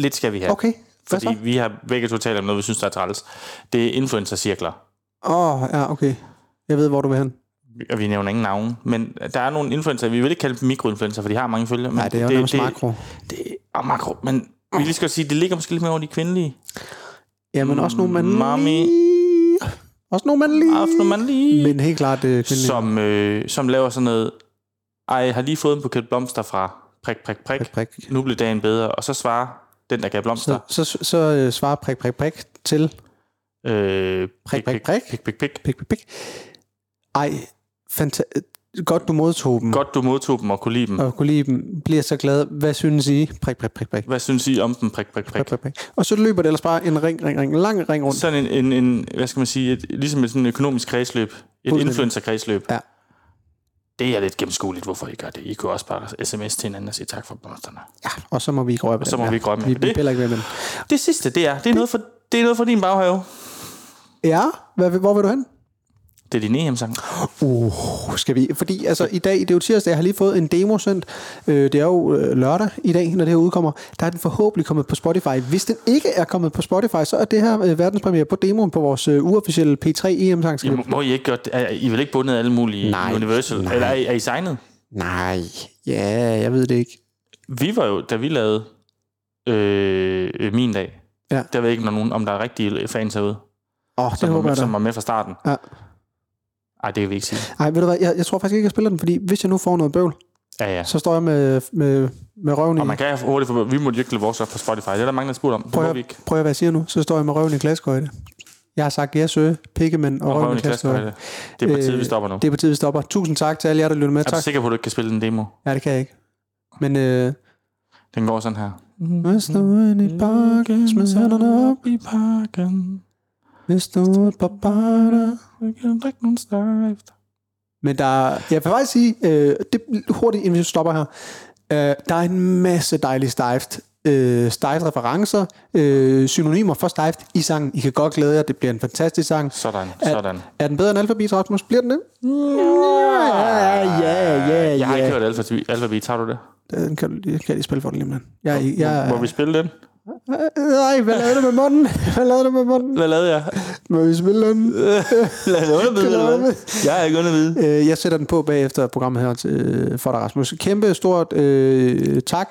[SPEAKER 3] Lidt skal vi have.
[SPEAKER 2] Okay. Hvad
[SPEAKER 3] Fordi vi har begge to talt om noget, vi synes, der er træls. Det er influencercirkler.
[SPEAKER 2] Åh, oh, ja, okay. Jeg ved, hvor du vil hen.
[SPEAKER 3] og vi nævner ingen navne, men der er nogle influencer, vi vil ikke kalde dem mikroinfluencer, for de har mange følgere. men
[SPEAKER 2] Nej, det er jo nærmest makro.
[SPEAKER 3] Det, og makro, men vi lige skal sige, det ligger måske lidt mere over de kvindelige.
[SPEAKER 2] Ja, men også nogle, man
[SPEAKER 3] Mami.
[SPEAKER 2] lige... Også nogle, man lige...
[SPEAKER 3] Aften, man lige,
[SPEAKER 2] Men helt klart, det er kvindelig.
[SPEAKER 3] som, øh, som laver sådan noget, ej, jeg har lige fået en buket blomster fra prik, prik, prik,
[SPEAKER 2] Prik,
[SPEAKER 3] prik,
[SPEAKER 2] prik.
[SPEAKER 3] nu blev dagen bedre, og så svarer den, der gav blomster,
[SPEAKER 2] Så, så, så, så øh, svarer prik, prik, prik til
[SPEAKER 3] øh, prik,
[SPEAKER 2] prik,
[SPEAKER 3] prik, prik,
[SPEAKER 2] prik.
[SPEAKER 3] prik, prik, prik.
[SPEAKER 2] pik, pik, pik. Ej, fanta- øh, godt du modtog dem.
[SPEAKER 3] Godt, du modtog dem og kunne lide dem.
[SPEAKER 2] Og kunne lide dem. Bliver så glad. Hvad synes I? Prik, prik, prik, prik.
[SPEAKER 3] Hvad synes I om dem, prik, prik, prik?
[SPEAKER 2] Prik, prik, prik. Og så løber det ellers bare en ring, ring, ring. Lang ring rundt.
[SPEAKER 3] Sådan en, en, en hvad skal man sige, et, ligesom et sådan økonomisk kredsløb, et
[SPEAKER 2] Fuldstændig.
[SPEAKER 3] influencer-kredsløb.
[SPEAKER 2] Ja.
[SPEAKER 3] Det er lidt gennemskueligt, hvorfor I gør det. I kunne også bare sms til hinanden og sige tak for blomsterne.
[SPEAKER 2] Ja, og så må vi ikke røre ved
[SPEAKER 3] så
[SPEAKER 2] den
[SPEAKER 3] må
[SPEAKER 2] her.
[SPEAKER 3] vi ikke røre med
[SPEAKER 2] Vi
[SPEAKER 3] den.
[SPEAKER 2] vil
[SPEAKER 3] Det-
[SPEAKER 2] heller ikke være med den.
[SPEAKER 3] Det sidste, det er, det er, noget, for, det er noget for din baghave.
[SPEAKER 2] Ja, hvad, hvor vil du hen?
[SPEAKER 3] Det er din EM-sang.
[SPEAKER 2] Uh, skal vi? Fordi altså, i dag, det er jo tirsdag, jeg har lige fået en demo sendt. Øh, det er jo øh, lørdag i dag, når det her udkommer. Der er den forhåbentlig kommet på Spotify. Hvis den ikke er kommet på Spotify, så er det her øh, verdenspremiere på demoen på vores øh, uofficielle P3 em
[SPEAKER 3] I,
[SPEAKER 2] sangskab
[SPEAKER 3] må- må I ikke gøre det? Er, I er vel ikke bundet af alle mulige
[SPEAKER 2] Nej,
[SPEAKER 3] nej, Universal?
[SPEAKER 2] nej.
[SPEAKER 3] Nej. Eller er, I- er I signet?
[SPEAKER 2] Nej, ja, jeg ved det ikke.
[SPEAKER 3] Vi var jo, da vi lavede øh, øh, Min Dag,
[SPEAKER 2] Ja.
[SPEAKER 3] der ved jeg ikke, om der er nogen, om der er rigtige fans herude,
[SPEAKER 2] Åh, oh, det
[SPEAKER 3] som, var,
[SPEAKER 2] håber
[SPEAKER 3] med,
[SPEAKER 2] jeg da.
[SPEAKER 3] som var med fra starten.
[SPEAKER 2] Ja.
[SPEAKER 3] Ej, det kan vi ikke sige.
[SPEAKER 2] Ej, ved du hvad, jeg, jeg tror faktisk ikke, jeg spiller den, fordi hvis jeg nu får noget bøvl,
[SPEAKER 3] Ja, ja.
[SPEAKER 2] Så står jeg med, med, med røven i...
[SPEAKER 3] Og man kan hurtigt få... Vi måtte jo ikke lade vores op på Spotify. Det er der mange, der har spurgt om. Det
[SPEAKER 2] prøv,
[SPEAKER 3] må vi
[SPEAKER 2] at,
[SPEAKER 3] ikke.
[SPEAKER 2] prøv at, hvad jeg siger nu. Så står jeg med røven i glaskøjte. Jeg har sagt, jeg søger pikkemænd og,
[SPEAKER 3] Og
[SPEAKER 2] røven i
[SPEAKER 3] klaskehøjde.
[SPEAKER 2] glaskøjte.
[SPEAKER 3] Øh, Det er på tide, vi stopper nu.
[SPEAKER 2] Øh, Det er på tide, vi stopper. Tusind tak til alle jer, der lytter med.
[SPEAKER 3] Er du
[SPEAKER 2] Tak.
[SPEAKER 3] sikker på, at du ikke kan spille den demo?
[SPEAKER 2] Ja, det kan jeg ikke. Men øh,
[SPEAKER 3] Den går sådan her.
[SPEAKER 2] hvis du er inde i parken, smid hænderne op.
[SPEAKER 3] i parken.
[SPEAKER 2] Hvis du er ude på barna.
[SPEAKER 3] Vi kan drikke nogle stær efter.
[SPEAKER 2] Men der er, jeg vil faktisk sige, øh, det er hurtigt, inden vi stopper her. Øh, der er en masse dejlige stejft. Øh, stejft referencer, øh, synonymer for stejft i sangen. I kan godt glæde jer, det bliver en fantastisk sang.
[SPEAKER 3] Sådan,
[SPEAKER 2] Er-
[SPEAKER 3] sådan.
[SPEAKER 2] Er den bedre end Alphabet, Rasmus? Bliver den det? Ja, ja, ja,
[SPEAKER 3] Jeg har ikke
[SPEAKER 2] ja.
[SPEAKER 3] hørt Alpha, Alpha Beat. Har du det?
[SPEAKER 2] Den kan, du lige- kan jeg lige spille for dig lige om lidt. Jeg, er ikke- jeg,
[SPEAKER 3] Må vi spille den?
[SPEAKER 2] Nej, hvad lavede du med munden? Hvad lavede du med munden?
[SPEAKER 3] Hvad lavede jeg?
[SPEAKER 2] Må vi spille den?
[SPEAKER 3] Lad det undervide,
[SPEAKER 2] Det
[SPEAKER 3] eller hvad?
[SPEAKER 2] undervide.
[SPEAKER 3] Jeg er ikke undervide.
[SPEAKER 2] Øh, jeg sætter den på bagefter programmet her til, øh, for dig, Rasmus. Kæmpe stort øh, tak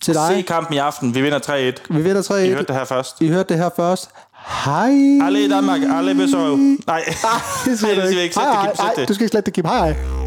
[SPEAKER 2] til
[SPEAKER 3] Se
[SPEAKER 2] dig.
[SPEAKER 3] kampen i aften. Vi vinder 3-1.
[SPEAKER 2] Vi vinder
[SPEAKER 3] I
[SPEAKER 2] 3
[SPEAKER 3] hørte det her først.
[SPEAKER 2] I hørte det her først. Hej.
[SPEAKER 3] Alle i Danmark, alle besøger. Nej,
[SPEAKER 2] Nej, det siger
[SPEAKER 3] Nej,
[SPEAKER 2] du
[SPEAKER 3] det siger
[SPEAKER 2] ikke.
[SPEAKER 3] jeg ikke. Slet det, Kim. Slet
[SPEAKER 2] nej,
[SPEAKER 3] det.
[SPEAKER 2] du skal ikke slette det, Kim. Hej, hej.